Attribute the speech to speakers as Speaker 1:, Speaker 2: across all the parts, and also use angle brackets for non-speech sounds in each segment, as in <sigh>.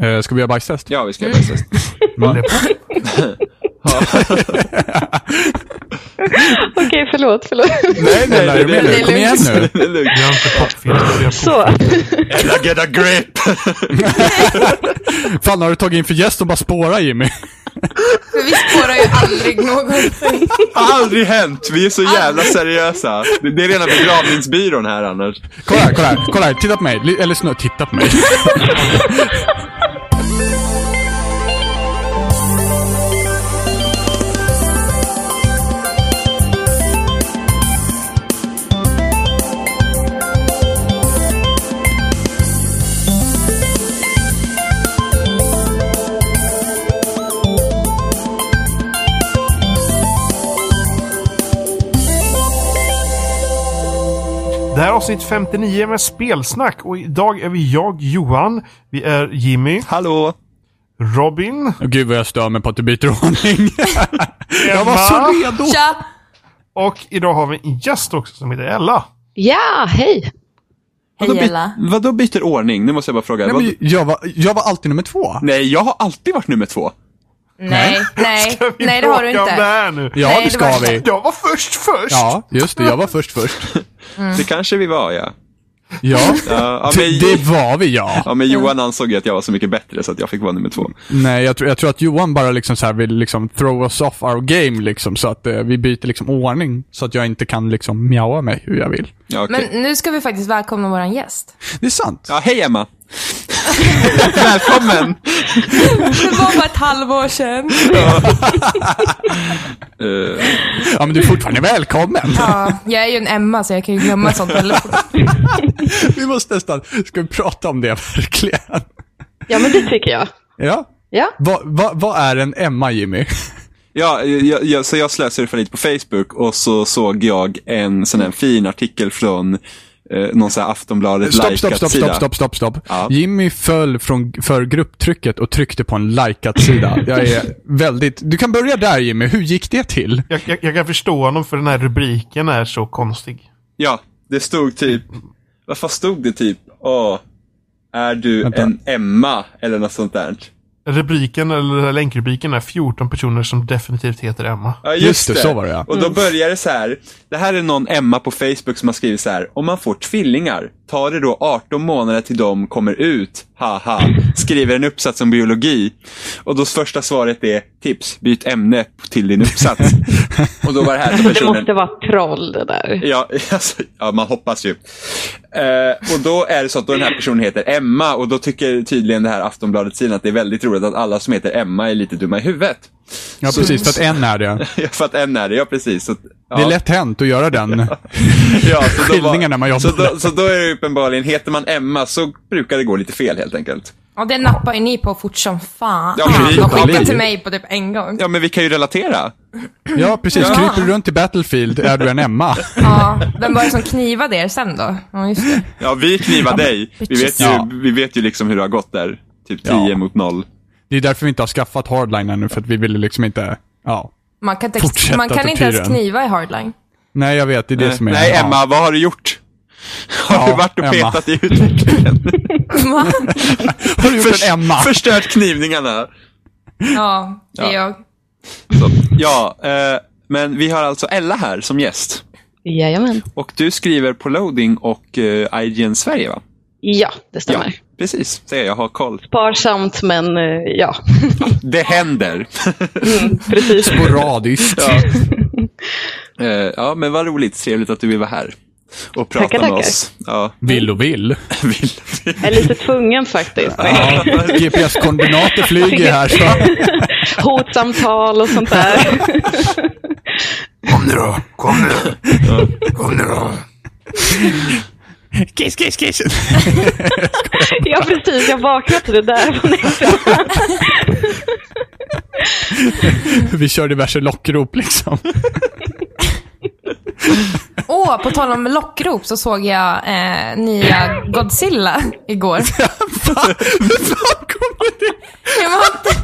Speaker 1: Eh, ska vi göra <laughs> bajstest?
Speaker 2: Ja, vi ska göra bajstest. <laughs>
Speaker 1: Va?
Speaker 3: Okej, förlåt, förlåt.
Speaker 2: nej, nej,
Speaker 1: Nej,
Speaker 2: det är
Speaker 1: men
Speaker 2: lugnt.
Speaker 1: Kom igen nu.
Speaker 2: Det är lugnt.
Speaker 4: Jag har inte pappfilm att börja på.
Speaker 3: Så.
Speaker 2: Ella get a grip!
Speaker 1: Fan, har du tagit in för gäst och bara spåra Jimmy?
Speaker 5: För vi spårar ju aldrig någonting.
Speaker 2: <laughs> Aldrig hänt! Vi är så jävla seriösa. Det, det är rena begravningsbyrån här annars.
Speaker 1: Kolla här, kolla här, kolla här. Titta på mig. Li- Eller snö, titta på mig.
Speaker 4: Det här är avsnitt 59 med spelsnack och idag är vi jag, Johan. Vi är Jimmy,
Speaker 2: Hallå!
Speaker 4: Robin,
Speaker 1: Åh, Gud vad jag stör mig på att du byter ordning. jag var
Speaker 4: Emma.
Speaker 1: så redo.
Speaker 5: Tja!
Speaker 4: och idag har vi en gäst också som heter Ella.
Speaker 3: Ja, hej.
Speaker 2: Vadå
Speaker 5: Hej
Speaker 2: by-
Speaker 5: Ella.
Speaker 2: Vadå byter ordning? Nu måste jag bara fråga.
Speaker 1: Nej,
Speaker 2: Vad-
Speaker 1: men jag, var, jag var alltid nummer två.
Speaker 2: Nej, jag har alltid varit nummer två.
Speaker 5: Nej, nej,
Speaker 4: Ska vi
Speaker 5: nej det har du
Speaker 4: bråka om Det
Speaker 5: inte.
Speaker 4: här nu?
Speaker 1: Ja,
Speaker 5: Nej,
Speaker 1: det
Speaker 5: det
Speaker 1: ska
Speaker 5: var-
Speaker 1: vi.
Speaker 4: Jag var först först!
Speaker 1: Ja, just det. Jag var först först.
Speaker 2: Det kanske vi var, ja.
Speaker 1: Ja,
Speaker 2: Ja, ja, men,
Speaker 1: det, det var vi ja.
Speaker 2: ja, men Johan ansåg ju att jag var så mycket bättre så att jag fick vara nummer två.
Speaker 1: Nej, jag tror, jag tror att Johan bara liksom så här vill liksom throw us off our game liksom, så att eh, vi byter liksom ordning så att jag inte kan liksom mjaua mig hur jag vill.
Speaker 2: Ja, okej.
Speaker 5: Men nu ska vi faktiskt välkomna våran gäst.
Speaker 1: Det är sant.
Speaker 2: ja hej <laughs> Emma! Välkommen!
Speaker 5: Det var bara ett halvår sedan.
Speaker 2: Eh,
Speaker 1: Ja, men du är fortfarande välkommen.
Speaker 5: Ja, jag är ju en Emma så jag kan ju glömma sånt väldigt fort.
Speaker 1: Vi måste nästan, ska vi prata om det <laughs> verkligen?
Speaker 3: Ja, men det tycker jag.
Speaker 1: Ja.
Speaker 3: Ja.
Speaker 1: Vad va, vad är en Emma, Jimmy?
Speaker 2: Ja, jag, jag, så jag slösurfade lite på Facebook och så såg jag en sån här fin artikel från eh, någon sån här Aftonbladet
Speaker 1: Stopp, stopp,
Speaker 2: likat
Speaker 1: stopp,
Speaker 2: sida.
Speaker 1: stopp, stopp, stopp, stopp.
Speaker 2: Ja.
Speaker 1: Jimmy föll från, för grupptrycket och tryckte på en likat sida.
Speaker 2: <laughs>
Speaker 1: Jag är väldigt... Du kan börja där Jimmy, hur gick det till?
Speaker 4: Jag, jag, jag kan förstå honom för den här rubriken är så konstig.
Speaker 2: Ja, det stod typ, vad fan stod det typ? Åh, är du
Speaker 1: Vänta.
Speaker 2: en Emma? Eller något sånt där.
Speaker 4: Rubriken, eller länkrubriken, är 14 personer som definitivt heter Emma.
Speaker 2: Ja,
Speaker 1: Just det, så var det, ja. Mm.
Speaker 2: Och då börjar det så här. Det här är någon Emma på Facebook som har skrivit så här. Om man får tvillingar, tar det då 18 månader till de kommer ut? Haha. Skriver en uppsats om biologi. Och då första svaret är tips, byt ämne till
Speaker 1: <laughs>
Speaker 2: din uppsats. och då var det här till
Speaker 3: Det
Speaker 2: personen.
Speaker 3: måste vara troll det där.
Speaker 2: Ja, <laughs> alltså, ja, man hoppas ju. Eh, och då är det så att då den här personen heter Emma och då tycker tydligen det här Aftonbladet-sidan att det är väldigt roligt att alla som heter Emma är lite dumma i huvudet. <laughs>
Speaker 1: Ja,
Speaker 2: Så-
Speaker 1: precis, för att en är det.
Speaker 2: Ja, för att en är det, ja precis. Så, att- ja.
Speaker 1: Det är lätt hänt att göra
Speaker 2: <laughs>
Speaker 1: den.
Speaker 2: ja, så då var-
Speaker 1: skildringar när man jobbar.
Speaker 2: Så då, så då är det uppenbarligen, heter man Emma så brukar det gå lite fel helt enkelt.
Speaker 5: Och det nappar ju ni på fort som fan.
Speaker 2: Ja, men vi-
Speaker 5: De skickade
Speaker 1: vi-
Speaker 5: till mig på typ en gång.
Speaker 2: Ja, men vi kan ju relatera.
Speaker 1: Ja, precis. Kryper du runt i Battlefield är du en Emma.
Speaker 5: Ja, vem var det som knivade er sen då? Ja, just det.
Speaker 2: Ja, vi knivar dig. Vi vet, ju,
Speaker 1: Ja.
Speaker 2: vi vet ju liksom hur det har gått där. Typ 10
Speaker 1: Ja.
Speaker 2: mot 0.
Speaker 1: Det är därför vi inte har skaffat hardline ännu, för att vi ville liksom inte... Ja.
Speaker 5: Man kan, inte
Speaker 1: Fortsätta
Speaker 5: ex- man kan inte ens
Speaker 1: tortyren.
Speaker 5: kniva i hardline.
Speaker 1: Nej, jag vet. Det är det som är...
Speaker 2: Nej,
Speaker 1: ja.
Speaker 2: Emma, vad har du gjort? <laughs> Har
Speaker 1: Ja,
Speaker 2: du varit och
Speaker 1: Emma.
Speaker 2: petat i utvecklingen?
Speaker 5: Va?
Speaker 1: Har du gjort
Speaker 2: Förs-
Speaker 1: en Emma?
Speaker 2: Förstört knivningarna.
Speaker 5: Ja, det är
Speaker 2: Ja.
Speaker 5: jag.
Speaker 2: Så, ja, eh, men vi har alltså Ella här som gäst.
Speaker 3: Jajamän.
Speaker 2: Och du skriver på Loading och eh, IGN Sverige, va?
Speaker 3: Ja, det stämmer.
Speaker 2: precis. Ser jag, jag har koll.
Speaker 3: Sparsamt, men eh, ja.
Speaker 2: Det händer. <laughs>
Speaker 3: Mm, precis.
Speaker 1: Sporadiskt.
Speaker 2: ja. Eh, ja, men vad roligt. Trevligt att du vill vara här och prata
Speaker 3: Tackar,
Speaker 2: med
Speaker 3: tackar.
Speaker 2: oss. Ja, <laughs>
Speaker 1: Vill och vill.
Speaker 2: vill.
Speaker 3: Jag är lite tvungen faktiskt.
Speaker 1: Ja, GPS-koordinater flyger här. Så.
Speaker 3: Hotsamtal och sånt <laughs> där.
Speaker 4: Kom nu då, kom nu. Kom nu då.
Speaker 1: <laughs> Kiss, kiss, kiss.
Speaker 3: Ja, precis. Jag vaknade till det där på nätterna.
Speaker 1: Vi kör diverse lockrop <laughs> liksom.
Speaker 5: Åh, på tal om lockrop så såg jag eh, nya Godzilla igår.
Speaker 1: Fan, hur fan kommer det?
Speaker 5: Ja, men har, inte,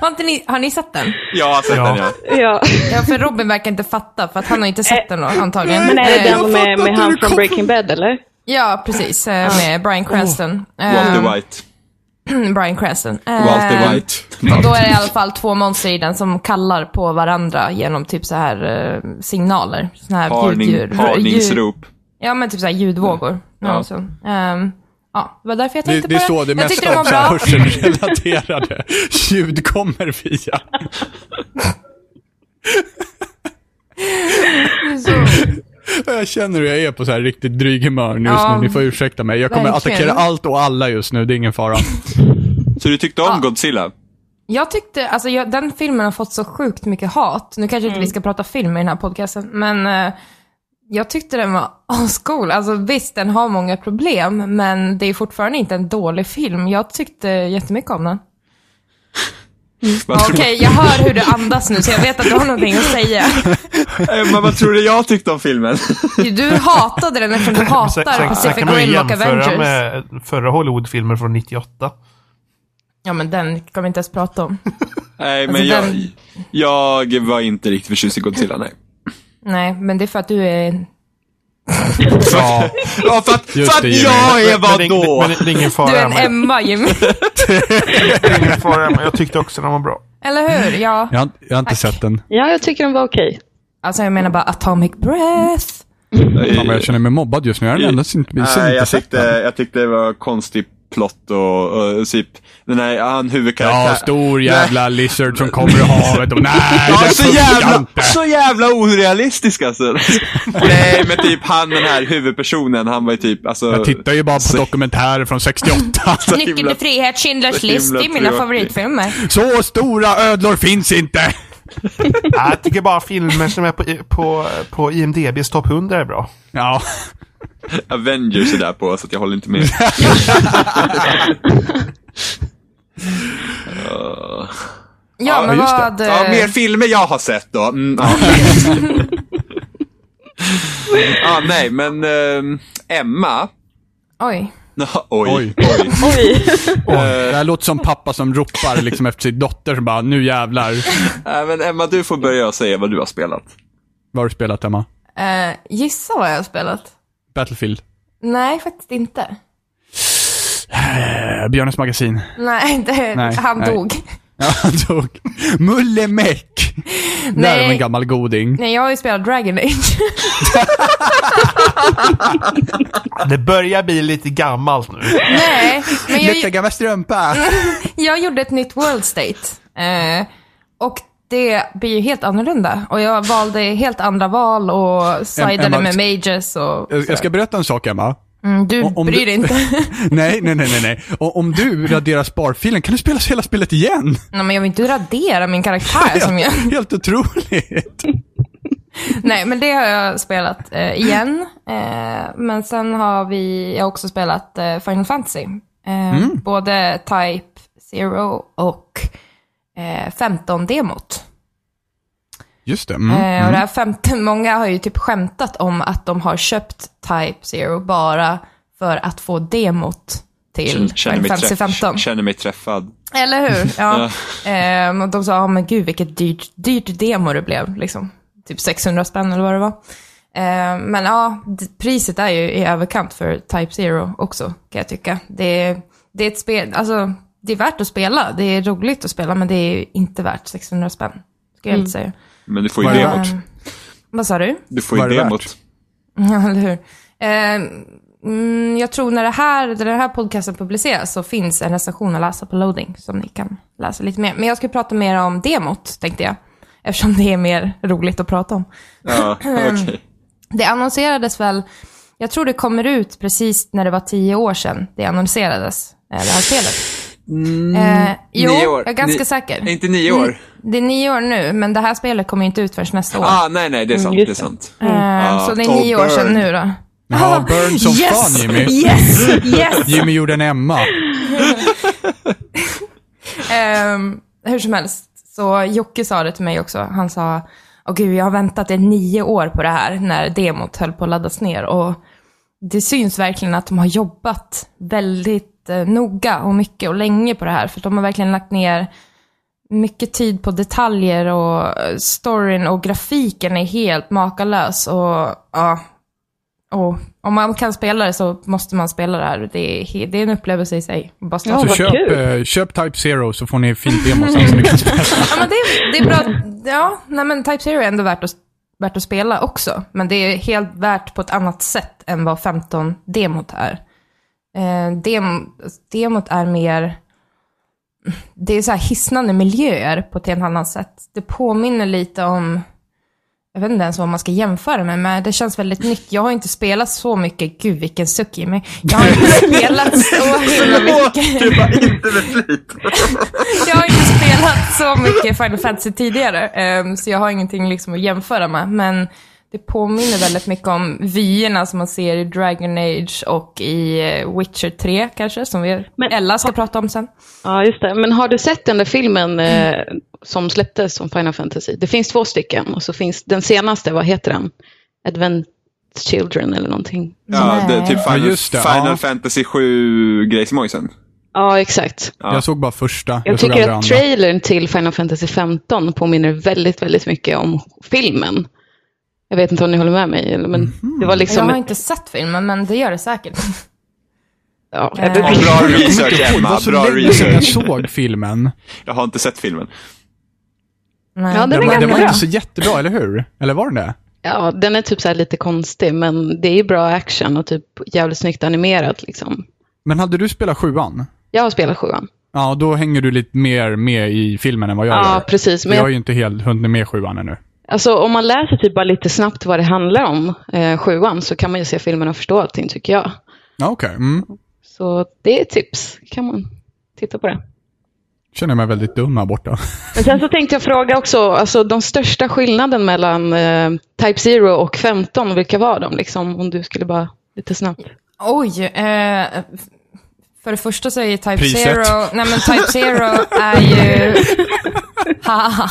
Speaker 5: har, inte ni, har ni sett den?
Speaker 2: Jag har sett
Speaker 4: Ja.
Speaker 2: den, ja.
Speaker 3: Ja.
Speaker 5: Ja, för Robin verkar inte fatta, för att han har inte sett den då, antagligen.
Speaker 3: Men är det
Speaker 5: Eh,
Speaker 3: den med,
Speaker 1: fattar
Speaker 3: med
Speaker 1: inte hur
Speaker 3: han
Speaker 1: det
Speaker 3: från
Speaker 1: kom-
Speaker 3: Breaking Bad, eller?
Speaker 5: Ja, precis. eh, Med Brian Cranston. <clears throat>
Speaker 2: Walter
Speaker 5: Ehm,
Speaker 2: White.
Speaker 5: Brian Cranston. Ehm,
Speaker 2: Walter White.
Speaker 5: Och då är det i alla fall två monster i den som kallar på varandra genom typ så här eh, signaler. Såna här ljudljud-
Speaker 2: Harning,
Speaker 5: ljud-
Speaker 2: harningsrop.
Speaker 5: Ja, men typ så här ljudvågor. Ja.
Speaker 2: Ja.
Speaker 5: så. Ehm, ja, det var därför jag
Speaker 1: Det,
Speaker 5: tänkte
Speaker 1: det är
Speaker 5: på
Speaker 1: så
Speaker 5: det.
Speaker 1: det
Speaker 5: jag tyckte det
Speaker 1: mesta
Speaker 5: var
Speaker 1: av så här
Speaker 5: bra. <laughs>
Speaker 1: hörselrelaterade ljud kommer via. Jag känner hur jag är på så här riktigt dryg humör just
Speaker 5: Ja,
Speaker 1: nu. Ni får ursäkta mig. Jag kommer
Speaker 5: verkligen.
Speaker 1: attackera allt och alla just nu. Det är ingen fara.
Speaker 2: Så du tyckte om
Speaker 5: Ja.
Speaker 2: Godzilla?
Speaker 5: Jag tyckte, alltså jag, den filmen har fått så sjukt mycket hat. Nu kanske inte
Speaker 4: Mm.
Speaker 5: vi ska prata film i den här podcasten, men eh, jag tyckte den var <laughs> ascool. Alltså visst, den har många problem, men det är fortfarande inte en dålig film. Jag tyckte jättemycket
Speaker 4: <laughs>
Speaker 5: om den.
Speaker 2: Vad
Speaker 5: Okej, jag hör hur du andas nu, så jag vet att du har någonting att säga.
Speaker 2: tror, Emma, vad tror du <laughs> jag tyckte om
Speaker 5: <laughs>
Speaker 2: filmen?
Speaker 5: Du hatade den eftersom du
Speaker 4: <laughs> Sen,
Speaker 5: hatar
Speaker 4: sen, sen
Speaker 5: Pacific
Speaker 4: kan man ju
Speaker 5: Rim och
Speaker 4: jämföra
Speaker 5: Avengers.
Speaker 4: med förra Hollywood-filmer från 98.
Speaker 5: Ja, men den kan vi inte ens prata om.
Speaker 2: Nej, men
Speaker 5: Alltså,
Speaker 2: jag,
Speaker 5: den-
Speaker 2: jag var inte riktigt förtjust i Godzilla, nej.
Speaker 5: Nej, men det är för att du är...
Speaker 1: Ja.
Speaker 2: Ja, för att,
Speaker 1: Just
Speaker 2: för att
Speaker 1: det, Jimmy.
Speaker 2: jag är
Speaker 4: det-
Speaker 2: vad då?
Speaker 4: Men, det- det är ingen fara.
Speaker 5: Du är en
Speaker 4: Emma.
Speaker 5: Emma, Jimmy. <laughs>
Speaker 4: Det är ingen fara, Emma. Jag tyckte också den var bra.
Speaker 5: Eller hur? Ja.
Speaker 1: Jag har, jag har inte sett den.
Speaker 3: Ja, jag tycker den var okej.
Speaker 5: Alltså jag menar bara Atomic Breath.
Speaker 1: Fan, vad jag känner mig mobbad just nu. Jag har den enda som inte, som
Speaker 2: Nej,
Speaker 1: inte
Speaker 2: jag
Speaker 1: sett
Speaker 2: tyckte,
Speaker 1: den.
Speaker 2: jag tyckte det var konstig plott och, och typ, den här, han huvudkaraktären.
Speaker 1: Ja, stor jävla lizard som kommer ur havet och nej,
Speaker 2: Ja,
Speaker 1: det
Speaker 2: så
Speaker 1: funkar
Speaker 2: jävla,
Speaker 1: inte.
Speaker 2: så jävla
Speaker 1: <laughs>
Speaker 2: orealistisk alltså. Nej, men typ han den här huvudpersonen, han var ju typ, alltså.
Speaker 1: Jag tittar ju bara på dokumentärer från
Speaker 2: <laughs>
Speaker 1: Alltså, 68.
Speaker 5: <laughs>
Speaker 2: så himla-
Speaker 5: Nyckeln till frihet, Schindler's
Speaker 2: så himla
Speaker 5: list, det är mina
Speaker 2: tråkig.
Speaker 5: favoritfilmer.
Speaker 1: Så stora ödlor finns inte!
Speaker 4: Nej, Jag tycker bara filmer som är på, på, på IMDBs topp 100 är bra.
Speaker 1: Ja.
Speaker 2: Avengers är där på, så att jag håller inte med.
Speaker 1: <laughs>
Speaker 2: Uh,
Speaker 5: Ja,
Speaker 1: Ja,
Speaker 5: men
Speaker 1: just det.
Speaker 5: vad... eh,
Speaker 2: ja, mer filmer jag har sett då. Mm,
Speaker 1: <laughs>
Speaker 2: ja. ah, nej, men ehm, Emma. <laughs>
Speaker 5: Oj.
Speaker 2: Nå, oj,
Speaker 1: Oj.
Speaker 2: oj.
Speaker 3: Oj.
Speaker 1: Det här låter som pappa som ropar liksom efter sin dotter som bara, nu jävlar.
Speaker 2: <laughs> Nej, men Emma, du får börja och säga vad du har spelat.
Speaker 1: Vad har du spelat Emma?
Speaker 5: Eh, gissa vad jag har spelat?
Speaker 1: Battlefield?
Speaker 5: Nej, faktiskt inte.
Speaker 1: Eh, Björnes magasin?
Speaker 5: Nej, <laughs> det,
Speaker 1: Nej,
Speaker 5: han
Speaker 1: nej.
Speaker 5: dog.
Speaker 1: Ja, <laughs> han tog. Mullemäck! Där är
Speaker 5: Nej.
Speaker 1: en gammal goding.
Speaker 5: Nej, jag har ju spelat
Speaker 1: <laughs>
Speaker 5: Dragon Age.
Speaker 4: Det börjar bli lite gammalt nu.
Speaker 5: nej, men
Speaker 1: Luktar
Speaker 5: jag,
Speaker 1: gammal strumpa.
Speaker 5: jag gjorde ett nytt World State. Eh, och det blir ju helt annorlunda. Och jag valde helt andra val och sidade
Speaker 1: Emma,
Speaker 5: med Mages och...
Speaker 1: Jag jag ska berätta en sak Emma.
Speaker 5: Mm, du
Speaker 1: Eh, om- om
Speaker 5: bryr
Speaker 1: du-
Speaker 5: dig inte. <laughs>
Speaker 1: Nej, nej, nej, nej, nej. Och om du raderar sparfilen, kan du spela hela spelet igen?
Speaker 5: nej, men jag vill inte radera
Speaker 1: <laughs>
Speaker 5: min karaktär som jag...
Speaker 1: Helt otroligt.
Speaker 5: Nej, men det har jag spelat eh, igen. Eh, men sen har vi, jag har också spelat eh, Final Fantasy. Eh,
Speaker 1: Mm.
Speaker 5: Både Type Zero och eh, 15-demot.
Speaker 1: Just det. Mm.
Speaker 5: Eh, och det här 15, många har ju typ skämtat om att de har köpt Type Zero bara för att få demot till
Speaker 2: Känner
Speaker 5: Final
Speaker 2: mig,
Speaker 5: Fantasy
Speaker 2: träff,
Speaker 5: 15.
Speaker 2: känner mig träffad.
Speaker 5: Eller hur? Ja. Ehm, och de sa, "Ja, men gud vilket dyrt, dyrt demo det blev. Liksom. Typ 600 spänn eller vad det var. Ehm, men ja, d- priset är ju i överkant för Type Zero också, kan jag tycka. Det är, det är ett spel, alltså det är värt att spela. Det är roligt att spela, men det är ju inte värt 600 spänn. Skulle jag inte säga.
Speaker 2: Men du får ju
Speaker 1: Vad är det?
Speaker 2: demot.
Speaker 5: Ehm, vad sa du?
Speaker 2: Du får
Speaker 1: Vad
Speaker 2: ju
Speaker 1: är det
Speaker 2: demot.
Speaker 1: värt?
Speaker 5: <laughs> Ja, eller hur? Ehm, mm, jag tror när, det här, när den här podcasten publiceras så finns en recension att läsa på loading som ni kan läsa lite mer. Men jag ska prata mer om demot, tänkte jag. Eftersom det är mer roligt att prata om. <clears throat>
Speaker 2: Ja, okej.
Speaker 5: Det annonserades väl, jag tror det kommer ut precis när det var tio år sedan det annonserades, eh, det här spelet. Eh, jo,
Speaker 2: Mm, nio år.
Speaker 5: jag är ganska
Speaker 2: Ni-
Speaker 5: säker.
Speaker 2: Är Inte nio år?
Speaker 5: Det är nio år nu, men det här spelet kommer ju inte ut förrän nästa år.
Speaker 2: Ah, nej, nej, det är sant.
Speaker 3: just
Speaker 2: Det är
Speaker 3: det.
Speaker 2: sant.
Speaker 5: Ehm,
Speaker 2: Ah,
Speaker 5: så det är
Speaker 2: oh,
Speaker 5: nio år sedan
Speaker 2: burn.
Speaker 5: nu då.
Speaker 3: ah,
Speaker 1: Ja, burn som
Speaker 5: yes!
Speaker 1: fan Jimmy.
Speaker 5: Yes! Yes!
Speaker 1: Jimmy gjorde en Emma.
Speaker 5: Ehm, hur som helst, så Jocke sa det till mig också. Han sa, åh gud, jag har väntat i nio år på det här när demot höll på att laddas ner. Och det syns verkligen att de har jobbat väldigt eh, noga och mycket och länge på det här. För de har verkligen lagt ner mycket tid på detaljer och eh, storyn och grafiken är helt makalös. Och ja, Och om man kan spela det så måste man spela det här. Det är, he- det är en upplevelse i sig. Bara stå-
Speaker 3: Ja.
Speaker 5: ja.
Speaker 1: Så
Speaker 3: vad
Speaker 1: köp,
Speaker 3: kul.
Speaker 1: eh, köp Type Zero så får ni fint demo
Speaker 3: <laughs>
Speaker 1: sen som ni kan spela.
Speaker 5: men det, är, det är bra. Ja, nej men Type Zero är ändå värt att, värt att spela också. Men det är helt värt på ett annat sätt än vad 15-demot är. Eh, dem, demot är mer... Det är så här hisnande miljöer på ett helt annat sätt. Det påminner lite om... Jag vet inte ens vad man ska jämföra med, men det känns väldigt nytt. Jag har inte spelat så mycket, gud vilken suck i mig. Jag
Speaker 2: <laughs>
Speaker 5: har inte spelat så himla mycket.
Speaker 2: Det var inte med flit.
Speaker 5: <laughs> Jag har inte spelat så mycket Final Fantasy tidigare, ehm, så jag har ingenting liksom att jämföra med. Men det påminner väldigt mycket om vyerna som man ser i Dragon Age och i eh, Witcher 3 kanske, som vi,
Speaker 3: Men-
Speaker 5: Ella ska prata om sen.
Speaker 3: Ja, just det. Men har du sett den där filmen eh, som släpptes som Final Fantasy? Det finns två stycken och så finns den senaste, vad heter den? Advent Children eller någonting.
Speaker 2: Ja, det, typ
Speaker 1: Ja,
Speaker 2: Final,
Speaker 1: just det,
Speaker 2: Final
Speaker 1: ja.
Speaker 2: Fantasy 7 grejsimojsen.
Speaker 3: Ja, exakt.
Speaker 2: Ja.
Speaker 1: Jag såg bara första. Jag,
Speaker 3: Jag,
Speaker 1: såg
Speaker 3: tycker
Speaker 1: aldrig
Speaker 3: att
Speaker 1: andra.
Speaker 3: trailern till Final Fantasy 15 påminner väldigt, väldigt mycket om filmen. Jag vet inte om ni håller med mig, eller, men det var
Speaker 5: jag
Speaker 3: liksom...
Speaker 5: har inte sett filmen, men det gör det säkert.
Speaker 3: ja,
Speaker 5: Nej.
Speaker 3: det-
Speaker 2: Ja, Bra research
Speaker 1: Oj, det
Speaker 2: Emma,
Speaker 1: var så
Speaker 2: bra
Speaker 1: länge sedan jag
Speaker 2: research.
Speaker 1: såg
Speaker 3: <laughs>
Speaker 1: filmen.
Speaker 2: Jag har inte sett filmen.
Speaker 5: Men,
Speaker 3: Ja, det- Den är
Speaker 1: Den var, den
Speaker 3: ganska
Speaker 1: var
Speaker 3: bra.
Speaker 1: inte så jättebra, eller hur? Eller var den det?
Speaker 3: ja, den är typ så här lite konstig, men det är ju bra action och typ jävligt snyggt animerat. Liksom.
Speaker 1: Men hade du spelat sjuan?
Speaker 3: Jag har spelat sjuan.
Speaker 1: Ja, då hänger du lite mer med i filmen än vad jag
Speaker 3: Ja,
Speaker 1: gör.
Speaker 3: precis. Men
Speaker 1: jag
Speaker 3: jag
Speaker 1: är ju inte helt hunnit med sjuan ännu.
Speaker 3: Alltså om man läser typ bara lite snabbt vad det handlar om, eh, sjuan, så kan man ju se filmen och förstå allting tycker jag.
Speaker 1: Ja, okej. Mm.
Speaker 3: Så det är ett tips, kan man titta på det.
Speaker 1: Känner mig väldigt dum här borta. <laughs>
Speaker 3: Men sen så tänkte jag fråga också, alltså de största skillnaden mellan eh, Type Zero och 15, vilka var de liksom? Om du skulle bara lite snabbt.
Speaker 5: Oj, eh, f- för det första så är ju Type
Speaker 1: Priset.
Speaker 5: Zero, nej men Type Zero är ju, haha.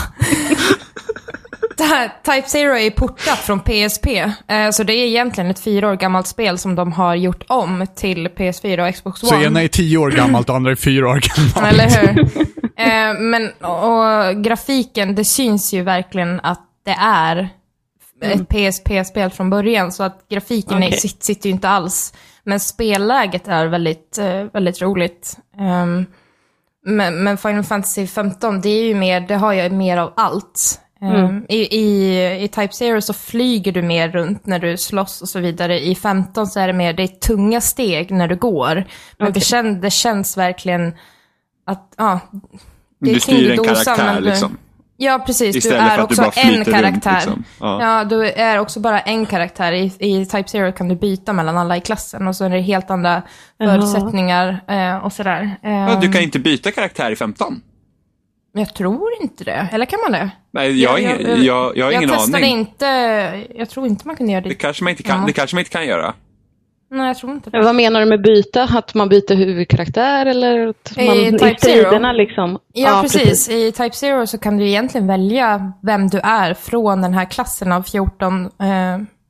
Speaker 5: Det här, Type Zero är ju portat från PSP, eh, så det är egentligen ett fyra år gammalt spel som de har gjort om till PS4 och Xbox One.
Speaker 1: Så ena är tio år gammalt och andra är fyra år gammalt.
Speaker 5: Eller hur? Eh, men, och, och grafiken, det syns ju verkligen att det är ett PSP-spel från början, så att grafiken är,
Speaker 3: Okej.
Speaker 5: sit, sitter ju inte alls. Men spelläget är väldigt, eh, väldigt roligt. Ehm, men, men Final Fantasy 15, det är ju mer, det har ju mer av allt. Ehm, I, i, I Type Zero så flyger du mer runt när du slåss och så vidare. I 15 så är det mer, det är tunga steg när du går. Men det, kän, det känns verkligen att, ja. det är
Speaker 2: Du styr en
Speaker 5: kingdosan,
Speaker 2: karaktär
Speaker 5: men du-
Speaker 2: liksom.
Speaker 5: Ja, precis.
Speaker 2: Istället
Speaker 5: du
Speaker 2: för
Speaker 5: är
Speaker 2: att du
Speaker 5: också
Speaker 2: bara flyter
Speaker 5: en
Speaker 2: runt,
Speaker 5: karaktär.
Speaker 2: liksom. Ja.
Speaker 5: ja. du är också bara en karaktär. I, I Type Zero kan du byta mellan alla i klassen och så är det helt andra förutsättningar eh, och sådär. Eh,
Speaker 2: Ja, du kan inte byta karaktär i 15.
Speaker 5: Men jag tror inte det. Eller kan man det?
Speaker 2: Nej, jag, har ingen- jag, jag, har ingen
Speaker 5: jag testade
Speaker 2: aning.
Speaker 5: inte, jag tror inte man kunde göra det.
Speaker 2: Det kanske man inte kan,
Speaker 5: Ja.
Speaker 2: det kanske man inte kan göra.
Speaker 5: Nej, jag tror inte det.
Speaker 3: Men vad menar du med byta? Att man byter huvudkaraktär eller att
Speaker 5: I
Speaker 3: man
Speaker 5: Eh, Type
Speaker 3: striderna
Speaker 5: Zero?
Speaker 3: liksom?
Speaker 5: Ja, precis. I Type Zero så kan du egentligen välja vem du är från den här klassen av 14 eh,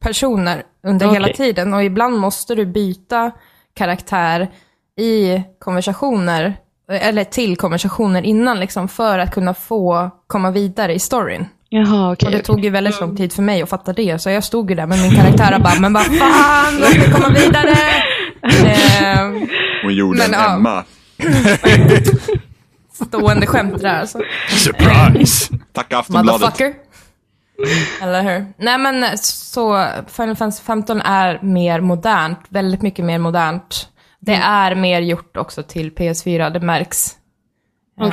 Speaker 5: personer under
Speaker 3: Okej.
Speaker 5: hela tiden. Och ibland måste du byta karaktär i konversationer, eh, eller till konversationer innan, liksom, för att kunna få komma vidare i storyn.
Speaker 3: Jaha, okej.
Speaker 5: Och det tog ju väldigt lång tid för mig att fatta det, så jag stod ju där med min karaktär och bara, men vad fan, låt mig komma vidare! Eh,
Speaker 2: Hon gjorde
Speaker 5: Men,
Speaker 2: en
Speaker 5: ja.
Speaker 2: Emma.
Speaker 5: stående skämt där alltså.
Speaker 1: Surprise!
Speaker 2: Tacka Aftonbladet.
Speaker 5: Motherfucker. Eller hur? Nej men så Final Fantasy 15 är mer modernt, väldigt mycket mer modernt. Det är mer gjort också till PS4, det märks.
Speaker 2: Äh,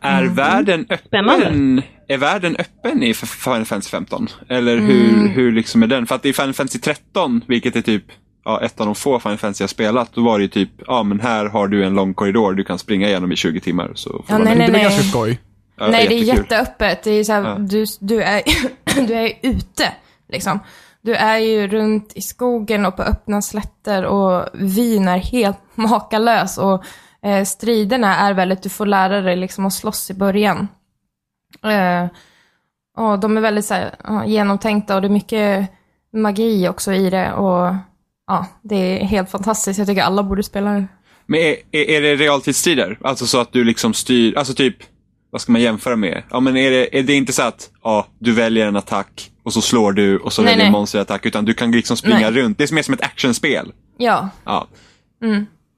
Speaker 2: är,
Speaker 5: Mm.
Speaker 2: världen öppen,
Speaker 3: Spännande.
Speaker 2: är världen öppen i F- Final Fantasy 15? Eller hur,
Speaker 5: Mm.
Speaker 2: hur liksom är den? För att i Final Fantasy 13, vilket är typ ja, ett av de få Final Fantasy jag spelat, då var det ju typ, ja men här har du en lång korridor du kan springa igenom i 20 timmar. Så får
Speaker 5: Ja,
Speaker 2: vara
Speaker 5: nej,
Speaker 2: med.
Speaker 1: Det
Speaker 5: nej,
Speaker 1: var
Speaker 5: nej.
Speaker 1: ganska skoj.
Speaker 2: Ja,
Speaker 5: Nej, det är
Speaker 2: jättekul.
Speaker 5: jätteöppet. Det är så här, du, du, är, <clears throat> du är ute, liksom. Du är ju runt i skogen och på öppna slätter och vyn är helt <laughs> makalös. Och eh, striderna är väldigt, du får lära dig liksom att slåss i början. Eh, och de är väldigt så här, ja, genomtänkta och det är mycket magi också i det. Och ja, det är helt fantastiskt. Jag tycker alla borde spela det.
Speaker 2: Men är, är, är det realtidsstrider? Alltså så att du liksom styr, alltså typ, vad ska man jämföra med? Ja men är det, är det inte så att, ja, du väljer en attack och så slår du och så
Speaker 5: Nej,
Speaker 2: väljer
Speaker 5: nej.
Speaker 2: monsterattack. Utan du kan liksom springa
Speaker 5: Nej.
Speaker 2: runt. Det är mer som ett actionspel.
Speaker 5: Ja,
Speaker 2: Ja.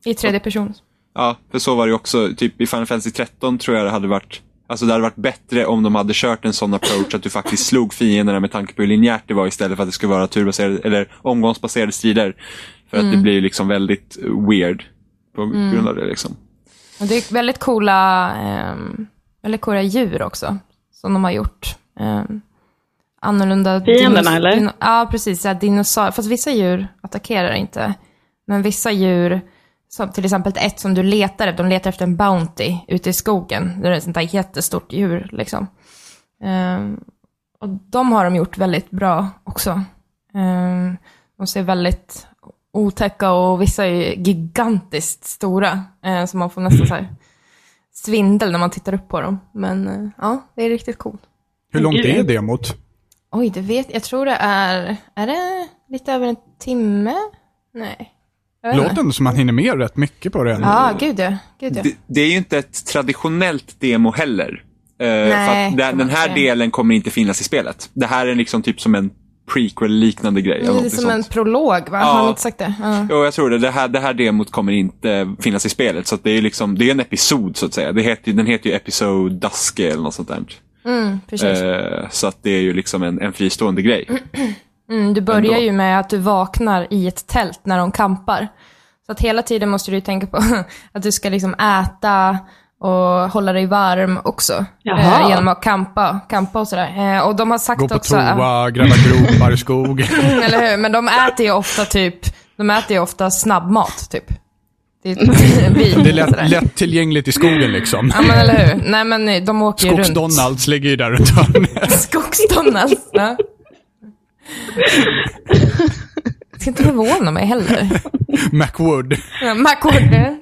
Speaker 5: i tredje person.
Speaker 2: ja, för så var det ju också. Typ i Final Fantasy 13 tror jag det hade varit Alltså det hade varit bättre om de hade kört en sån approach att du faktiskt slog fienderna med tanke på hur linjärt det var istället för att det skulle vara turbaserade eller omgångsbaserade strider. För att
Speaker 5: Mm.
Speaker 2: det blir ju liksom väldigt weird på grund av det liksom.
Speaker 5: Och det är väldigt coola, ehm, väldigt coola djur också, som de har gjort. Ehm, annorlunda...
Speaker 3: Fienderna,
Speaker 5: dinos-
Speaker 3: eller?
Speaker 5: dino- ja, precis. så här Dinosaurier. Fast vissa djur attackerar inte. Men vissa djur, som till exempel ett som du letar efter, de letar efter en Bounty ute i skogen. Det är ett sånt där jättestort djur. Liksom. Ehm, och de har de gjort väldigt bra också. Ehm, de ser väldigt otäcka och vissa är ju gigantiskt stora, eh, så man får nästan så här svindel när man tittar upp på dem. Men eh, ja, det är riktigt coolt.
Speaker 1: Hur långt är demot?
Speaker 5: Oj, det vet jag. tror det är, är det lite över en timme? Nej. Jag vet inte.
Speaker 1: Låter ändå som man hinner med rätt mycket på det. ändå.
Speaker 5: Ja, gud ja. Gud ja.
Speaker 2: det, det är ju inte ett traditionellt demo heller. Eh, för att
Speaker 5: kan man
Speaker 2: den, den här
Speaker 5: säga.
Speaker 2: delen kommer inte finnas i spelet. Det här är liksom typ som en prequel-liknande grej.
Speaker 5: Det
Speaker 2: eller
Speaker 5: är
Speaker 2: något
Speaker 5: som en
Speaker 2: sånt.
Speaker 5: prolog, va?
Speaker 2: Ja. Eh,
Speaker 5: Har man inte sagt det? Ja.
Speaker 2: Jo, jag tror det. Det här, det här demot kommer inte finnas i spelet. Så att det är liksom, det är en episod så att säga. Det heter, ju- den heter ju Episode Dusk eller något sånt där.
Speaker 5: Mm, precis.
Speaker 2: Eh, så att det är ju liksom en, en fristående grej.
Speaker 5: Mm, du börjar
Speaker 2: ändå.
Speaker 5: ju med att du vaknar i ett tält när de kampar. Så att hela tiden måste du ju tänka på <laughs> att du ska liksom äta och hålla dig varm också.
Speaker 3: Jaha.
Speaker 5: Eh, genom att kampa, kampa och sådär. Eh, och de har sagt
Speaker 1: Gå på
Speaker 5: också...
Speaker 1: toa, gräva gropar i skogen.
Speaker 5: <laughs> Eller hur? Men de äter ju ofta typ, de äter ju ofta snabbmat typ. Det är vin
Speaker 1: Det är
Speaker 5: och sådär.
Speaker 1: lätt, lättillgängligt i skogen liksom.
Speaker 5: Ja men eller hur? Nej men de åker ju runt.
Speaker 1: Skogs-Donalds ligger ju där runt
Speaker 5: <laughs>
Speaker 1: hörnet. <laughs>
Speaker 5: Skogsdonalds. Ja. Det ska inte förvåna
Speaker 1: <laughs>
Speaker 5: mig heller.
Speaker 1: Macwood,
Speaker 5: Mackorre.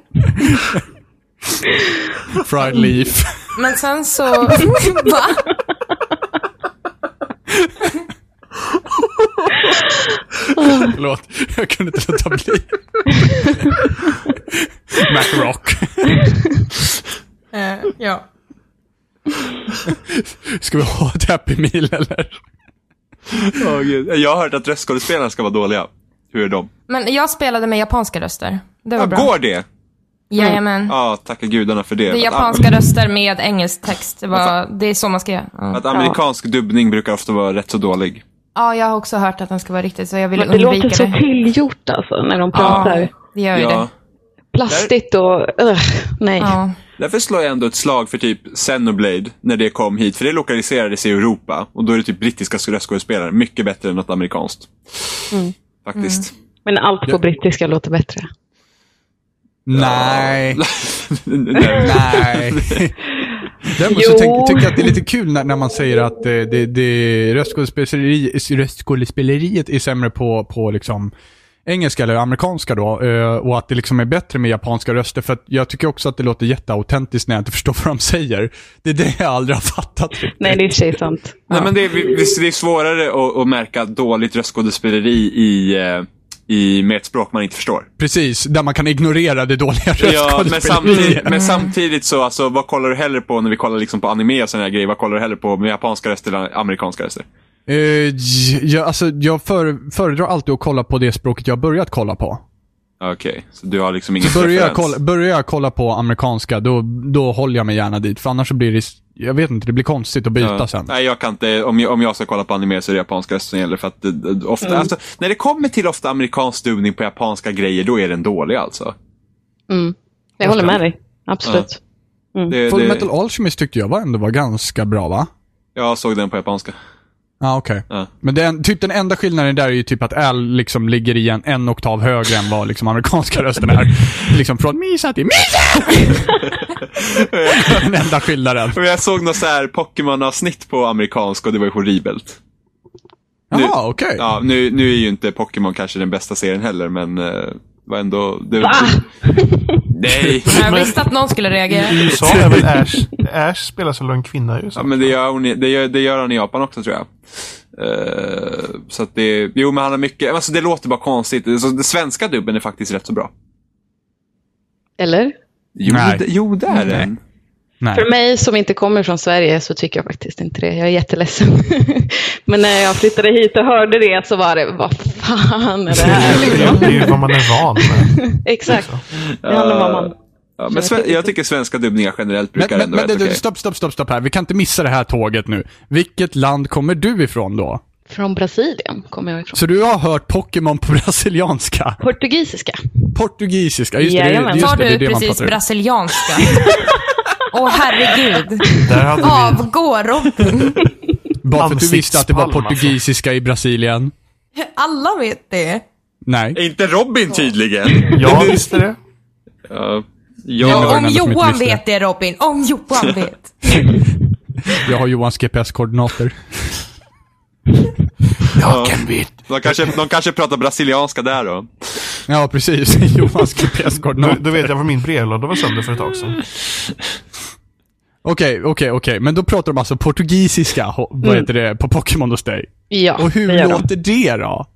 Speaker 1: Fried
Speaker 5: <laughs>
Speaker 1: Leaf.
Speaker 5: Men sen så...
Speaker 3: <laughs>
Speaker 5: Va?
Speaker 1: Förlåt, jag kunde inte låta
Speaker 5: <laughs>
Speaker 1: bli. Macrock.
Speaker 5: Eh, ja.
Speaker 1: Ska vi ha ett Happy Meal eller?
Speaker 2: Åh, Gud. <laughs> jag har hört att röstskådespelarna ska vara dåliga. Hur är de?
Speaker 5: Men jag spelade med japanska röster. Det
Speaker 1: Ah,
Speaker 5: var
Speaker 2: Ja,
Speaker 5: bra.
Speaker 2: går det?
Speaker 5: Jajamän.
Speaker 2: Ja, tacka gudarna för det.
Speaker 5: Det är
Speaker 2: Att-
Speaker 5: japanska röster med engelsk text. Det, var, det är så man ska göra. Ja.
Speaker 2: Att amerikansk dubbning brukar ofta vara rätt så dålig.
Speaker 5: ja, jag har också hört att den ska vara riktigt så jag vill
Speaker 3: Men det
Speaker 5: undvika
Speaker 3: låter
Speaker 5: det.
Speaker 3: så tillgjort alltså när de pratar.
Speaker 5: ja, det gör ju det.
Speaker 3: Plastigt och... ugh, nej.
Speaker 5: Ja.
Speaker 2: Därför slår jag ändå ett slag för typ Xenoblade när det kom hit. För det lokaliserades i Europa. Och då är det typ brittiska röstskådespelare. Mycket bättre än något amerikanskt.
Speaker 5: Mm.
Speaker 2: Faktiskt.
Speaker 3: Men allt på brittiska låter bättre.
Speaker 1: Nej.
Speaker 2: <laughs> Nej.
Speaker 1: Nej. Däremot så
Speaker 3: Jo.
Speaker 1: tänk, tycker jag att det är lite kul när, när man säger att eh, det, det, röstskådespeleri, röstskådespeleriet är sämre på, på liksom engelska eller amerikanska då eh, och att det liksom är bättre med japanska röster för att jag tycker också att det låter jätteautentiskt när jag inte förstår vad de säger. Det är det jag aldrig har fattat.
Speaker 3: Nej, det är i och för sig sant.
Speaker 2: Nej, men det är, visst, det är svårare att, att märka dåligt röstskådespeleri i, eh, i, med ett språk man inte förstår.
Speaker 1: Precis, där man kan ignorera det dåliga
Speaker 2: Ja, men samtidigt,
Speaker 1: röstskådespeleriet.
Speaker 2: men samtidigt så, alltså, vad kollar du hellre på när vi kollar liksom på anime och sådana här grejer? Vad kollar du hellre på med japanska röster eller amerikanska röster?
Speaker 1: Eh, j- jag, alltså, jag före- föredrar alltid att kolla på det språket jag har börjat kolla på.
Speaker 2: Okej, så du har liksom ingen
Speaker 1: Börjar jag,
Speaker 2: preferens.
Speaker 1: kolla, börjar jag kolla på amerikanska, då, då håller jag mig gärna dit. För annars så blir det, jag vet inte, det blir konstigt att byta
Speaker 2: Ja.
Speaker 1: sen.
Speaker 2: Nej, jag kan inte. Om jag, om jag ska kolla på anime så är det japanska röster som gäller. För att, eh, eh, ofta,
Speaker 1: Mm.
Speaker 2: alltså, när det kommer till ofta amerikansk dubbning på japanska grejer, då är den dålig alltså.
Speaker 3: Mm. Jag håller med dig. Absolut.
Speaker 2: Det,
Speaker 1: Full
Speaker 2: det,
Speaker 1: Metal Alchemist tyckte jag var ändå var ganska bra va?
Speaker 2: jag såg den på japanska.
Speaker 1: Ja, ah, okej.
Speaker 2: Ja.
Speaker 1: Men den, typ den enda skillnaden där är ju typ att L liksom ligger i en, en oktav högre än vad liksom amerikanska rösten är. liksom från Misa till Misa! den enda skillnaden.
Speaker 2: Och jag såg något så här Pokémon-avsnitt på amerikanska och det var ju horribelt.
Speaker 1: Jaha, okej.
Speaker 2: Ja, nu, nu är ju inte Pokémon kanske den bästa serien heller, men eh, var ändå... Det,
Speaker 3: Va?
Speaker 2: <laughs> nej!
Speaker 5: Jag visste att någon skulle reagera.
Speaker 4: I USA är väl Ash, Ash spelas väl av en kvinna ju.
Speaker 2: Ja,
Speaker 4: Så.
Speaker 2: men det gör, hon, i- det, gör, det gör han i Japan också tror jag. Eh, så att det, jo men han har mycket, alltså det låter bara konstigt. Så den svenska dubben är faktiskt rätt så bra.
Speaker 3: Eller?
Speaker 2: Jo,
Speaker 1: Nej.
Speaker 2: det, jo det är den.
Speaker 1: Nej.
Speaker 3: För mig som inte kommer från Sverige så tycker jag faktiskt inte det. Jag är jätteledsen. <laughs> Men när jag flyttade hit och hörde det så var det, vad fan är det här?
Speaker 4: <laughs> Det är-
Speaker 3: Liksom.
Speaker 4: det är ju vad man är van med.
Speaker 3: Exakt,
Speaker 4: Så.
Speaker 3: det handlar om vad man...
Speaker 2: Ja, men sve- jag tycker svenska dubbningar generellt brukar
Speaker 1: Men, men, men
Speaker 2: ändå vara
Speaker 1: det,
Speaker 2: helt okej.
Speaker 1: stopp, stopp, stopp, stopp här. Vi kan inte missa det här tåget nu. Vilket land kommer du ifrån då?
Speaker 3: Från Brasilien kommer jag ifrån.
Speaker 1: Så du har hört Pokémon på <laughs> brasilianska?
Speaker 3: Portugisiska.
Speaker 1: Portugisiska, just det. det, är-
Speaker 3: Jajamän.
Speaker 1: just
Speaker 5: Tar
Speaker 1: det, det är
Speaker 5: du
Speaker 1: det man
Speaker 5: precis
Speaker 1: pratar om. <laughs>
Speaker 5: brasilianska? Åh herregud.
Speaker 4: Där hade vi...
Speaker 5: Avgå Robin.
Speaker 1: Bara för att du visste att det var
Speaker 4: Ansiktspalm, alltså.
Speaker 1: portugisiska i Brasilien.
Speaker 5: Alla vet det.
Speaker 2: <laughs>
Speaker 1: Nej.
Speaker 2: Inte Robin tydligen.
Speaker 4: Ja, visst är det.
Speaker 1: det
Speaker 2: Ja,
Speaker 1: var
Speaker 2: jag,
Speaker 1: den
Speaker 5: Om
Speaker 1: enda som inte
Speaker 5: Johan
Speaker 1: visste
Speaker 5: vet det Robin. Om Johan vet.
Speaker 1: Jag har Johans GPS-koordinater.
Speaker 4: Jag kan bli...
Speaker 2: de, kanske, de kanske pratar brasilianska där då.
Speaker 1: Ja, precis. <laughs> Johans
Speaker 4: Då,
Speaker 1: GPS-koordinater.
Speaker 4: då vet jag vad min brevlåda var sönder för ett tag sedan.
Speaker 1: Okej, okej, okej. Men då pratar de alltså portugisiska, ho- vad heter det, på Pokémon hos dig.
Speaker 3: Ja,
Speaker 1: Och
Speaker 3: Mm. det
Speaker 1: hur
Speaker 3: gör de.
Speaker 1: låter det då?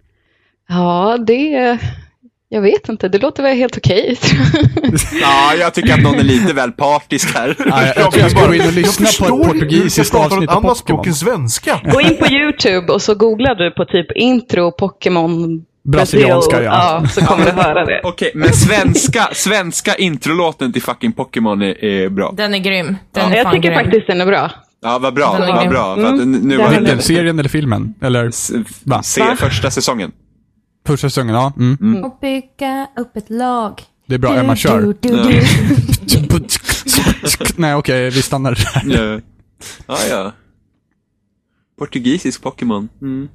Speaker 3: Ja, det... Jag vet inte, det låter väl helt okej.
Speaker 2: Ja, jag tycker att någon är lite väl partisk här.
Speaker 1: Nej, jag, jag tror jag ska gå in och lyssna på ett portugisiskt
Speaker 4: ett
Speaker 1: avsnitt av
Speaker 4: annat språk
Speaker 1: Pokémon.
Speaker 4: än svenska.
Speaker 3: Gå in på YouTube och så googlar du på typ intro Pokémon
Speaker 1: Brasilianska,
Speaker 3: Brasil.
Speaker 1: ja.
Speaker 3: ja. så kommer du
Speaker 2: <laughs>
Speaker 3: höra det.
Speaker 2: <laughs> Okej, men svenska, svenska introlåten till fucking Pokémon är, är bra.
Speaker 5: Den är grym. Den är
Speaker 3: Jag
Speaker 5: fan
Speaker 3: tycker
Speaker 5: grym.
Speaker 3: faktiskt den är bra.
Speaker 2: Ja, vad bra.
Speaker 5: Den är
Speaker 2: Vad
Speaker 5: grym.
Speaker 2: bra. För att nu- nu
Speaker 3: Mm,
Speaker 2: var
Speaker 3: den är
Speaker 2: det
Speaker 1: Vilken? Serien eller filmen? Eller Va?
Speaker 2: se första säsongen.
Speaker 1: första säsongen? Ja. Mm.
Speaker 5: Och bygga upp ett lag.
Speaker 1: Det är bra. Emma, kör.
Speaker 5: du, du.
Speaker 1: <laughs> Nej, okej. Vi stannar där.
Speaker 2: Ja, ja. ja. Portugisisk Pokémon. Mm.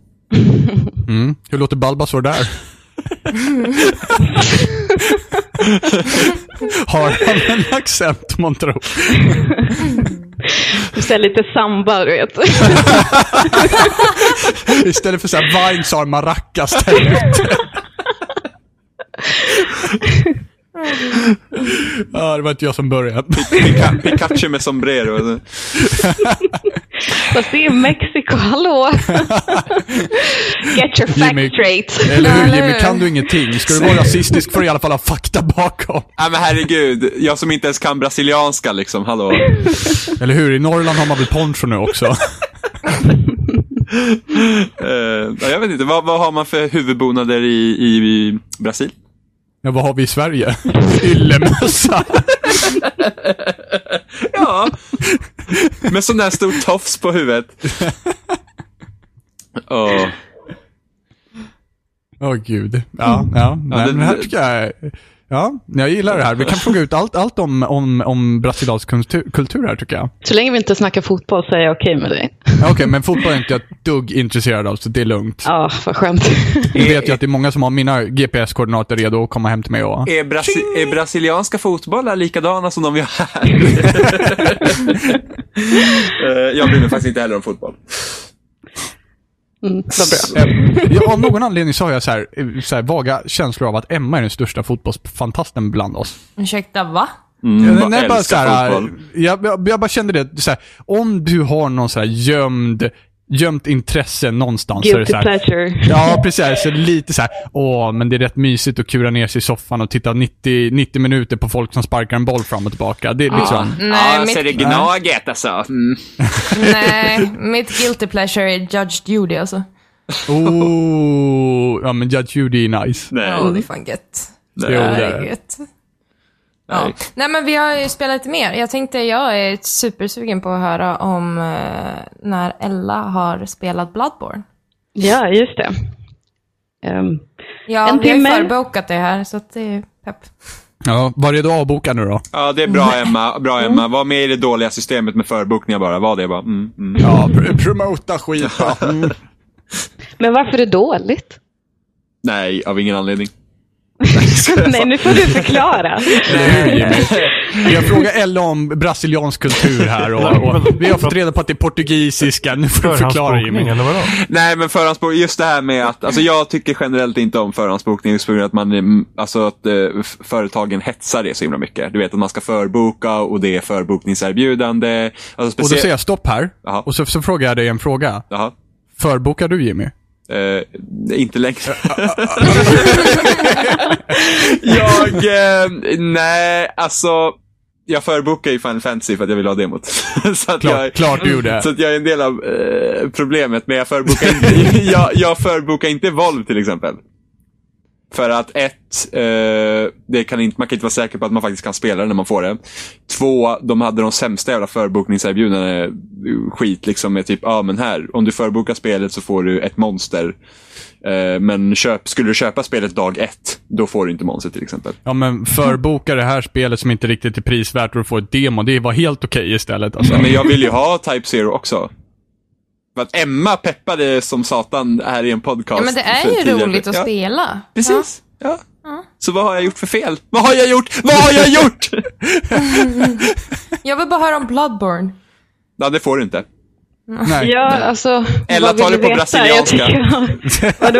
Speaker 1: Mm. Hur låter Balbasaur
Speaker 5: <laughs>
Speaker 1: där? Har han en accent, månntro?
Speaker 3: Du ser lite samba, du vet.
Speaker 1: Istället för såhär Vine sa han maracas där
Speaker 5: <laughs>
Speaker 1: ute. Ja, det var inte jag som började.
Speaker 2: Pika- Pikachu med sombrero.
Speaker 3: Fast det är Mexiko, hallå! Get your fact
Speaker 1: Jimmy.
Speaker 3: straight.
Speaker 1: Eller hur
Speaker 5: Eller
Speaker 1: Jimmy,
Speaker 5: hur?
Speaker 1: kan du ingenting? Ska du vara rasistisk får du i alla fall ha fakta bakom.
Speaker 2: Ja, men herregud. Jag som inte ens kan brasilianska liksom, hallå.
Speaker 1: Eller hur? I Norrland har man väl poncho nu också?
Speaker 2: Eh, ja, jag vet inte, vad, vad har man för huvudbonader i, i, i Brasil?
Speaker 1: Ja, vad har vi i Sverige? <laughs> Yllemössa.
Speaker 2: Ja. Med sån där stor tofs på huvudet. <laughs> Ja.
Speaker 1: Åh gud. Ja, Mm. ja. Nej,
Speaker 2: det-
Speaker 1: men det här tycker jag är- Ja, jag gillar det här. Vi kan fråga ut allt, allt om, om, om brasiliansk kultur, kultur här tycker jag.
Speaker 3: Så länge vi inte snackar fotboll så är jag okej med dig.
Speaker 1: Ja, Okej, men fotboll är inte jag ett dugg intresserad av, så det är lugnt.
Speaker 3: Ja,
Speaker 1: <laughs>
Speaker 3: vad skönt.
Speaker 1: Nu vet jag att det är många som har mina GPS-koordinater redo att komma hem till mig och...
Speaker 2: Är, brasi- är brasilianska fotbollar likadana som de vi har här? <laughs> Eh, jag bryr mig faktiskt inte heller om fotboll.
Speaker 3: Mm, vad bra.
Speaker 1: Eh, Ja, av någon anledning så har jag så här, eh, så här vaga känslor av att Emma är den största fotbollsfantasten bland oss.
Speaker 5: Ursäkta, va?
Speaker 1: Mm,
Speaker 2: jag
Speaker 1: Nej, bara så
Speaker 2: älskar
Speaker 1: här,
Speaker 2: fotboll.
Speaker 1: jag, jag, jag bara kände det, så här, om du har någon så här gömd, gömt intresse någonstans så är det
Speaker 3: Guilty
Speaker 1: så här,
Speaker 3: pleasure.
Speaker 1: Ja, precis. Så lite så här, åh, men det är rätt mysigt att kura ner sig i soffan och titta 90, 90 minuter på folk som sparkar en boll fram och tillbaka. Det är liksom...
Speaker 3: Ah.
Speaker 5: Nej, mitt,
Speaker 2: gnaget alltså. Mm.
Speaker 5: nej, mitt guilty pleasure är Judge Judy alltså.
Speaker 1: Oh, ja men Judge Judy är nice.
Speaker 5: Ja,
Speaker 2: Nej.
Speaker 5: det är fan gött.
Speaker 1: Jo, det
Speaker 5: Ja,
Speaker 1: är
Speaker 5: Mm. det
Speaker 1: det.
Speaker 5: är gött. Ja. Nej men vi har ju spelat lite mer. Jag tänkte, jag är supersugen på att höra om eh, när Ella har spelat Bloodborne.
Speaker 3: Ja, just det. Ehm,
Speaker 5: Ja,
Speaker 3: En
Speaker 5: vi har ju
Speaker 3: timme.
Speaker 5: förbokat det här så att det är pepp.
Speaker 1: Ja, var är du avbokad nu då?
Speaker 2: Ja, det är bra Emma. Bra
Speaker 1: Mm.
Speaker 2: Emma. Var med i det dåliga systemet med förbokningar bara. Var det bara. Mm, mm.
Speaker 1: Ja, pr- promota skit va? Mm.
Speaker 3: men varför är det
Speaker 1: <laughs>
Speaker 3: dåligt?
Speaker 2: Nej, av ingen anledning.
Speaker 3: Nej, nu får du
Speaker 1: <laughs>
Speaker 3: förklara.
Speaker 1: Eller hur Jimmy? Jag frågar Ella om brasiliansk kultur här och, och vi har fått reda på att det är portugisiska. Nu får du förklara
Speaker 4: Förhandsbokning
Speaker 1: Jimmy.
Speaker 4: eller vadå?
Speaker 2: Nej, men förhandsbokning. Just det här med att, alltså jag tycker generellt inte om förhandsbokning just på grund av att man, mm, alltså att eh, f- företagen hetsar det så himla mycket. Du vet att man ska förboka och det är förbokningserbjudande. Alltså
Speaker 1: Och då
Speaker 2: speciellt...
Speaker 1: säger jag stopp här.
Speaker 2: Jaha.
Speaker 1: Och så, så frågar jag dig en fråga.
Speaker 2: Jaha.
Speaker 1: Förbokar du Jimmy?
Speaker 2: Eh, inte längre. jag, eh, nej, alltså. jag förbokar ju Final Fantasy för att jag vill ha demot. <laughs> så att
Speaker 1: Klart,
Speaker 2: jag,
Speaker 1: klart du gjorde.
Speaker 2: Så att jag är en del av eh, problemet, men jag förbokar,
Speaker 1: <laughs>
Speaker 2: inte, jag, jag förbokar inte Volv till exempel. För att ett, eh, det kan inte, man kan inte vara säker på att man faktiskt kan spela det när man får det. Två, de hade de sämsta jävla förbokningserbjudandena. Skit liksom med typ, ja ah, men här, om du förbokar spelet så får du ett monster. Eh, men köp, skulle du köpa spelet dag ett, då får du inte monster till exempel.
Speaker 1: Ja men förboka det här spelet som inte riktigt är prisvärt och du får ett demo, det var helt okej istället. Alltså.
Speaker 2: Men jag vill ju ha Type Zero också. För att Emma peppade som satan här i en podcast.
Speaker 5: Ja, men det
Speaker 2: för
Speaker 5: är ju
Speaker 2: tidigare.
Speaker 5: roligt att
Speaker 2: ja,
Speaker 5: spela.
Speaker 2: Precis. Ja. Så vad har jag gjort för fel? Vad har jag gjort? Vad har jag <laughs> gjort?
Speaker 5: Ja. Jag vill bara höra om Bloodborne.
Speaker 2: ja, det får du <laughs> inte.
Speaker 1: Nej.
Speaker 3: Ja, alltså.
Speaker 2: Ella
Speaker 3: vad
Speaker 2: tar
Speaker 3: vill
Speaker 2: det på
Speaker 3: du veta? Jag
Speaker 2: brasilianska.
Speaker 3: tycker- <laughs> Vadå?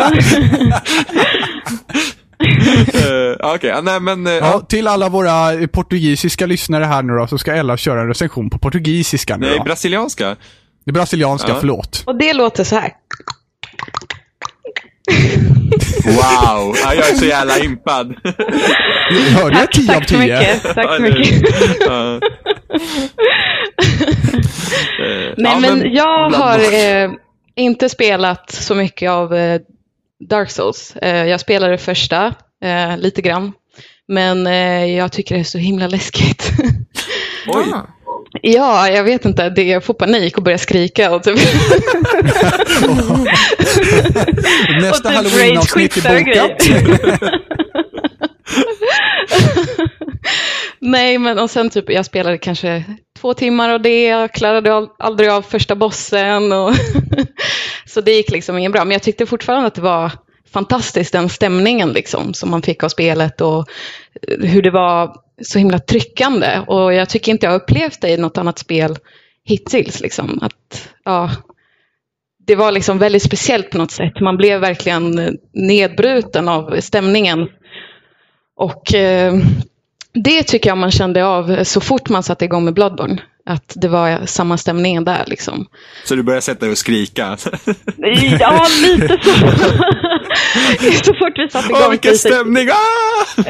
Speaker 2: Eh, ja, Okej, ja, nej men... eh,
Speaker 1: Ja, till alla våra eh, portugisiska lyssnare här nu då, så ska Ella köra en recension på portugisiska nu
Speaker 2: Nej,
Speaker 1: då.
Speaker 2: brasilianska.
Speaker 1: Det brasilianska,
Speaker 2: Ja.
Speaker 1: förlåt.
Speaker 3: Och det låter så här.
Speaker 2: Wow, <laughs> ja, jag är så jävla impad. <laughs>
Speaker 1: Hörde jag 10 av
Speaker 3: Tack så
Speaker 1: 10?
Speaker 3: mycket. Tack
Speaker 2: Ja,
Speaker 3: så
Speaker 2: det-
Speaker 3: mycket.
Speaker 2: <laughs> ja. Eh,
Speaker 3: Nej,
Speaker 2: ja,
Speaker 3: men jag
Speaker 2: bland-
Speaker 3: har eh, inte spelat så mycket av eh, Dark Souls. Eh, jag spelade det första eh, lite grann, men eh, jag tycker det är så himla läskigt. <laughs>
Speaker 2: Oj,
Speaker 5: Ah.
Speaker 3: ja, jag vet inte, det, jag får panik och börjar skrika och typ, och
Speaker 1: Nästa
Speaker 3: typ
Speaker 1: halloween-avsnitt är
Speaker 3: ragequittar och
Speaker 1: bokat.
Speaker 3: Nej, men och sen typ, jag spelade kanske två timmar av det, jag klarade al- aldrig av första bossen. Och <laughs> så det gick liksom ingen bra. Men jag tyckte fortfarande att det var fantastiskt, den stämningen liksom, som man fick av spelet och eh, hur det var så himla tryckande. Och jag tycker inte jag har upplevt det i något annat spel hittills. Liksom. Att, ja, det var liksom väldigt speciellt på något sätt. Man blev verkligen eh, nedbruten av stämningen. Och eh, det tycker jag man kände av så fort man satte igång med Bloodborne. Att det var samma stämning där liksom.
Speaker 2: så du börjar sätta dig och skrika.
Speaker 3: Ja, lite så. <laughs> så fort vi satte igång.
Speaker 2: Åh, vilken
Speaker 3: Playstation-
Speaker 2: stämning! Ah!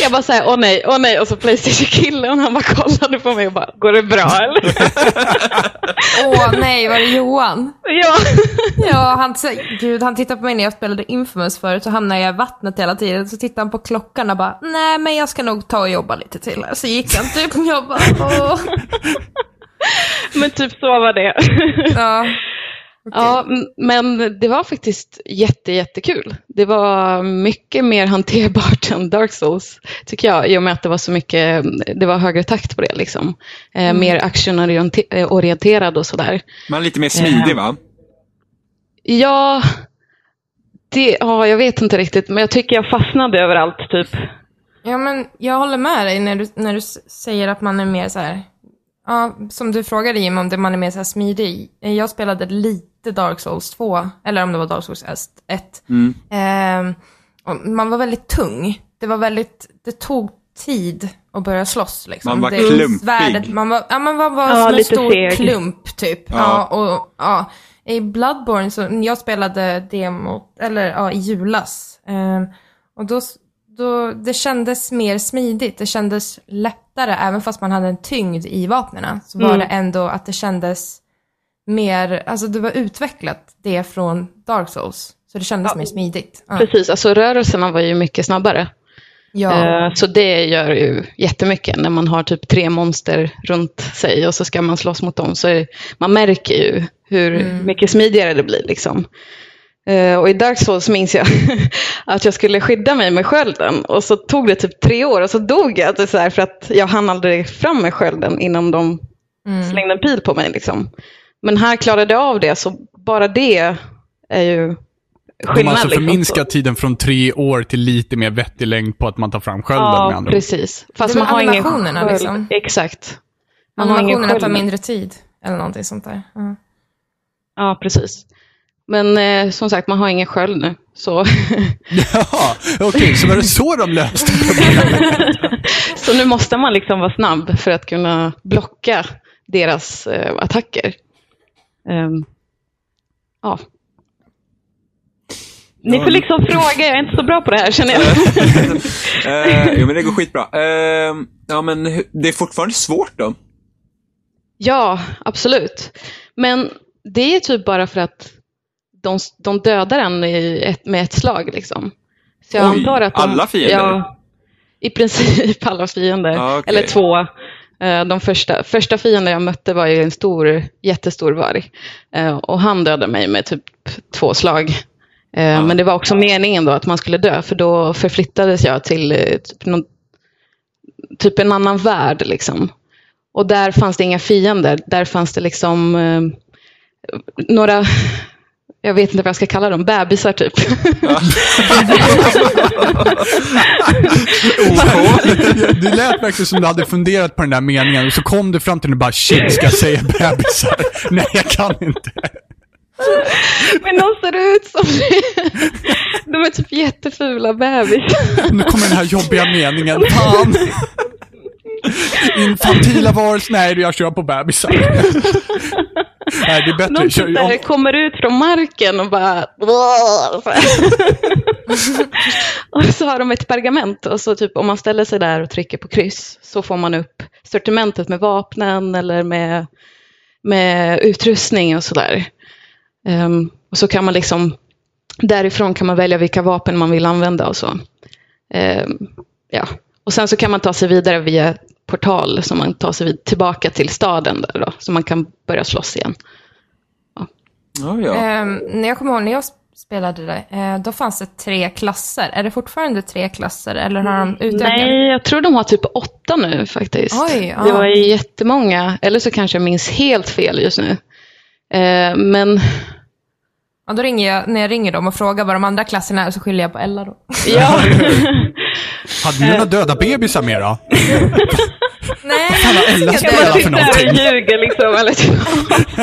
Speaker 3: Jag bara såhär, åh nej, åh nej. Och så Playstation-killen, han bara kollade på mig och bara, går det bra <laughs> eller?
Speaker 5: Åh nej, var det Johan?
Speaker 3: ja.
Speaker 5: Ja, han, t- gud, han tittade på mig när jag spelade Infamous förut så hamnade jag i vattnet hela tiden. Så tittade han på klockan och bara, nej men jag ska nog ta och jobba lite till. här." Så gick han typ och jag bara, åh.
Speaker 3: Men typ så var det.
Speaker 5: Ja.
Speaker 3: Ja, m- men det var faktiskt jätte, jättekul. Det var mycket mer <laughs> hanterbart än Dark Souls, tycker jag, i och med att det var så mycket, det var högre takt på det liksom. Eh, Mer actionorienterad och sådär.
Speaker 2: Man är lite mer smidig va?
Speaker 3: Ja, det, ja, jag vet inte riktigt, men jag tycker jag fastnade överallt typ.
Speaker 5: ja, men jag håller med dig när du, när du s- säger att man är mer så här, ja, som du frågade Jim om det, man är mer så här smidig. Eh, Jag spelade lite Dark Souls 2, eller om det var Dark Souls 1.
Speaker 2: Mm.
Speaker 5: Ehm, och man var väldigt tung. Det var väldigt, det tog tid att börja slåss. Liksom.
Speaker 2: Man var
Speaker 5: det,
Speaker 2: klumpig.
Speaker 5: svärdet- man var, ja, man var, var
Speaker 3: Ja,
Speaker 5: som en
Speaker 3: lite
Speaker 5: stor
Speaker 3: seg.
Speaker 5: klump typ.
Speaker 2: Ja.
Speaker 5: Ja. och, ja. I Bloodborne, så, jag spelade demot, eller ja, i julas. Ehm, och då, då, det kändes mer smidigt, det kändes lättare, även fast man hade en tyngd i vapnena. Så var
Speaker 3: Mm.
Speaker 5: det ändå att det kändes mer, alltså det var utvecklat det från Dark Souls. Så det kändes mer smidigt. Ja.
Speaker 3: Precis, alltså rörelserna var ju mycket snabbare.
Speaker 5: Ja.
Speaker 3: Eh, Så det gör ju jättemycket när man har typ tre monster runt sig och så ska man slåss mot dem. Så är- man märker ju hur mycket smidigare det blir. Liksom. Eh, Och i Dark Souls minns jag <laughs> att jag skulle skydda mig med skölden och så tog det typ tre år och så dog jag det är så här, för att jag hann aldrig fram med skölden innan de slängde en pil på mig. Liksom. Men här klarade jag av det, så bara det är ju
Speaker 1: De har
Speaker 3: skillnad.
Speaker 1: alltså
Speaker 3: liksom.
Speaker 1: förminskat tiden från tre år till lite mer vettig längd på att man tar fram skölden med
Speaker 3: Ja,
Speaker 1: andra <laughs> ord.
Speaker 3: precis. Fast
Speaker 5: Det är
Speaker 3: man
Speaker 5: väl
Speaker 3: har ingen
Speaker 5: animationerna,
Speaker 3: sköld.
Speaker 5: liksom.
Speaker 3: Exakt. Man har ingen
Speaker 5: Animationerna tar
Speaker 3: sköld.
Speaker 5: mindre tid, eller någonting sånt där. Ja.
Speaker 3: Ja, precis. Men eh, som sagt, man har ingen sköld nu. Så, <laughs>
Speaker 1: Jaha, okej, så var det så de löste det?
Speaker 3: så nu måste man liksom vara snabb för att kunna blocka deras eh, attacker. Ehm, ja. Ni
Speaker 2: Ja,
Speaker 3: får
Speaker 2: men-
Speaker 3: liksom
Speaker 2: <laughs>
Speaker 3: fråga, jag är inte så bra på det här känner jag.
Speaker 2: Eh, jo men det går skitbra. Eh, Ja, men hu- det är fortfarande svårt då.
Speaker 3: Ja, absolut. Men det är typ bara för att de, de dödar en i ett, med ett slag. Liksom. Så jag
Speaker 2: Oj,
Speaker 3: antar att de,
Speaker 2: alla fiender?
Speaker 3: Ja, I princip <laughs> alla fiender.
Speaker 2: Ja, okej.
Speaker 3: Eller två. Eh, De första, första fienden jag mötte var ju en stor, jättestor varg. Eh, Och han dödade mig med typ två slag. Eh, Men det var också meningen då att man skulle dö, för då förflyttades jag till eh, typ, någon, typ en annan värld. Liksom. Och där fanns det inga fiender. Där fanns det liksom eh, några, <laughs> jag vet inte vad jag ska kalla dem, bebisar typ.
Speaker 1: <laughs> Det lät verkligen som du hade funderat på den där meningen och så kom du fram till den och bara shit, ska jag säga bebisar? <laughs> Nej, jag kan inte.
Speaker 3: Men de ser ut som De är typ jättefula bebisar.
Speaker 1: Nu kommer den här jobbiga meningen. Fan! Infantila varelser. Nej, jag kör på
Speaker 3: <laughs>
Speaker 1: bebisar. Nej, det är bättre.
Speaker 3: De
Speaker 1: Kör,
Speaker 3: typ där
Speaker 1: om,
Speaker 3: kommer ut från marken och bara... <laughs> och så har de ett pergament och så typ om man ställer sig där och trycker på kryss så får man upp sortimentet med vapnen eller med, med utrustning och sådär. Ehm, och så kan man liksom... Därifrån kan man välja vilka vapen man vill använda och så. Ehm, ja. Och sen så kan man ta sig vidare via portal, så man tar sig vid, tillbaka till staden där då, så man kan börja slåss igen.
Speaker 2: Ja, ja.
Speaker 5: Ehm, när jag kommer ihåg när jag sp- spelade det, eh, då fanns det tre klasser. Är det fortfarande tre klasser eller har de utökat?
Speaker 3: Mm, Nej, jag tror de har typ åtta nu faktiskt.
Speaker 5: Oj, ja.
Speaker 3: Det var ju jättemånga, eller så kanske jag minns helt fel just nu. Eh, men
Speaker 5: Ja, då ringer jag, när jag ringer dem och frågar vad de andra klasserna är så skyller jag på Ella då.
Speaker 3: ja,
Speaker 1: hade ni några döda bebisar med då?
Speaker 5: <laughs> Nej,
Speaker 1: Alla Ella
Speaker 5: jag
Speaker 1: spelar för
Speaker 5: bara
Speaker 3: där och
Speaker 5: tyckte-
Speaker 1: någonting.
Speaker 3: ljuger liksom, eller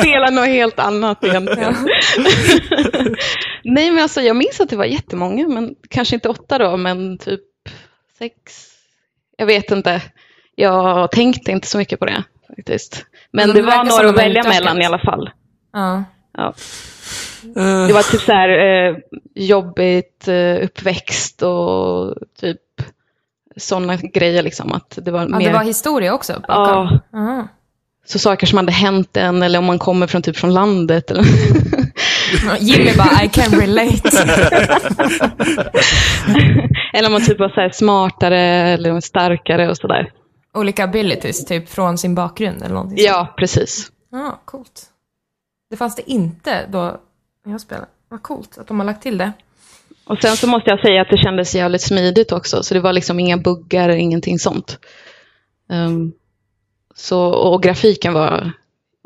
Speaker 3: <laughs> spelar något helt annat egentligen. <laughs> Nej, men alltså jag minns att det var jättemånga, men kanske inte åtta då, men typ sex. Jag vet inte. Jag tänkte inte så mycket på det faktiskt. Men,
Speaker 5: Men
Speaker 3: det
Speaker 5: det
Speaker 3: var
Speaker 5: verkar
Speaker 3: några
Speaker 5: som
Speaker 3: att
Speaker 5: de har
Speaker 3: välja
Speaker 5: utökat.
Speaker 3: mellan i alla fall.
Speaker 5: ja.
Speaker 3: Ja. Det var typ så här eh, jobbigt eh, uppväxt och typ sådana grejer liksom. Att det var
Speaker 5: ja,
Speaker 3: mer
Speaker 5: det var historia också bakom.
Speaker 3: ja,
Speaker 5: Ja.
Speaker 3: så saker som hade hänt en eller om man kommer från typ från landet. Eller, <laughs>
Speaker 5: Jimmy bara, I can relate. <laughs>
Speaker 3: eller om man typ var så här smartare eller starkare och sådär.
Speaker 5: Olika abilities, typ från sin bakgrund eller någonting.
Speaker 3: Ja, precis.
Speaker 5: Ja, coolt. Det fanns det inte då när jag spelade. Vad coolt att de har lagt till det.
Speaker 3: Och sen så måste jag säga att det kändes jävligt smidigt också. Så det var liksom inga buggar, ingenting sånt. Ehm, så, och grafiken var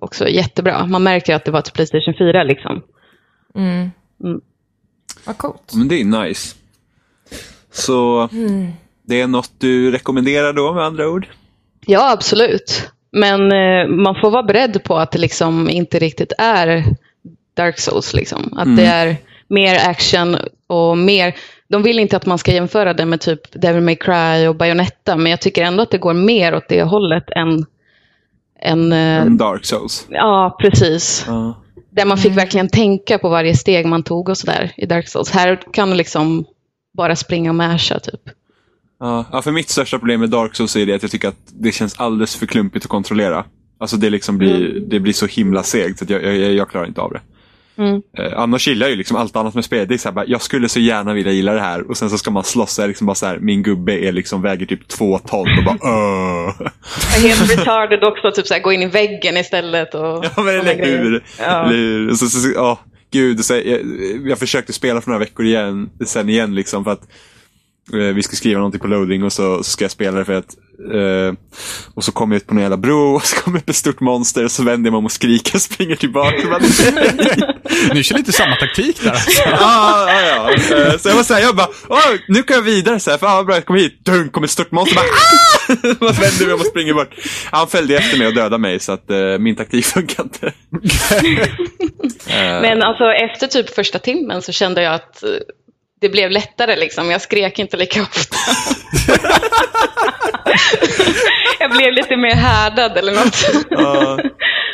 Speaker 3: också jättebra. Man märker att det var till Playstation 4 liksom.
Speaker 5: Mm.
Speaker 3: Mm.
Speaker 5: Vad coolt.
Speaker 2: Men det är nice. Så det är något du rekommenderar då med andra ord?
Speaker 3: Ja, absolut. Men eh, man får vara beredd på att det liksom inte riktigt är Dark Souls. Liksom. Att det
Speaker 2: Mm.
Speaker 3: är mer action och mer... De vill inte att man ska jämföra det med typ Devil May Cry och Bayonetta, men jag tycker ändå att det går mer åt det hållet än... än eh,
Speaker 2: Mm. Dark Souls.
Speaker 3: Ja, precis.
Speaker 2: Ja.
Speaker 3: Där man fick verkligen tänka på varje steg man tog och sådär i Dark Souls. Här kan du liksom bara springa och masha typ.
Speaker 2: Ja, ja, för mitt största problem med Dark Souls är det att jag tycker att det känns alldeles för klumpigt att kontrollera. Alltså det, liksom blir, det blir så himla segt så att jag, jag, jag- jag klarar inte av det.
Speaker 3: Mm.
Speaker 2: Eh, annars gillar jag ju liksom allt annat med spelet. Det är så här, bara, jag skulle så gärna vilja gilla det här och sen så ska man slåss. Så är det liksom bara så här, min gubbe är liksom, väger typ två ton och bara öh.
Speaker 3: Helt retarded också, typ såhär, gå in i väggen istället.
Speaker 2: <laughs>
Speaker 3: Och
Speaker 2: Ja, men eller hur?
Speaker 3: Ja.
Speaker 2: Eller hur? Och Så, så, så, ja, gud, så, jag, jag försökte spela för några veckor igen, sen igen liksom för att eh, vi ska skriva någonting på loading och så, så ska jag spela det för att eh, och så kom jag ut på någon jävla bro <laughs> och så kom jag upp ett stort monster och så vänder jag mig om och skriker och springer tillbaka. Jag bara,
Speaker 1: Ni kör lite samma taktik där.
Speaker 2: ah, ah, ja. Eh, Så jag var såhär, jag bara, "Åh, nu kan jag vidare såhär, fan vad bra, jag kommer hit, dunk, kommer ett stort monster, bara ah! <laughs> Man vänder mig om och springer bort. Han följde efter mig och dödade mig så att eh, min taktik funkar inte.
Speaker 3: Men alltså efter typ första timmen så kände jag att eh, det blev lättare liksom. Jag skrek inte lika ofta. <laughs> jag blev lite mer härdad eller något.
Speaker 2: Ja.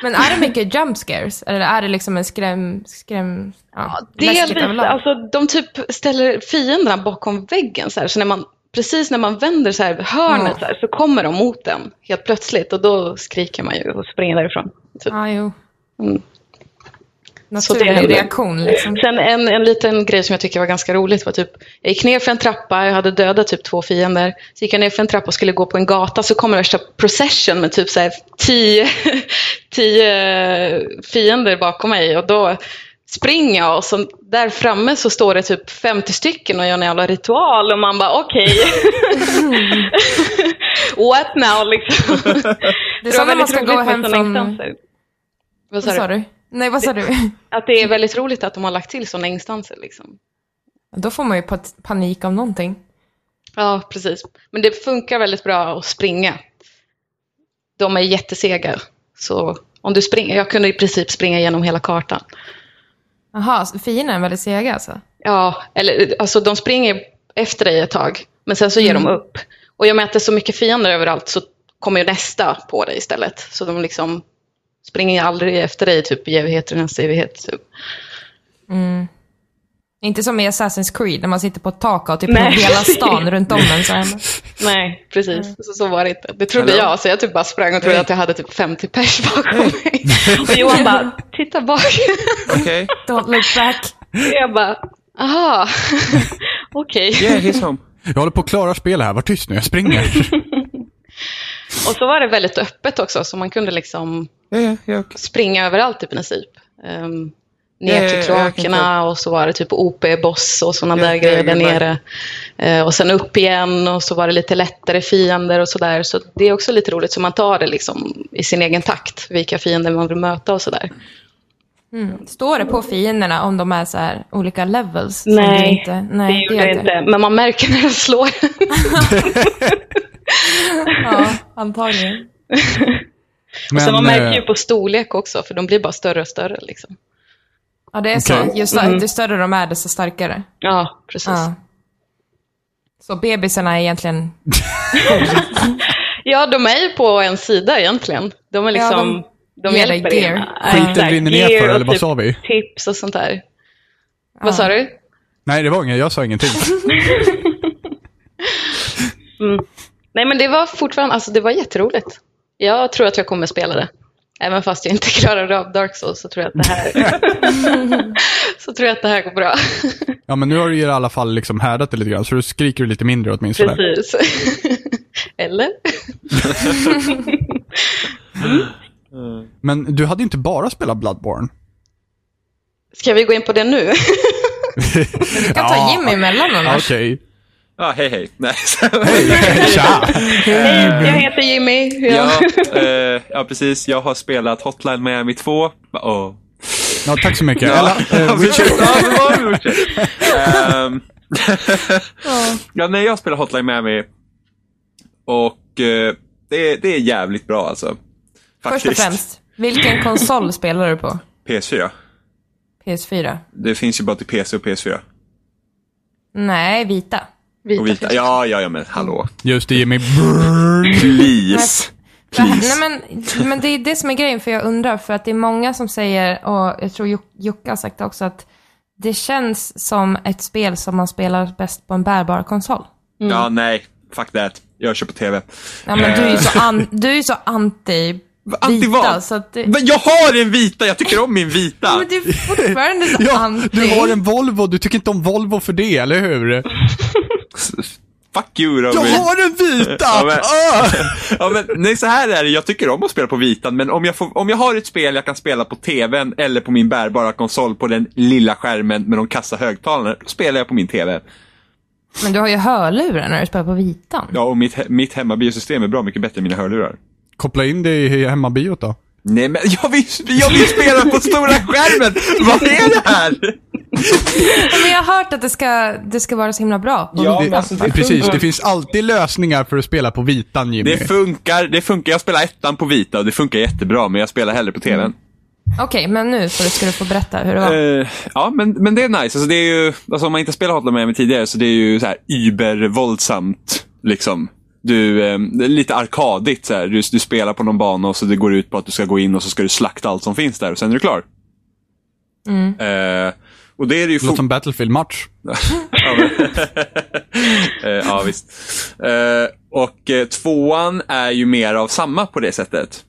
Speaker 5: Men är det mycket jump scares? Eller är det liksom en skräm... skräm ja, läskigt
Speaker 3: Delvis,
Speaker 5: överlag?
Speaker 3: alltså de typ ställer fienderna bakom väggen så här. Så när man precis när man vänder så här hörnet där, så kommer de mot den helt plötsligt och då skriker man ju och springer därifrån. Typ.
Speaker 5: Ja, jo.
Speaker 3: Mm. Så det
Speaker 5: Naturlig
Speaker 3: händer.
Speaker 5: reaktion liksom.
Speaker 3: Sen en, en liten grej som jag tycker var ganska roligt var typ, jag gick ner för en trappa, jag hade dödat typ två fiender. Så gick jag ner för en trappa och skulle gå på en gata, så kommer värsta procession med typ så här tio, <laughs> tio fiender bakom mig. Och då springer jag och så där framme så står det typ 50 stycken och gör en jävla ritual och man bara
Speaker 5: <laughs>
Speaker 3: okej. <laughs> What now liksom.
Speaker 5: Det är så
Speaker 3: var
Speaker 5: när man
Speaker 3: väldigt
Speaker 5: ska
Speaker 3: roligt
Speaker 5: gå
Speaker 3: med
Speaker 5: hem
Speaker 3: sådana
Speaker 5: från...
Speaker 3: instanser. Vad
Speaker 5: Vad
Speaker 3: sa
Speaker 5: sa
Speaker 3: du?
Speaker 5: du? Nej, vad
Speaker 3: <laughs>
Speaker 5: sa du?
Speaker 3: Att det är väldigt roligt att de har lagt till sådana instanser liksom.
Speaker 5: Då får man ju pat- panik av någonting.
Speaker 3: Ja, precis. Men det funkar väldigt bra att springa. De är jättesega. Så om du springer, jag kunde i princip springa genom hela kartan.
Speaker 5: Jaha, så fienden är väldigt sega alltså?
Speaker 3: Ja, eller alltså de springer efter dig ett tag, men sen så ger de upp. Och i och med att det är så mycket fiender överallt så kommer ju nästa på dig istället. Så de liksom springer aldrig efter dig typ i evighet och nästa evighet. Typ.
Speaker 5: Inte som i Assassin's Creed, när man sitter på ett tak och typ
Speaker 3: Nej.
Speaker 5: hela stan runt om en. Så här.
Speaker 3: Nej, precis. Så, så var det inte. Det trodde
Speaker 2: Hallå?
Speaker 3: jag, så jag typ bara sprang och trodde att jag hade typ 50 pers bakom mig. Och Johan bara, titta bak.
Speaker 2: Okej.
Speaker 5: Don't look back.
Speaker 3: Och jag bara, aha, <laughs> okej.
Speaker 2: Yeah, he's home.
Speaker 1: Jag håller på att klara spelet här, var tyst nu, jag
Speaker 3: <laughs>
Speaker 1: springer.
Speaker 3: Och så var det väldigt öppet också, så man kunde liksom
Speaker 2: Yeah, yeah, yeah, okay.
Speaker 3: springa överallt i princip. Ehm,
Speaker 2: Ja, ja,
Speaker 3: ner
Speaker 2: ja,
Speaker 3: till
Speaker 2: jag kan
Speaker 3: kloakerna och så var det typ OP-boss och sådana
Speaker 2: Ja,
Speaker 3: där
Speaker 2: ja,
Speaker 3: grejer
Speaker 2: jag
Speaker 3: där
Speaker 2: gillar.
Speaker 3: nere. Eh, och sen upp igen och så var det lite lättare fiender och sådär. Så det är också lite roligt, så man tar det liksom i sin egen takt, vilka fiender man vill möta och sådär.
Speaker 5: Står det på fienderna om de är så här olika levels? som du
Speaker 3: Nej,
Speaker 5: inte, nej
Speaker 3: det gör det inte. Men man märker när den slår.
Speaker 5: Ja, antagligen.
Speaker 3: <laughs> och sen man märker ju
Speaker 1: eh,
Speaker 3: på storlek också, för de blir bara större och större. Liksom.
Speaker 5: Ja, det är så.
Speaker 1: Okej.
Speaker 5: Ju, stö- ju större de är, desto starkare.
Speaker 3: Ja, precis.
Speaker 5: Ja. Så bebisarna är egentligen...
Speaker 3: Ja, de är ju på en sida egentligen. De är liksom...
Speaker 5: Ja,
Speaker 3: de...
Speaker 5: ger
Speaker 3: hjälper
Speaker 5: dig
Speaker 3: en.
Speaker 5: gear.
Speaker 3: Ja,
Speaker 1: Skiten
Speaker 3: exakt.
Speaker 1: rinner ner
Speaker 3: Gear
Speaker 1: för,
Speaker 3: och
Speaker 1: eller vad
Speaker 3: typ
Speaker 1: sa vi?
Speaker 3: Tips och sånt där. Vad sa du?
Speaker 1: Nej, det var inget, jag sa ingenting.
Speaker 3: Nej, men det var fortfarande, alltså det var jätteroligt. Jag tror att jag kommer spela det. Även fast jag inte <laughs> klarar av Dark Souls så tror jag att det här,
Speaker 5: <laughs>
Speaker 3: så tror jag att det här går bra.
Speaker 1: Ja, men nu har du ju i alla fall liksom härdat det lite grann, så du skriker lite mindre åtminstone.
Speaker 3: Precis. <laughs> Eller?
Speaker 1: Men du hade ju inte bara spelat Bloodborne.
Speaker 3: Ska vi gå in på
Speaker 1: <laughs>
Speaker 3: det nu?
Speaker 5: Du kan ta Jimmy emellan
Speaker 1: Ja,
Speaker 5: annars.
Speaker 1: Okej.
Speaker 2: Ja, hej hej.
Speaker 5: <laughs>
Speaker 2: Nej.
Speaker 1: Tja!
Speaker 3: Jag heter Jimmy. Jag...
Speaker 2: <laughs> ja,
Speaker 5: <laughs>
Speaker 2: eh, ja, precis. Jag har spelat Hotline Miami 2. Åh.
Speaker 1: <laughs> Ja, tack så mycket.
Speaker 2: <laughs> Ja.
Speaker 1: Eller, eh, Witcher-
Speaker 2: Ja, det var en Witcher.
Speaker 5: <laughs>
Speaker 2: Ehm, <laughs> ja, nej, jag spelar Hotline Miami. Och eh, det, är, det är jävligt bra alltså. Faktiskt.
Speaker 5: Först och främst, vilken konsol spelar du på?
Speaker 2: PS4.
Speaker 5: PS4?
Speaker 2: Det finns ju bara till PC och PS4.
Speaker 5: Nej, vita.
Speaker 2: Och vita. Ja, ja, ja, men hallå.
Speaker 1: Just det, Jimmy.
Speaker 5: Mm.
Speaker 1: Brrrr.
Speaker 2: Please.
Speaker 5: Det här-
Speaker 2: Please.
Speaker 5: Nej, men, men det är det som är grejen, för jag undrar, för att det är många som säger, och jag tror Juk- Jocke har sagt det också, att det känns som ett spel som man spelar bäst på en bärbar konsol.
Speaker 2: Ja, nej. Fuck that. Jag kör på TV.
Speaker 5: Ja, men du är ju så, an, du är ju så anti
Speaker 2: Anti
Speaker 5: vita,
Speaker 2: vad?
Speaker 5: så att det,
Speaker 2: Men Jag har en vita! Jag tycker om min vita.
Speaker 5: men du är fortfarande
Speaker 1: <laughs> <laughs>
Speaker 5: så
Speaker 1: Ja,
Speaker 5: anti.
Speaker 1: du har en Volvo, du tycker inte om Volvo för det, eller hur?
Speaker 2: Fuck you, Robin.
Speaker 1: Jag har en
Speaker 2: <laughs> Ja,
Speaker 1: vita!
Speaker 2: men-
Speaker 1: Ah!
Speaker 2: Ja, men, nej, så här är det. Jag tycker om att spela på vitan, men om jag, får, om jag har ett spel jag kan spela på tvn eller på min bärbara konsol på den lilla skärmen med de kassa högtalarna, då spelar jag på min tv.
Speaker 5: Men du har ju hörlurar när du spelar på vitan.
Speaker 2: Ja, och mitt, he- mitt hemmabiosystem är bra mycket bättre än mina hörlurar.
Speaker 1: Koppla in det i hemmabiot då.
Speaker 2: Nej, men jag vill, jag vill spela på stora skärmen! Vad är det här?
Speaker 5: Men jag har hört att det ska, det ska vara så himla bra på
Speaker 2: Ja,
Speaker 5: vitan.
Speaker 2: men alltså, det
Speaker 1: Precis,
Speaker 2: funkar.
Speaker 1: det finns alltid lösningar för att spela på vitan, Jimmy.
Speaker 2: Det funkar, det funkar. Jag spelar ettan på vita och det funkar jättebra, men jag spelar hellre på tvn.
Speaker 5: Okej, men nu får du, ska du få berätta hur det var.
Speaker 2: Eh, ja, men, men det är nice. Alltså, det är ju, alltså, om man inte spelar Hotline Miami tidigare så det är ju så här übervåldsamt. Liksom. Du, eh, det är lite arkadigt. Så här. Du, du spelar på någon bana och så det går ut på att du ska gå in och så ska du slakta allt som finns där och sen är du klar. Eh, Och det är det ju
Speaker 1: Det låter som Battlefield-match.
Speaker 2: Ja, men- Eh, ja visst. Eh, och eh, tvåan är ju mer av samma på det sättet.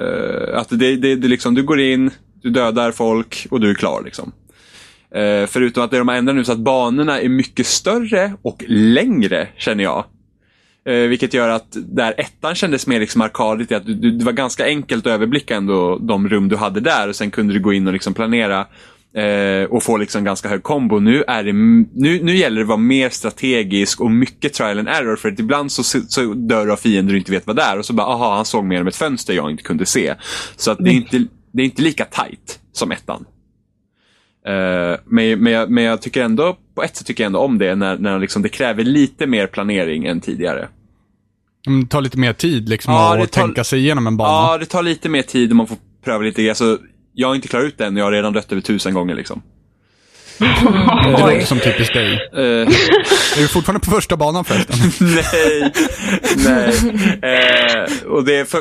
Speaker 2: Eh, att det, det, det liksom, du går in, du dödar folk och du är klar. Liksom. Eh, förutom att det de har ändrat nu så att banorna är mycket större och längre, känner jag. Eh, vilket gör att där ettan kändes mer liksom arkadigt, i att du, du, det var ganska enkelt att överblicka ändå de rum du hade där och sen kunde du gå in och liksom planera eh, och få liksom ganska hög kombo. Nu, är det, m- nu, nu gäller det att vara mer strategisk och mycket trial and error för att ibland så, så, så dör du av fiender du inte vet vad det är och så bara, aha, han såg mig genom ett fönster jag inte kunde se. Så att det, är inte, det är inte lika tight som ettan. Eh, men, men, jag, men jag tycker ändå, på ett sätt tycker jag ändå om det, när, när liksom det kräver lite mer planering än tidigare.
Speaker 1: Mm, Det tar lite mer tid liksom
Speaker 2: Ja, det
Speaker 1: att
Speaker 2: tar-
Speaker 1: tänka sig igenom en bana.
Speaker 2: Ja, det tar lite mer tid och man får pröva lite. Alltså, jag har inte klarat ut det än, jag har redan dött över tusen gånger. Liksom.
Speaker 1: det låter
Speaker 5: Oj.
Speaker 1: som typiskt dig.
Speaker 2: <laughs> Eh,
Speaker 1: Är du fortfarande på första banan förresten?
Speaker 2: <laughs> nej, nej. Eh, och det, för,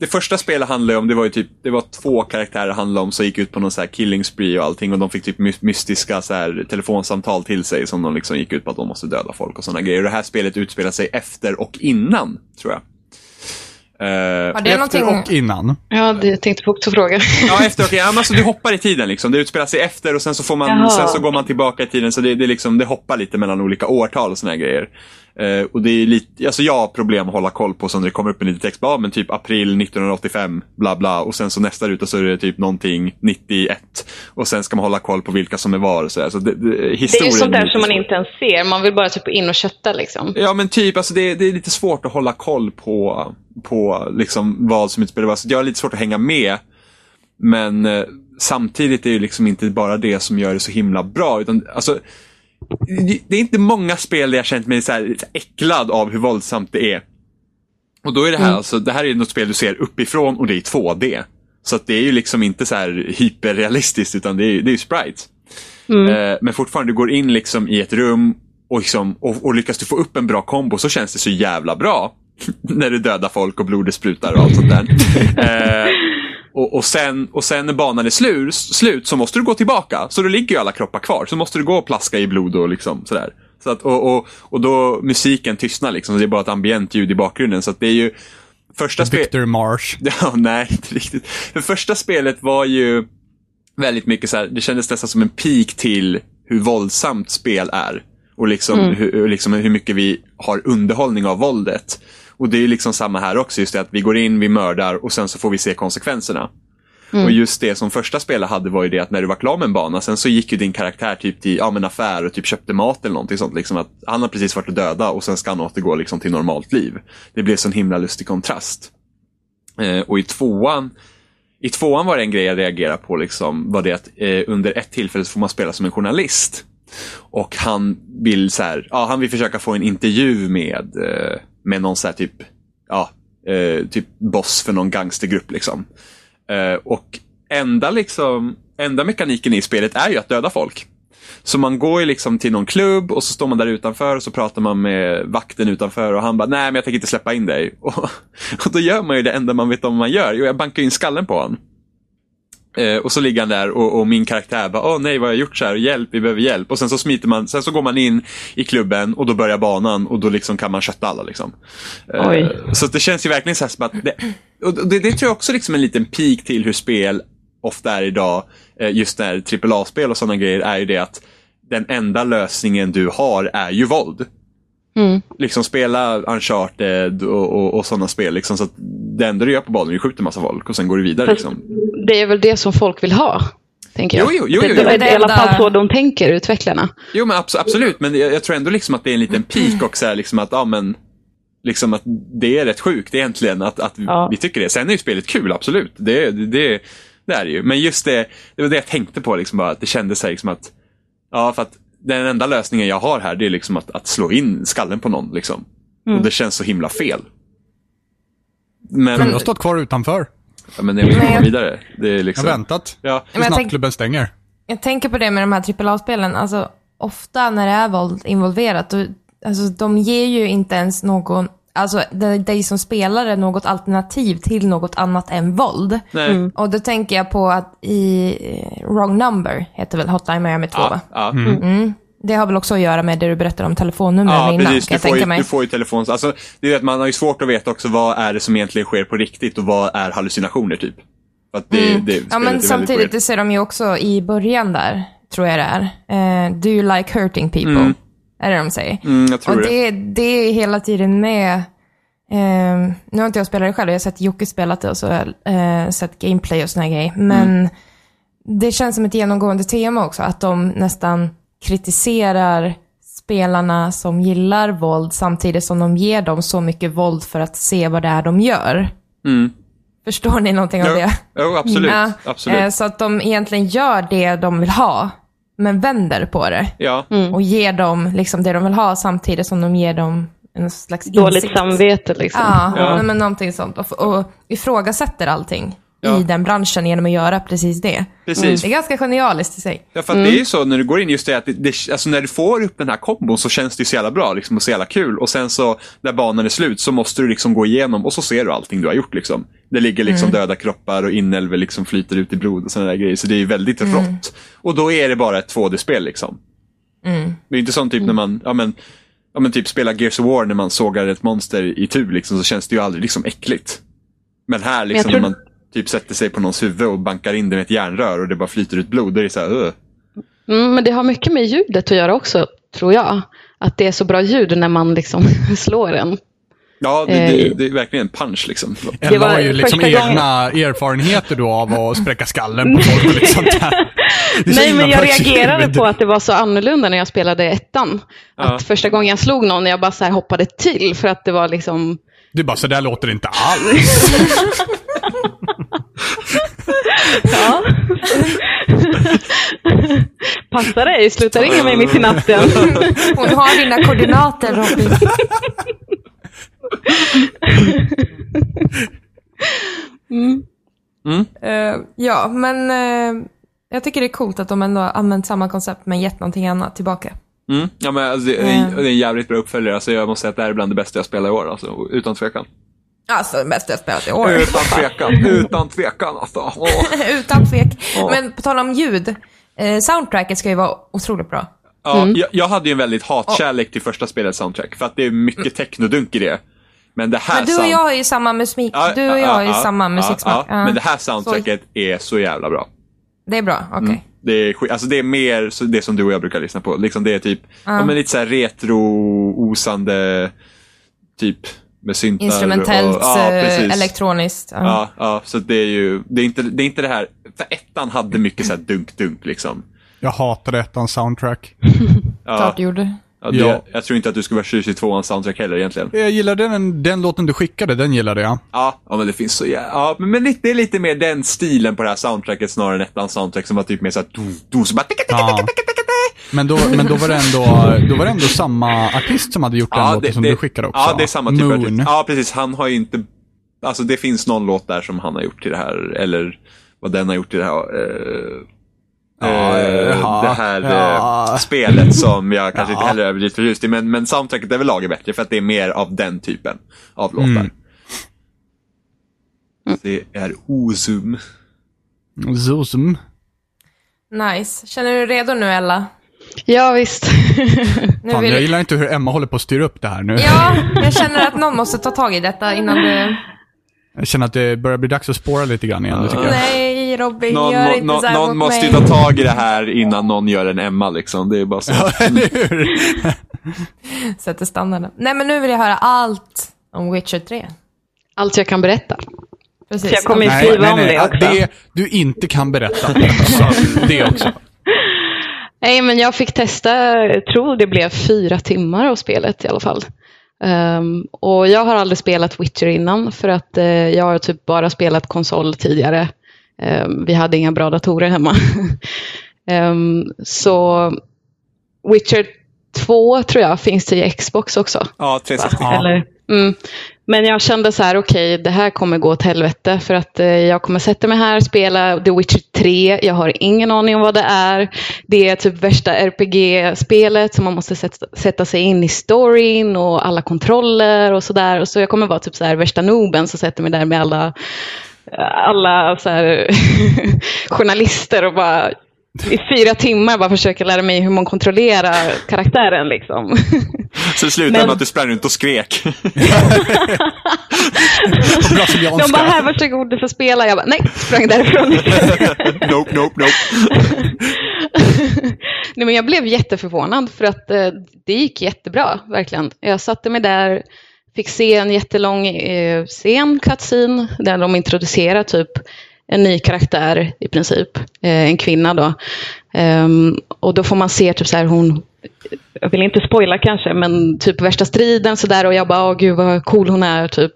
Speaker 2: det första spelet handlade om, det var ju typ, det var två karaktärer det handlade om som gick ut på någon så här killing spree och allting och de fick typ my- mystiska så här, telefonsamtal till sig som de liksom gick ut på att de måste döda folk och sådana grejer. Det här spelet utspelar sig efter och innan, tror jag. Eh,
Speaker 5: Har det
Speaker 1: Efter
Speaker 5: någonting...
Speaker 1: och innan.
Speaker 3: Ja, det tänkte jag också fråga.
Speaker 2: Ja, efter och ja, men alltså, det hoppar i tiden liksom. Det utspelar sig efter och sen så, får man,
Speaker 3: Jaha.
Speaker 2: sen så går man tillbaka i tiden. Så det, det, är liksom, det hoppar lite mellan olika årtal och såna här grejer. Eh, och det är lite, alltså jag har problem att hålla koll på så när det kommer upp en liten text. Bara, Ja, men typ april 1985, bla bla. Och sen så nästa ruta så är det typ någonting 91. Och sen ska man hålla koll på vilka som är var och sådär. Så det, det,
Speaker 3: Det är ju
Speaker 2: historien
Speaker 3: sånt där
Speaker 2: lite
Speaker 3: som man
Speaker 2: svår.
Speaker 3: inte ens ser. Man vill bara typ in och kötta liksom.
Speaker 2: Ja men typ, alltså det, det är lite svårt att hålla koll på, på liksom vad som utspelar sig. Så jag har lite svårt att hänga med. Men eh, samtidigt är det ju liksom inte bara det som gör det så himla bra. Utan, alltså, det- det är inte många spel där jag känt mig så här, lite äcklad av hur våldsamt det är. Och då är det här, alltså, det här är något spel du ser uppifrån och det är 2D. Så att det är ju liksom inte så här hyperrealistiskt utan det är ju det är ju sprites. Eh, Men fortfarande, du går in liksom i ett rum och, liksom, och, och lyckas du få upp en bra kombo så känns det så jävla bra. <laughs> när du dödar folk och blodet sprutar och allt sånt där. eh, och, och, sen, och sen när banan är slut, slut så måste du gå tillbaka. Så då ligger ju alla kroppar kvar. Så måste du gå och plaska i blod och liksom sådär. Så att, och, och, och då musiken tystnar liksom. Så det är bara ett ambient ljud i bakgrunden. Så att det är ju... Första spe-
Speaker 1: Victor Marsh.
Speaker 2: <laughs> Ja, nej, inte riktigt. Det första spelet var ju väldigt mycket så här, det kändes nästan som en peak till hur våldsamt spel är. Och liksom, hur, liksom hur mycket vi har underhållning av våldet. Och det är ju liksom samma här också, just det att vi går in, vi mördar och sen så får vi se konsekvenserna. Och just det som första spelet hade var ju det att när du var klar med en bana, sen så gick ju din karaktär typ till ja, men affär och typ köpte mat eller någonting sånt. Liksom att han har precis varit och döda och sen ska han återgå liksom till normalt liv. Det blev sån himla lustig kontrast. Eh, och i tvåan, i tvåan var det en grej jag reagerade på, liksom, var det att eh, under ett tillfälle så får man spela som en journalist. Och han vill, så här, ja, han vill försöka få en intervju med, eh, med någon så här typ, ja, eh, typ boss för någon gangstergrupp. Liksom. Eh, och enda, liksom, enda mekaniken i spelet är ju att döda folk. Så man går ju liksom till någon klubb och så står man där utanför och så pratar man med vakten utanför och han bara nej men jag tänker inte släppa in dig. <laughs> Och, och då gör man ju det enda man vet om man gör. Jo, jag bankar ju in skallen på honom. Eh, och så ligger han där och, och min karaktär bara, åh nej vad har jag gjort så här, hjälp, vi behöver hjälp. Och sen så smiter man, sen så går man in i klubben och då börjar banan och då liksom kan man kötta alla liksom. Eh,
Speaker 3: Oj.
Speaker 2: Så att det känns ju verkligen så här som att, det, och det, det tror jag också liksom en liten peak till hur spel ofta är idag, eh, just när AAA-spel och sådana grejer, är ju det att den enda lösningen du har är ju våld
Speaker 3: Mm.
Speaker 2: liksom spela Uncharted och, och, och sådana spel. Liksom, så att det enda du gör på banan är att skjuta massa folk och sen går du vidare.
Speaker 3: Fast-
Speaker 2: Liksom.
Speaker 3: Det är väl det som folk vill ha, tänker jag.
Speaker 2: Jo, jo, jo, jo,
Speaker 3: det, det
Speaker 2: jo.
Speaker 3: är i alla
Speaker 5: Det
Speaker 3: fall
Speaker 5: enda-
Speaker 3: så de tänker, utvecklarna.
Speaker 2: Jo, men abso- absolut. Men jag, jag tror ändå liksom att det är en liten peak också. Här, liksom att, ja, men, liksom att det är rätt sjukt egentligen att, att vi-
Speaker 3: Ja.
Speaker 2: vi tycker det. Sen är ju spelet kul, absolut. Det, det, det, det är det ju. Men just det, det var det jag tänkte på. Liksom, bara, att det kändes så här, liksom att, ja, för att den enda lösningen jag har här det är liksom att, att slå in skallen på någon. Liksom. Och det känns så himla fel. Men,
Speaker 1: Jag har stått kvar utanför.
Speaker 2: Ja, men jag vill
Speaker 5: Nej.
Speaker 2: komma vidare. Det är
Speaker 1: Jag
Speaker 2: liksom...
Speaker 1: har väntat.
Speaker 2: Ja.
Speaker 1: Tills
Speaker 5: jag tänk-
Speaker 1: nattklubben stänger.
Speaker 5: Jag tänker på det med de här AAA-spelen. Alltså, ofta när det är våld involverat, då, alltså, de ger ju inte ens någon alltså dig dig som spelare något alternativ till något annat än våld.
Speaker 2: Nej.
Speaker 5: Och då tänker jag på att i eh, Wrong Number, heter väl Hotline Miami 2
Speaker 2: Ja,
Speaker 5: va?
Speaker 2: ja.
Speaker 5: Det har väl också att göra med det du berättade om telefonnumren
Speaker 2: Ja,
Speaker 5: innan
Speaker 2: precis. Du
Speaker 5: kan jag
Speaker 2: får,
Speaker 5: tänka
Speaker 2: ju,
Speaker 5: mig.
Speaker 2: du får ju telefon. Alltså, det är ju att man har ju svårt att veta också vad är det som egentligen sker på riktigt och vad är hallucinationer typ. För att det, det
Speaker 5: Mm. Ja
Speaker 2: spelet är
Speaker 5: men
Speaker 2: väldigt
Speaker 5: samtidigt,
Speaker 2: weird.
Speaker 5: det ser de ju också i början där, tror jag det är. Eh, do you like hurting people? Är det de säger.
Speaker 2: Mm, jag tror
Speaker 5: och
Speaker 2: det.
Speaker 5: det, det är hela tiden med. ehm, nu har inte jag spelat det själv, jag har sett Jocke spelat det och så har jag eh, sett gameplay och såna här grejer. Men
Speaker 2: Mm.
Speaker 5: det känns som ett genomgående tema också, att de nästan kritiserar spelarna som gillar våld samtidigt som de ger dem så mycket våld för att se vad det är de gör.
Speaker 2: Mm.
Speaker 5: Förstår ni någonting av
Speaker 2: Jo,
Speaker 5: det?
Speaker 2: jo, absolut.
Speaker 5: Ja,
Speaker 2: absolut.
Speaker 5: eh, Så att de egentligen gör det de vill ha, men vänder på det.
Speaker 2: ja.
Speaker 5: Och ger dem liksom det de vill ha samtidigt som de ger dem en slags
Speaker 3: Dåligt
Speaker 5: insikt.
Speaker 3: samvete liksom.
Speaker 5: Ja,
Speaker 2: Ja.
Speaker 5: nej, men någonting sånt. Och, och ifrågasätter allting
Speaker 2: Ja.
Speaker 5: i den branschen genom att göra precis det.
Speaker 2: Precis.
Speaker 5: Det är ganska genialiskt i sig. <laughs>
Speaker 2: Ja, för att det är ju så när du går in, just det att det, det, alltså när du får upp den här kombon så känns det ju så jävla bra liksom, och så jävla kul. Och sen så, när banan är slut så måste du liksom gå igenom och så ser du allting du har gjort. Liksom. Det ligger liksom döda kroppar och inälvor liksom flyter ut i blod och sådana där grejer. Så det är ju väldigt rått. Och då är det bara ett 2D-spel liksom. Det är inte sånt typ när man, ja men, ja men typ spela Gears of War när man sågar ett monster i tur liksom, så känns det ju aldrig liksom äckligt. Men här liksom
Speaker 3: tror-
Speaker 2: när man typ sätter sig på någons huvud och bankar in det med ett järnrör och det bara flyter ut blod, då är det så här, "Ugh."
Speaker 3: Mm, men det har mycket med ljudet att göra också, tror jag. Att det är så bra ljud när man liksom <laughs> slår en.
Speaker 2: Ja, det, det,
Speaker 3: Eh.
Speaker 2: det är verkligen en punch liksom.
Speaker 1: En
Speaker 3: Det var
Speaker 1: har ju liksom
Speaker 3: första gången-
Speaker 1: egna erfarenheter då av att spräcka skallen
Speaker 3: <laughs>
Speaker 1: på folk och lite sånt där. Det är så
Speaker 3: Nej,
Speaker 1: himla
Speaker 3: men jag
Speaker 1: perspektiv.
Speaker 3: reagerade på att det var så annorlunda när jag spelade ettan. Att första gången jag slog någon, jag bara så här hoppade till för att det var liksom...
Speaker 1: Du bara, så där låter det inte
Speaker 3: <laughs>
Speaker 1: alls.
Speaker 3: Ja. Passa dig, sluta ringa mig mitt i natten.
Speaker 5: Hon har dina
Speaker 2: <laughs>
Speaker 5: koordinater Robin.
Speaker 2: Mm.
Speaker 5: Eh, ja, men eh, jag tycker det är coolt att de ändå har använt samma koncept men gett någonting annat tillbaka.
Speaker 2: Mm. Ja, men alltså, det, det är, det är en jävligt bra uppföljare. Alltså, jag måste säga att det här är bland det bästa jag spelar i år. Alltså, utan tvekan.
Speaker 5: Alltså det bästa jag spelat i år.
Speaker 2: <laughs> Utan tvekan. Utan tvekan alltså. Åh.
Speaker 5: <laughs> Utan tvek.
Speaker 2: Ja.
Speaker 5: Men på tal om ljud, eh, soundtracket ska ju vara otroligt bra.
Speaker 2: Ja,
Speaker 5: Mm.
Speaker 2: jag, jag hade ju en väldigt hatkärlek till första spelets soundtrack. För att det är mycket technodunk i det. Men det här
Speaker 5: Men du och
Speaker 2: sound-
Speaker 5: jag har ju samma musik,
Speaker 2: Ja,
Speaker 5: du och jag
Speaker 2: ja,
Speaker 5: har ju
Speaker 2: ja,
Speaker 5: samma
Speaker 2: ja,
Speaker 5: musiksmak.
Speaker 2: ja.
Speaker 5: Ja.
Speaker 2: Men det här soundtracket är så jävla bra.
Speaker 5: Det är bra, okej.
Speaker 2: Det är, skit- alltså det är mer så det som du och jag brukar lyssna på. Liksom det är typ ja, men lite så här retro-osande typ med syntar.
Speaker 5: Instrumentellt,
Speaker 2: och, ja,
Speaker 5: eh,
Speaker 2: precis.
Speaker 5: elektroniskt. ja.
Speaker 2: Ja, ja, så det är ju, det är inte det, är inte det här, för ettan hade mycket så här dunk-dunk liksom.
Speaker 1: Jag hatade ettans soundtrack.
Speaker 5: Klart du gjorde.
Speaker 2: Ja, det,
Speaker 1: Ja.
Speaker 2: Jag tror inte att du skulle vara tjusig i tvåans soundtrack heller egentligen.
Speaker 1: Jag gillade den, den låten du skickade, den gillade jag.
Speaker 2: Ja, ja men det finns så jä- ja, men, men lite- det är lite mer den stilen på det här soundtracket snarare än ettans soundtrack som var typ mer såhär, do, do, så bara ticka, ticka,
Speaker 1: Ja.
Speaker 2: ticka, ticka, ticka, ticka.
Speaker 1: Men då, men då var det ändå, då var det ändå samma artist som hade gjort den låten som du skickade också.
Speaker 2: Ja, det är samma typ av
Speaker 1: Moon.
Speaker 2: artist. Ja, precis. Han har ju inte... Alltså det finns någon låt där som han har gjort till det här, eller vad den har gjort till det här... eh,
Speaker 1: Ja,
Speaker 2: eh,
Speaker 1: ja,
Speaker 2: det här eh,
Speaker 1: ja.
Speaker 2: spelet som jag kanske inte heller är överdrivet förtjust i, men, men soundtracket överlag är bättre för att det är mer av den typen av låtar. Mm.
Speaker 1: Mm.
Speaker 2: Det är Ozum.
Speaker 1: Zuzum.
Speaker 5: Nice. Känner du dig redo nu Ella?
Speaker 3: <laughs> Ja, visst. <laughs>
Speaker 5: Nu
Speaker 1: Fan,
Speaker 5: vill-
Speaker 1: jag gillar inte hur Emma håller på att styra upp det här nu.
Speaker 5: Ja, jag känner att någon måste ta tag i detta innan du...
Speaker 1: Jag känner att det börjar bli dags att spåra lite grann igen, det tycker jag.
Speaker 5: Nej Robin,
Speaker 2: Någon,
Speaker 5: gör
Speaker 2: må,
Speaker 5: inte
Speaker 2: nå-
Speaker 5: så här
Speaker 2: någon
Speaker 5: mot
Speaker 2: måste ju
Speaker 5: mig.
Speaker 2: ta tag i det här innan någon gör en Emma liksom. Det
Speaker 1: <laughs>
Speaker 2: är bara så.
Speaker 1: Eller hur?
Speaker 5: Sätter standarden. Nej men nu vill jag höra allt om Witcher 3.
Speaker 3: Allt jag kan berätta.
Speaker 5: Precis.
Speaker 3: Så jag kommer ju
Speaker 1: Nej,
Speaker 3: skriva
Speaker 1: nej,
Speaker 3: om
Speaker 1: nej.
Speaker 3: det
Speaker 1: Att
Speaker 3: också.
Speaker 1: Det du inte kan berätta. också. Det också.
Speaker 3: Nej, men jag fick testa, jag tror det blev fyra timmar av spelet i alla fall. Ehm, och jag har aldrig spelat Witcher innan för att eh, jag har typ bara spelat konsol tidigare. Ehm, vi hade inga bra datorer hemma. <laughs> Ehm, så Witcher 2 tror jag finns till Xbox också.
Speaker 2: Ja, 360.
Speaker 1: Ja.
Speaker 3: Eller, mm. Men jag kände så här, okej, det här kommer gå åt helvete för att eh, jag kommer sätta mig här, spela The Witcher 3, jag har ingen aning om vad det är. Det är typ värsta RPG-spelet som man måste sätta, sätta sig in i storyn och alla kontroller och sådär. Och så jag kommer vara typ så här värsta nooben som sätter mig där med alla, eh, alla så här <laughs> journalister och bara i fyra timmar bara försöker lära mig hur man kontrollerar karaktären liksom. <laughs>
Speaker 2: Så det slutade
Speaker 3: Men-
Speaker 2: med att du sprang runt och skrek.
Speaker 1: Bra som jag
Speaker 3: De bara,
Speaker 1: önskar.
Speaker 3: här varsågod du får spela. Jag bara, nej, sprang därifrån.
Speaker 2: nope, nope, nope.
Speaker 3: <laughs> Nej, men jag blev jätteförvånad för att eh, det gick jättebra, verkligen. Jag satte mig där, fick se en jättelång eh, scen, cutscene, där de introducerar typ en ny karaktär i princip, eh, en kvinna då. Ehm, och då får man se typ så här, hon, jag vill inte spoila kanske, men typ värsta striden så där och jag bara, åh gud vad cool hon är typ.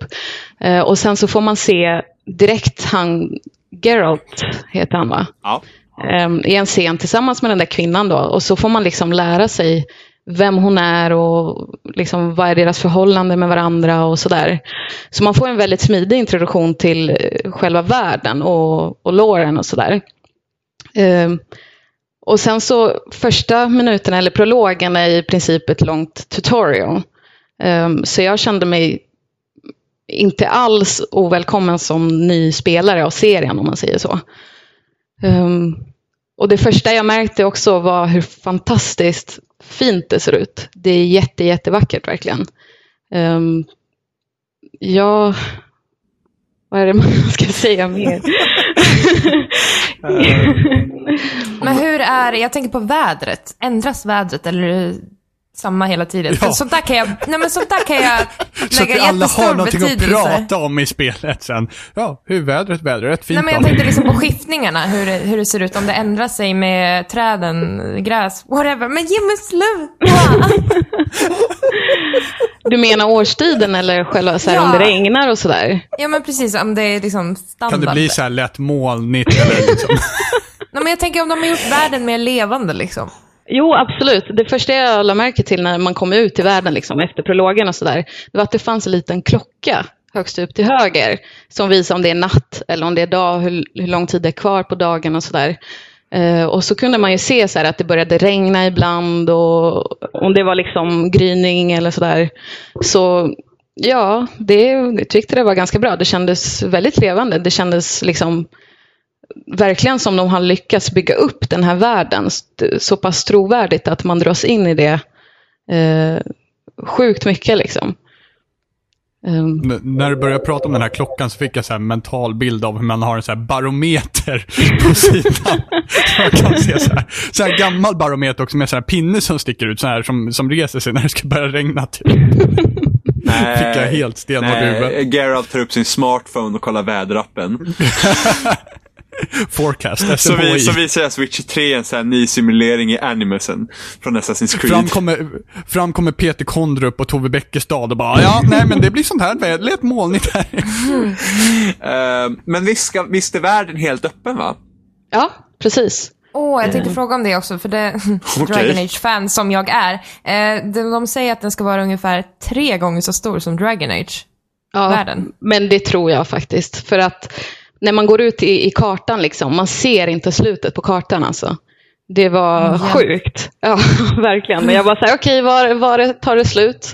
Speaker 3: Eh, och sen så får man se direkt han, Geralt heter han va?
Speaker 2: Ja.
Speaker 3: ehm, i en scen tillsammans med den där kvinnan då. Och så får man liksom lära sig vem hon är och liksom vad är deras förhållande med varandra och sådär. Så man får en väldigt smidig introduktion till eh, själva världen och, och låren och sådär. Ehm, och sen så första minuterna, eller prologen, är i princip ett långt tutorial. Ehm, så jag kände mig inte alls ovälkommen som ny spelare av serien om man säger så. Ehm, och det första jag märkte också var hur fantastiskt fint det ser ut. Det är jätte, jättevackert verkligen. Ehm, ja, vad är det man <laughs> ska säga mer?
Speaker 5: Men hur är, jag tänker på vädret. Ändras vädret eller är det samma hela tiden? För
Speaker 1: Ja.
Speaker 5: sånt där kan jag, nej men sånt där kan jag
Speaker 1: <laughs> Så att vi
Speaker 5: lägga
Speaker 1: alla har
Speaker 5: jättestor
Speaker 1: någonting att
Speaker 5: betydelse.
Speaker 1: prata om i spelet sen. Ja, hur är vädret, vädret, fint
Speaker 5: Nej men jag
Speaker 1: då.
Speaker 5: tänkte liksom på skiftningarna, hur det, hur det ser ut, om det ändrar sig med träden, gräs, whatever. Men ge mig sluta!
Speaker 3: Du menar årstiden eller själva så här, om det
Speaker 5: Ja.
Speaker 3: regnar och sådär?
Speaker 5: Ja men precis, om det är liksom
Speaker 1: Kan
Speaker 5: standard.
Speaker 1: det bli så här lätt molnigt eller liksom. <laughs>
Speaker 5: Nej men jag tänker om de har gjort världen mer levande liksom.
Speaker 3: Jo, absolut. Det första jag lade märke till när man kom ut i världen liksom, efter prologen och sådär, det var att det fanns en liten klocka högst upp till höger som visar om det är natt eller om det är dag, hur, hur lång tid det är kvar på dagen och sådär. Eh, och så kunde man ju se så här att det började regna ibland och om det var liksom gryning eller sådär. Så ja, det jag tyckte det var ganska bra. Det kändes väldigt levande. Det kändes liksom verkligen som de har lyckats bygga upp den här världen st- så pass trovärdigt att man dras in i det eh, sjukt mycket. Liksom. Ehm,
Speaker 1: N- När du började prata om den här klockan så fick jag så här en mental bild av hur man har en så här barometer på sidan. <laughs> så man kan se så här, så här gammal barometer också med så här pinne som sticker ut så här som, som reser sig när det ska börja regna typ. Fick
Speaker 2: Eh,
Speaker 1: jag helt stenhård huvud.
Speaker 2: Geralt tar upp sin smartphone och kollar väderappen.
Speaker 1: Forecast,
Speaker 2: Så, vi,
Speaker 1: SMHI.
Speaker 2: så visar jag Switch 3 en sån här ny simulering i Animusen från Assassin's
Speaker 1: Fram
Speaker 2: Creed.
Speaker 1: kommer, fram kommer Peter Kondrup och Tove Bäckestad och bara ja, nej men det blir sånt här väder, lätt molnigt här.
Speaker 2: Eh, men visst, ska, visst är världen helt öppen va?
Speaker 3: ja, precis.
Speaker 5: Åh, jag
Speaker 1: Mm.
Speaker 5: tänkte fråga om det också, för det Dragon
Speaker 2: Okej.
Speaker 5: Age-fan som jag är. Eh, de, de säger att den ska vara ungefär tre gånger så stor som Dragon Age.
Speaker 3: ja,
Speaker 5: världen.
Speaker 3: Men det tror jag faktiskt. För att när man går ut i, i kartan, liksom, man ser inte slutet på kartan. Alltså. Det var sjukt. Ja, <laughs> verkligen. Men jag bara så här, okej, var, var det, tar det slut?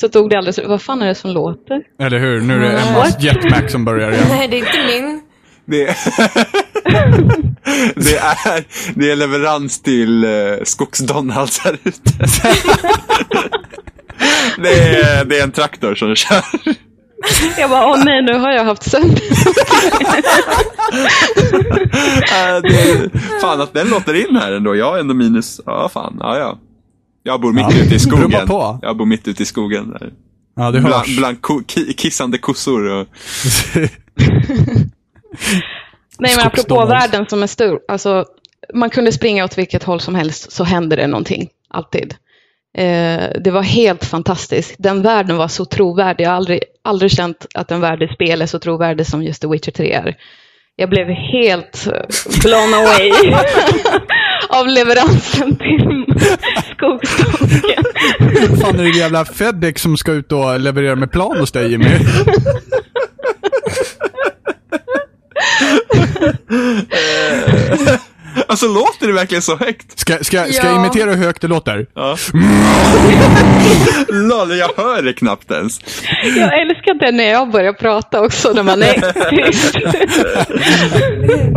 Speaker 3: Så tog det aldrig slut. Vad fan är det som låter?
Speaker 1: Eller hur, nu är det Emmas jetmack som börjar igen.
Speaker 5: <laughs> Nej, det är inte min.
Speaker 2: Det, <laughs> det, är, det är leverans till uh, Skogs-Donalds här ute. <laughs> det, är, det är en traktor som kör.
Speaker 3: Jag bara, åh nej, nu har jag haft sönder.
Speaker 2: Eh, det, <laughs> fan att den låter in här ändå. Jag har ändå minus. Ja, fan. Ja, ja. Jag bor mitt
Speaker 1: Ja.
Speaker 2: ute i
Speaker 1: Brumma
Speaker 2: skogen.
Speaker 1: på.
Speaker 2: Jag bor mitt ute i skogen. Där.
Speaker 1: Ja, det
Speaker 2: Bland,
Speaker 1: hörs.
Speaker 2: bland ko, ki, kissande kossor. Och,
Speaker 3: Nej, men apropå
Speaker 1: Skogsdonald.
Speaker 3: världen som är stor. Alltså, man kunde springa åt vilket håll som helst så hände det någonting. Alltid. Eh, det var helt fantastiskt. Den världen var så trovärdig. Jag har aldrig, aldrig känt att en värld i spel är så trovärdig som just The Witcher 3 är. Jag blev helt eh, blown away av leveransen till Skogstonken.
Speaker 1: <laughs> fan är det jävla Fedex som ska ut och leverera med plan hos dig Jimmy?
Speaker 2: Alltså låter det verkligen så högt?
Speaker 1: Ska, ska, ska jag
Speaker 5: Ja.
Speaker 1: imitera hur högt det låter?
Speaker 2: Ja. Lol, jag hör det knappt ens.
Speaker 3: Jag älskar det när jag börjar prata också. När man är tyst.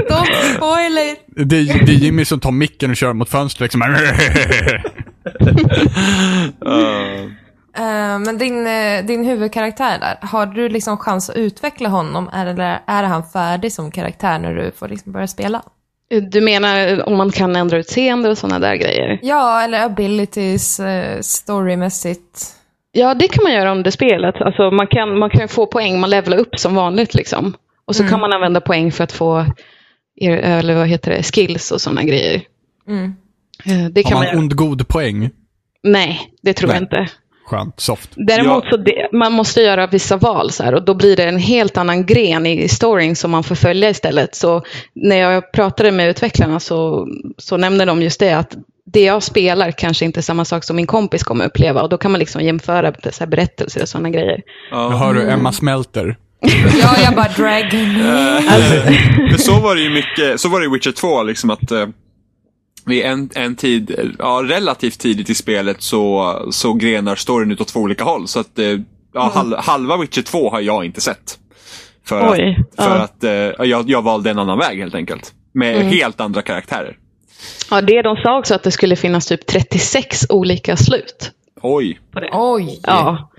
Speaker 5: Don't spoil it!
Speaker 1: Det, är- det är Jimmy som tar micken och kör mot fönstret liksom.
Speaker 2: Ja.
Speaker 5: Eh, men din, eh, din huvudkaraktär där, har du liksom chans att utveckla honom eller är han färdig som karaktär när du får liksom börja spela?
Speaker 3: Du menar om man kan ändra utseende och sådana där grejer?
Speaker 5: Ja, eller abilities, eh, storymässigt.
Speaker 3: Ja, det kan man göra under spelet. Alltså, man, kan, man kan få poäng, man levlar upp som vanligt. Liksom. Och så kan man använda poäng för att få er, eller vad heter det, skills och sådana grejer.
Speaker 5: Mm.
Speaker 3: Eh, Det kan
Speaker 1: Har
Speaker 3: man
Speaker 1: man
Speaker 3: göra.
Speaker 1: ond god poäng?
Speaker 3: Nej, det tror jag
Speaker 1: Nej.
Speaker 3: inte.
Speaker 1: Skönt, soft.
Speaker 3: Däremot
Speaker 2: Ja.
Speaker 3: så det, man måste göra vissa val så här, och då blir det en helt annan gren i storyn som man får följa istället. Så när jag pratade med utvecklarna så, så nämnde de just det att det jag spelar kanske inte är samma sak som min kompis kommer uppleva och då kan man liksom jämföra så här, berättelser och sådana grejer.
Speaker 1: Nu hör du Emma smälter.
Speaker 5: Ja, jag bara dragon.
Speaker 2: För så var det ju mycket, så var det i Witcher 2 liksom att eh, vid en, en tid, eh, ja relativt tidigt i spelet så, så grenar storyn ut åt två olika håll. Så att eh, ja, hal, halva Witcher 2 har jag inte sett. För
Speaker 3: Oj,
Speaker 2: att, för
Speaker 3: ja.
Speaker 2: att eh, jag, jag valde en annan väg helt enkelt. Med
Speaker 3: Mm.
Speaker 2: helt andra karaktärer.
Speaker 3: Ja, det de sa också att det skulle finnas typ 36 olika slut.
Speaker 2: Oj.
Speaker 5: Oj!
Speaker 3: Ja.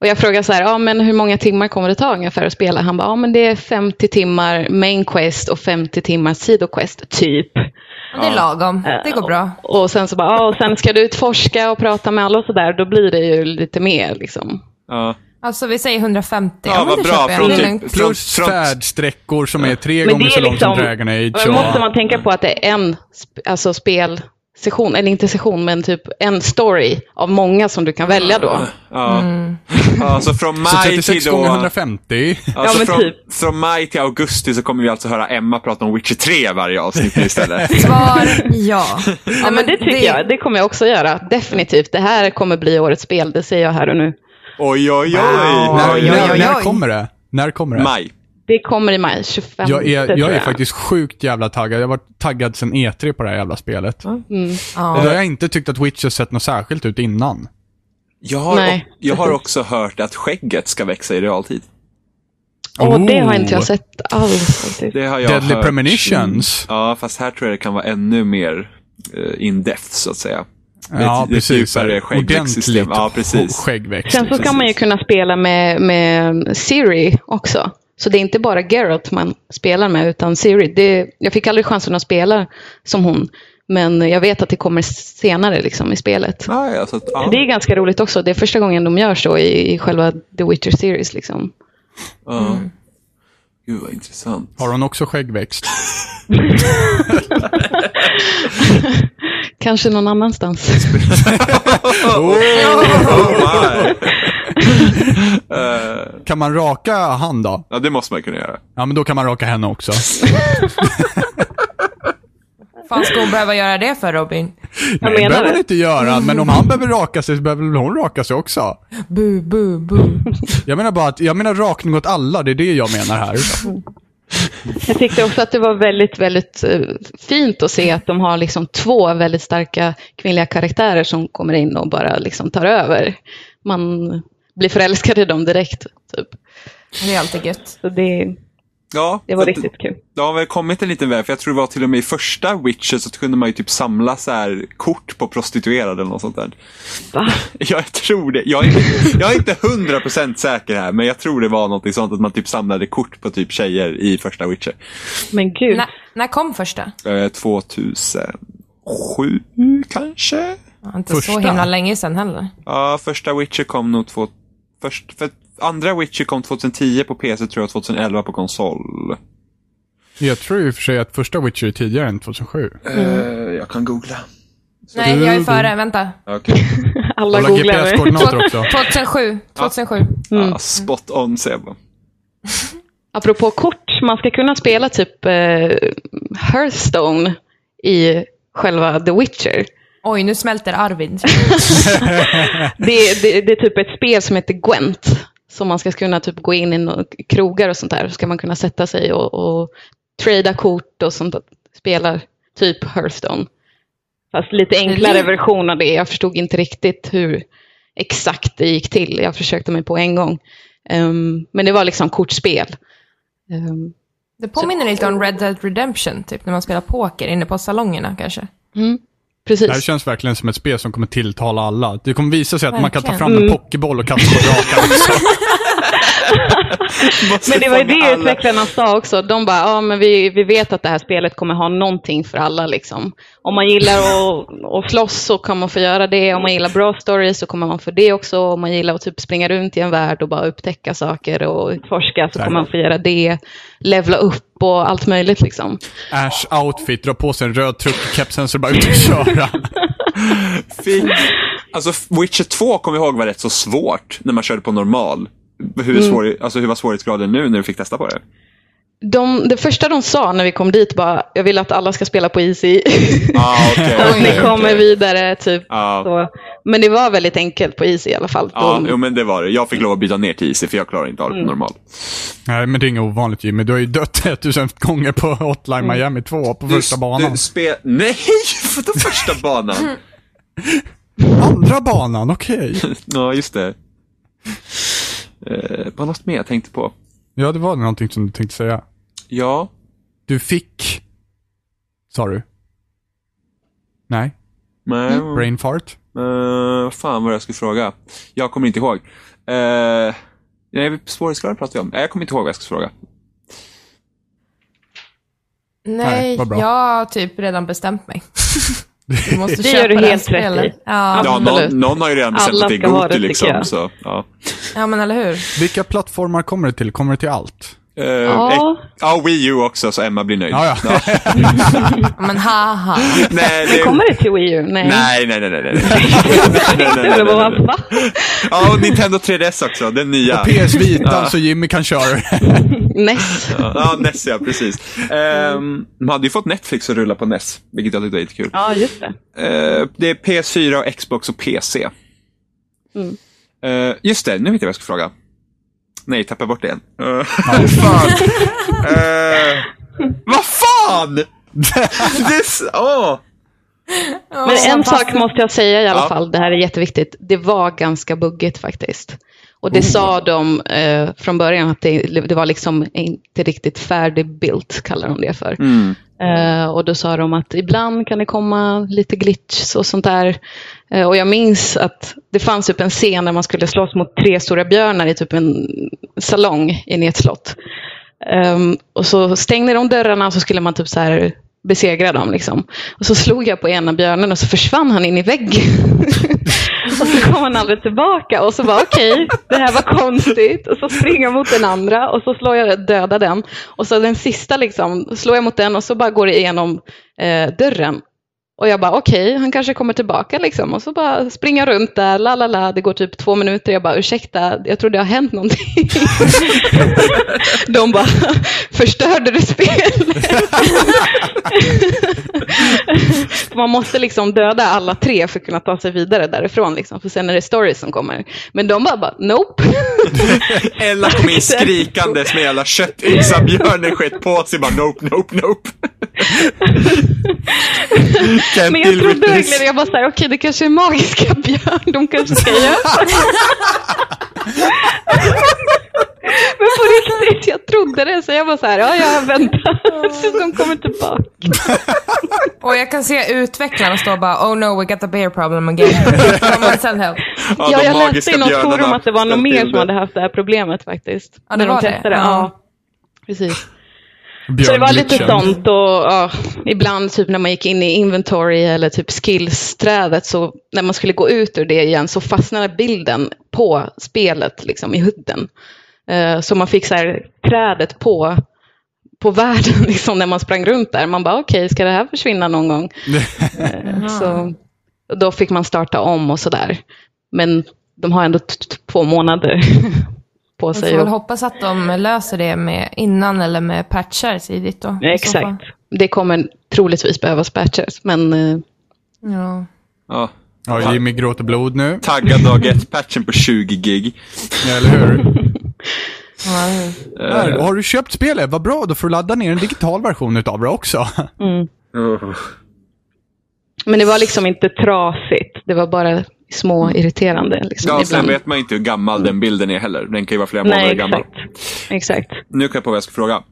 Speaker 3: Och jag frågade så här, ja men hur många timmar kommer det ta ungefär att spela? Han bara, ja men det är 50 timmar main quest och 50 timmar sidoquest, typ.
Speaker 5: Det är lagom. Det går bra.
Speaker 3: Och sen så bara, ja och sen ska du utforska och prata med alla och så där, då blir det ju lite mer liksom.
Speaker 2: Ja.
Speaker 5: Alltså vi säger 150.
Speaker 2: Ja, vad
Speaker 5: men det
Speaker 2: bra,
Speaker 5: köper jag.
Speaker 2: från
Speaker 5: Det är
Speaker 2: typ-
Speaker 5: lugnt.
Speaker 1: Plus
Speaker 2: Från- från-
Speaker 1: färdsträckor som är tre
Speaker 3: Men
Speaker 1: gånger
Speaker 3: det
Speaker 1: så
Speaker 3: är
Speaker 1: lång som
Speaker 3: liksom-
Speaker 1: Dragon Age.
Speaker 3: Men måste
Speaker 1: Och,
Speaker 3: man tänka på att det är en sp- alltså spelsession, eller inte session, men typ en story av många som du kan välja då.
Speaker 2: Ja. ja, så Alltså, från
Speaker 1: så
Speaker 2: maj till
Speaker 1: 36 gånger
Speaker 2: då,
Speaker 1: 150.
Speaker 2: alltså
Speaker 3: men
Speaker 2: från,
Speaker 3: typ.
Speaker 2: från maj till augusti så kommer vi alltså höra Emma prata om Witcher 3 varje avsnitt nu
Speaker 3: <laughs>
Speaker 2: istället.
Speaker 5: Svar
Speaker 2: <laughs>
Speaker 5: ja.
Speaker 3: Ja, men det tycker jag, det kommer jag också göra, definitivt. Det här kommer bli årets spel, det säger jag här och nu.
Speaker 2: Oj, oj, oj.
Speaker 1: när,
Speaker 5: oj,
Speaker 1: när,
Speaker 5: oj,
Speaker 1: när
Speaker 5: oj.
Speaker 1: kommer det? När kommer det?
Speaker 2: Maj.
Speaker 3: Det kommer i maj, 25
Speaker 1: Jag är,
Speaker 3: tror
Speaker 1: jag är faktiskt sjukt jävla taggad. Jag har varit taggad sedan E3 på det här jävla spelet.
Speaker 5: Ja.
Speaker 1: Och då har jag inte tyckt att Witcher sett något särskilt ut innan.
Speaker 2: Jag har,
Speaker 3: Nej.
Speaker 2: o- jag har också hört att skägget ska växa i realtid.
Speaker 3: Åh, det har inte
Speaker 1: Oh.
Speaker 3: jag sett alls faktiskt.
Speaker 2: Det har jag
Speaker 1: Deadly
Speaker 2: hört.
Speaker 1: Premonitions.
Speaker 2: Ja, fast här tror jag det kan vara ännu mer eh, in depth, så att säga.
Speaker 1: Ja,
Speaker 2: ett
Speaker 1: precis.
Speaker 2: djupare skäggväxtsystem.
Speaker 1: Ordentligt
Speaker 2: Ja, precis.
Speaker 1: sk- skäggväxt.
Speaker 3: Sen så ska man ju kunna spela med, med Siri också. Så det är inte bara Geralt man spelar med, utan Siri. Det, jag fick aldrig chansen att spela som hon, men jag vet att det kommer senare liksom, i spelet.
Speaker 2: Ah, ja, så att, ja.
Speaker 3: Det är ganska roligt också. Det är första gången de gör så i, i själva The Witcher Series. Liksom.
Speaker 2: ja. Gud, vad intressant.
Speaker 1: Har hon också skäggväxt?
Speaker 3: Kanske någon annanstans.
Speaker 2: Oh my. <laughs> Eh,
Speaker 1: Kan man raka han då?
Speaker 2: ja, det måste man kunna göra.
Speaker 1: Ja, men då kan man raka henne också.
Speaker 5: Fan ska hon behöva göra det för Robin?
Speaker 1: Nej, det
Speaker 3: menar
Speaker 1: behöver
Speaker 3: du?
Speaker 1: hon inte göra, men om han behöver raka sig så behöver väl hon raka sig också.
Speaker 5: Bu, bu, bu.
Speaker 1: Jag menar bara att, jag menar rakning åt alla, det är det jag menar här.
Speaker 3: Jag tyckte också att det var väldigt, väldigt eh, fint att se att de har liksom två väldigt starka kvinnliga karaktärer som kommer in och bara liksom tar över. Man blir förälskad i dem direkt. Typ.
Speaker 5: Det är alltid gött.
Speaker 3: Så det,
Speaker 2: Ja,
Speaker 3: det var
Speaker 2: så att-
Speaker 3: riktigt kul.
Speaker 2: Det har väl kommit en liten väg, för jag tror det var till och med i första Witcher så kunde man ju typ samla så här kort på prostituerade eller något sånt där.
Speaker 3: Va?
Speaker 2: <laughs> Jag tror det. Jag är, jag är inte hundra procent säker här, men jag tror det var något sånt att man typ samlade kort på typ tjejer i första Witcher.
Speaker 3: Men gud.
Speaker 5: När, när kom första?
Speaker 2: Eh, 2007 kanske?
Speaker 5: Ja, Inte så
Speaker 1: Första?
Speaker 5: himla länge sedan heller.
Speaker 2: Ja, första Witcher kom nog två... Först, för andra Witcher kom 2010 på PC tror jag, 2011 på konsol.
Speaker 1: Jag tror ju i och för sig att första Witcher är tidigare än 2007.
Speaker 2: Eh, jag kan googla.
Speaker 5: Nej, jag är före. Vänta.
Speaker 2: Okej.
Speaker 3: Alla
Speaker 1: Kolla
Speaker 3: googlar nu.
Speaker 5: <laughs>
Speaker 1: GPS-koordinater också.
Speaker 5: 2007. 2007.
Speaker 2: Ja, spot on säger jag bara.
Speaker 3: Apropå kort, man ska kunna spela typ eh, Hearthstone i själva The Witcher.
Speaker 5: Oj, nu smälter Arvid.
Speaker 3: Det, det, det är typ ett spel som heter Gwent. Som man ska kunna typ gå in i nå- krogar och sånt där. Så ska man kunna sätta sig och, och trada kort och sånt. där. Spelar typ Hearthstone. Fast lite enklare
Speaker 5: Mm.
Speaker 3: version av det. Jag förstod inte riktigt hur exakt det gick till. Jag försökte mig på en gång. Ehm, men det var liksom kortspel. Ehm,
Speaker 5: Det påminner lite om Red Dead Redemption, typ när man spelar poker inne på salongerna kanske.
Speaker 3: precis.
Speaker 1: Det här känns verkligen som ett spel som kommer tilltala alla. Det kommer visa sig att man kan ta
Speaker 5: Verkligen.
Speaker 1: fram en pokéboll och kasta på drakarna.
Speaker 3: Men det var ju det
Speaker 2: Alla-
Speaker 3: utvecklarna sa också. De bara, ja men vi, vi vet att det här spelet kommer ha någonting för alla liksom. Om man gillar att, att slåss så kan man få göra det. Om man gillar bra stories så kommer man få det också. Om man gillar att typ springa runt i en värld och bara upptäcka saker och utforska så
Speaker 1: Där.
Speaker 3: kommer man få göra det. Levla upp och allt möjligt liksom.
Speaker 1: Ash outfit, dra på sig en röd truck och kepsen så det bara ut och köra.
Speaker 2: Fick... Alltså, Witcher 2 kommer jag ihåg var rätt så svårt när man körde på normal. Hur, svår, alltså, hur var svårighetsgraden nu när du fick testa på det?
Speaker 3: De, det första de sa när vi kom dit bara, jag vill att alla ska spela på easy. <laughs>
Speaker 2: Ah, okej,
Speaker 3: Att
Speaker 2: okej,
Speaker 3: ni kommer
Speaker 2: okej.
Speaker 3: vidare typ.
Speaker 2: Ja.
Speaker 3: Så. Men det var väldigt enkelt på easy i alla fall.
Speaker 2: Ja,
Speaker 3: De-
Speaker 2: Ah, jo, men det var det. Jag fick lov att byta ner till Easy för jag klarar inte av det på normal.
Speaker 1: Nej, men det är inget ovanligt Jimmy. Du har ju dött <laughs> 1000 gånger på Hotline Miami 2 på första banan.
Speaker 2: Du spe... Nej, <laughs> för den första banan.
Speaker 1: Andra banan, okej.
Speaker 2: ja, just det. Eh, var något mer jag tänkte på?
Speaker 1: Ja, det var någonting som du tänkte säga.
Speaker 2: Ja.
Speaker 1: Du fick... Sa du? Nej?
Speaker 2: Nej, eh,
Speaker 1: Brain fart?
Speaker 2: vad fan var det jag skulle fråga? Jag kommer inte ihåg. Eh, nej, svårighetsgraden pratade vi om. Nej, jag kommer inte ihåg vad jag skulle fråga.
Speaker 1: Nej,
Speaker 5: Nej,
Speaker 1: vad bra.
Speaker 5: jag har typ redan
Speaker 1: <laughs>
Speaker 5: bestämt mig. Du måste
Speaker 3: Det
Speaker 5: köpa
Speaker 3: gör du
Speaker 5: här
Speaker 3: helt rätt i.
Speaker 5: spelet. Ja.
Speaker 2: Ja,
Speaker 3: Absolut.
Speaker 2: någon, någon har ju redan bestämt
Speaker 3: Alla
Speaker 2: att det
Speaker 3: ska
Speaker 2: är
Speaker 3: ha det,
Speaker 2: Goti
Speaker 3: tycker
Speaker 2: liksom.
Speaker 3: jag.
Speaker 2: Så, ja.
Speaker 5: ja, men eller hur?
Speaker 1: Vilka plattformar kommer det till? Kommer det till allt?
Speaker 2: Uh,
Speaker 3: Ja.
Speaker 2: ja, Wii U också, så Emma blir nöjd.
Speaker 1: Ja, ja.
Speaker 5: Ja, Men haha.
Speaker 2: Nej, det...
Speaker 3: Kommer det till Wii U? Nej.
Speaker 2: Nej, nej, nej, nej, nej. nej, nej, nej, nej,
Speaker 3: Eller
Speaker 2: nej,
Speaker 3: vad,
Speaker 2: nej.
Speaker 3: va?
Speaker 2: Ja, och Nintendo 3DS också,
Speaker 1: <laughs>
Speaker 2: den nya.
Speaker 1: PS Vita så Jimmy kan köra det.
Speaker 3: Ness.
Speaker 2: Ja, NES ja, precis. Ehm, de hade ju fått Netflix att rulla på NES, vilket jag tyckte var jättekul.
Speaker 3: Ja, just det.
Speaker 2: Eh, det är PS4, och Xbox och PC.
Speaker 3: Mm.
Speaker 2: Eh, just det, nu vet jag vad jag ska fråga. Nej, tappar bort det igen. <laughs> Eh, fan. Eh, vad <laughs> fan! det är så, åh.
Speaker 3: Men
Speaker 5: Ja,
Speaker 3: en
Speaker 5: fast-
Speaker 3: sak måste jag säga i alla
Speaker 2: Ja.
Speaker 3: fall, det här är jätteviktigt. Det var ganska buggigt faktiskt. Och det sa de eh, från början att det, det var liksom inte riktigt färdigbuilt, kallar de det för. Eh, och då sa de att ibland kan det komma lite glitch och sånt där. Eh, och jag minns att det fanns typ en scen där man skulle slåss mot tre stora björnar i typ en salong inne i ett slott. Ehm, och så stängde de dörrarna och så skulle man typ så här besegra dem. Liksom. Och så slog jag på ena björnen och så försvann han in i väggen. <laughs> och så kom han aldrig tillbaka och så var okej, det här var konstigt. Och så springer jag mot den andra och så slår jag döda den. Och så den sista liksom, slår jag mot den och så bara går det igenom eh, dörren. Och jag bara okej, han kanske kommer tillbaka liksom. Och så bara springer jag runt där, la la la, det går typ två minuter. Jag bara ursäkta, jag tror det har hänt någonting. De bara, förstörde du spelet? För man måste liksom döda alla tre för att kunna ta sig vidare därifrån. Liksom. För sen är det stories som kommer. Men de bara, bara nope.
Speaker 2: Ella kom in skrikandes med hela köttyxa, björnen skett på sig bara nope, nope, nope. Can't
Speaker 3: Men jag
Speaker 2: deal with
Speaker 3: trodde
Speaker 2: this.
Speaker 3: verkligen, jag bara så här, okej det kanske är magiska <laughs> björn, de kanske
Speaker 2: <laughs>
Speaker 3: ska hjälpa. Men på riktigt, jag trodde det. Så jag bara så här, ja jag väntar tills de kommer tillbaka.
Speaker 5: Och jag kan se utvecklarna stå och bara oh no we got the beer
Speaker 1: <laughs>
Speaker 5: problem again. Someone send help.
Speaker 2: Ja,
Speaker 3: Ja,
Speaker 2: de
Speaker 3: jag läste
Speaker 2: magiska
Speaker 3: i något
Speaker 2: björnarna
Speaker 3: forum att det var någon
Speaker 2: ställde
Speaker 3: mer
Speaker 2: till
Speaker 3: som hade haft det här problemet faktiskt.
Speaker 5: Ja, det
Speaker 3: när de
Speaker 5: var det.
Speaker 3: testade.
Speaker 5: Ja.
Speaker 3: Ja, precis. Så det var lite
Speaker 1: Björnglitchen.
Speaker 3: sånt och ja, ibland typ när man gick in i inventory eller typ skills-trädet så när man skulle gå ut ur det igen så fastnade bilden på spelet liksom i hudden. Eh, Så man fick så här trädet på, på världen <laughs> liksom när man sprang runt där. Man bara okej, ska det här försvinna någon gång? Eh, så och då fick man starta om och sådär. Men de har ändå t- t- två månader <laughs> på
Speaker 5: Vi får
Speaker 3: sig.
Speaker 5: väl
Speaker 3: att-
Speaker 5: hoppas att de löser det med innan eller med patchar tidigt då. i så fall.
Speaker 3: Exakt. Det kommer troligtvis behövas patches, men eh,
Speaker 5: Ja.
Speaker 2: Ja.
Speaker 1: Ja, Jimmy gråter blod nu.
Speaker 2: Taggad dag ett patchen på 20 gig.
Speaker 1: Ja, eller hur?
Speaker 5: Ja,
Speaker 1: Där, har du köpt spelet? Vad bra, då får du ladda ner en digital version utav det också. <laughs>
Speaker 2: Uh.
Speaker 3: Men det var liksom inte trasigt. Det var bara små irriterande. Liksom,
Speaker 2: Ja, sen
Speaker 3: ibland.
Speaker 2: vet man inte hur gammal den bilden är heller. Den kan ju vara flera
Speaker 3: Nej,
Speaker 2: månader gammal.
Speaker 3: exakt. Exakt.
Speaker 2: Nu kan jag på vad jag ska fråga.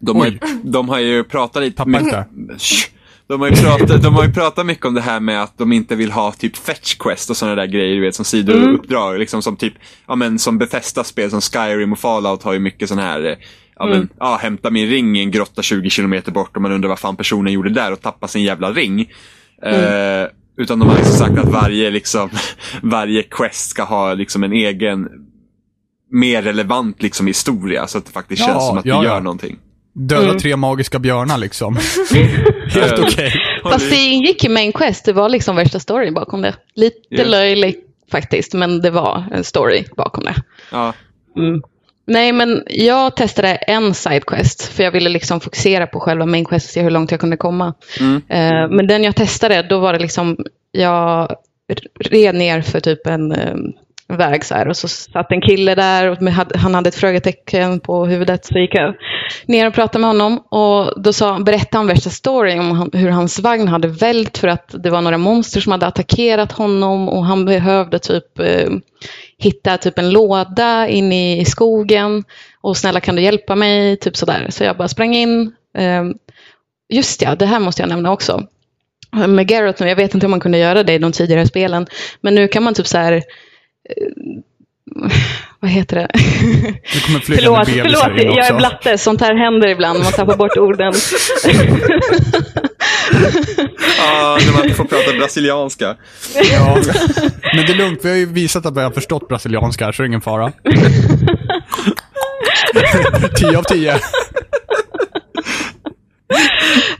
Speaker 2: De har, ju, de har ju pratat lite...
Speaker 1: Tappa
Speaker 2: men-
Speaker 1: inte.
Speaker 2: Shh. De har, ju pratat, de har ju pratat mycket om det här med att de inte vill ha typ fetch quest och sådana där grejer, du vet, som sidouppdrag. Liksom som typ, ja men som Bethesda-spel som Skyrim och Fallout har ju mycket sådana här, eh, ja men, ja hämta min ring i en grotta 20 kilometer bort och man undrar vad fan personen gjorde där och tappa sin jävla ring.
Speaker 3: Mm.
Speaker 2: Eh, utan de har liksom sagt att varje, liksom, <laughs> varje quest ska ha liksom en egen, mer relevant liksom historia så att det faktiskt
Speaker 1: Ja,
Speaker 2: känns som att
Speaker 1: ja,
Speaker 2: det
Speaker 1: ja.
Speaker 2: gör någonting.
Speaker 1: Döda
Speaker 3: Mm.
Speaker 1: tre magiska björnar
Speaker 3: <laughs>
Speaker 1: liksom. Helt
Speaker 2: Eh,
Speaker 1: okej.
Speaker 2: har
Speaker 3: Fast
Speaker 2: ni-
Speaker 3: det ingick i Main Quest. Det var liksom värsta storyn bakom det. Lite
Speaker 2: Ja.
Speaker 3: löjligt faktiskt, men det var en story bakom det.
Speaker 2: ja.
Speaker 3: Nej, men jag testade en sidequest för jag ville liksom fokusera på själva main quest och se hur långt jag kunde komma. Eh, men den jag testade, då var det liksom, jag red ner för typ en eh, väg så här och så satt en kille där och med, hade- han hade ett frågetecken på huvudet så gick jag ner och pratade med honom och då sa, berättade han värsta storyn om han, hur hans vagn hade vält för att det var några monster som hade attackerat honom och han behövde typ eh, hitta typ en låda inne i skogen och snälla kan du hjälpa mig, typ sådär. Så jag bara sprang in. Ehm, Just ja, det här måste jag nämna också. Med Garrett nu, jag vet inte om man kunde göra det i de tidigare spelen, men nu kan man typ så här eh, <laughs> vad heter det? <laughs>
Speaker 1: Nu kommer flygande
Speaker 3: Förlåt,
Speaker 1: bebisar
Speaker 3: förlåt,
Speaker 1: in
Speaker 3: jag är
Speaker 1: också.
Speaker 3: blatte. Sånt här händer ibland, man tappar
Speaker 1: <laughs>
Speaker 3: bort orden.
Speaker 2: Ja, när man inte får prata brasilianska.
Speaker 1: Ja. Men det är lugnt, vi har ju visat att vi har förstått brasilianska här, så det är ingen
Speaker 3: <laughs>
Speaker 1: fara. 10 av 10.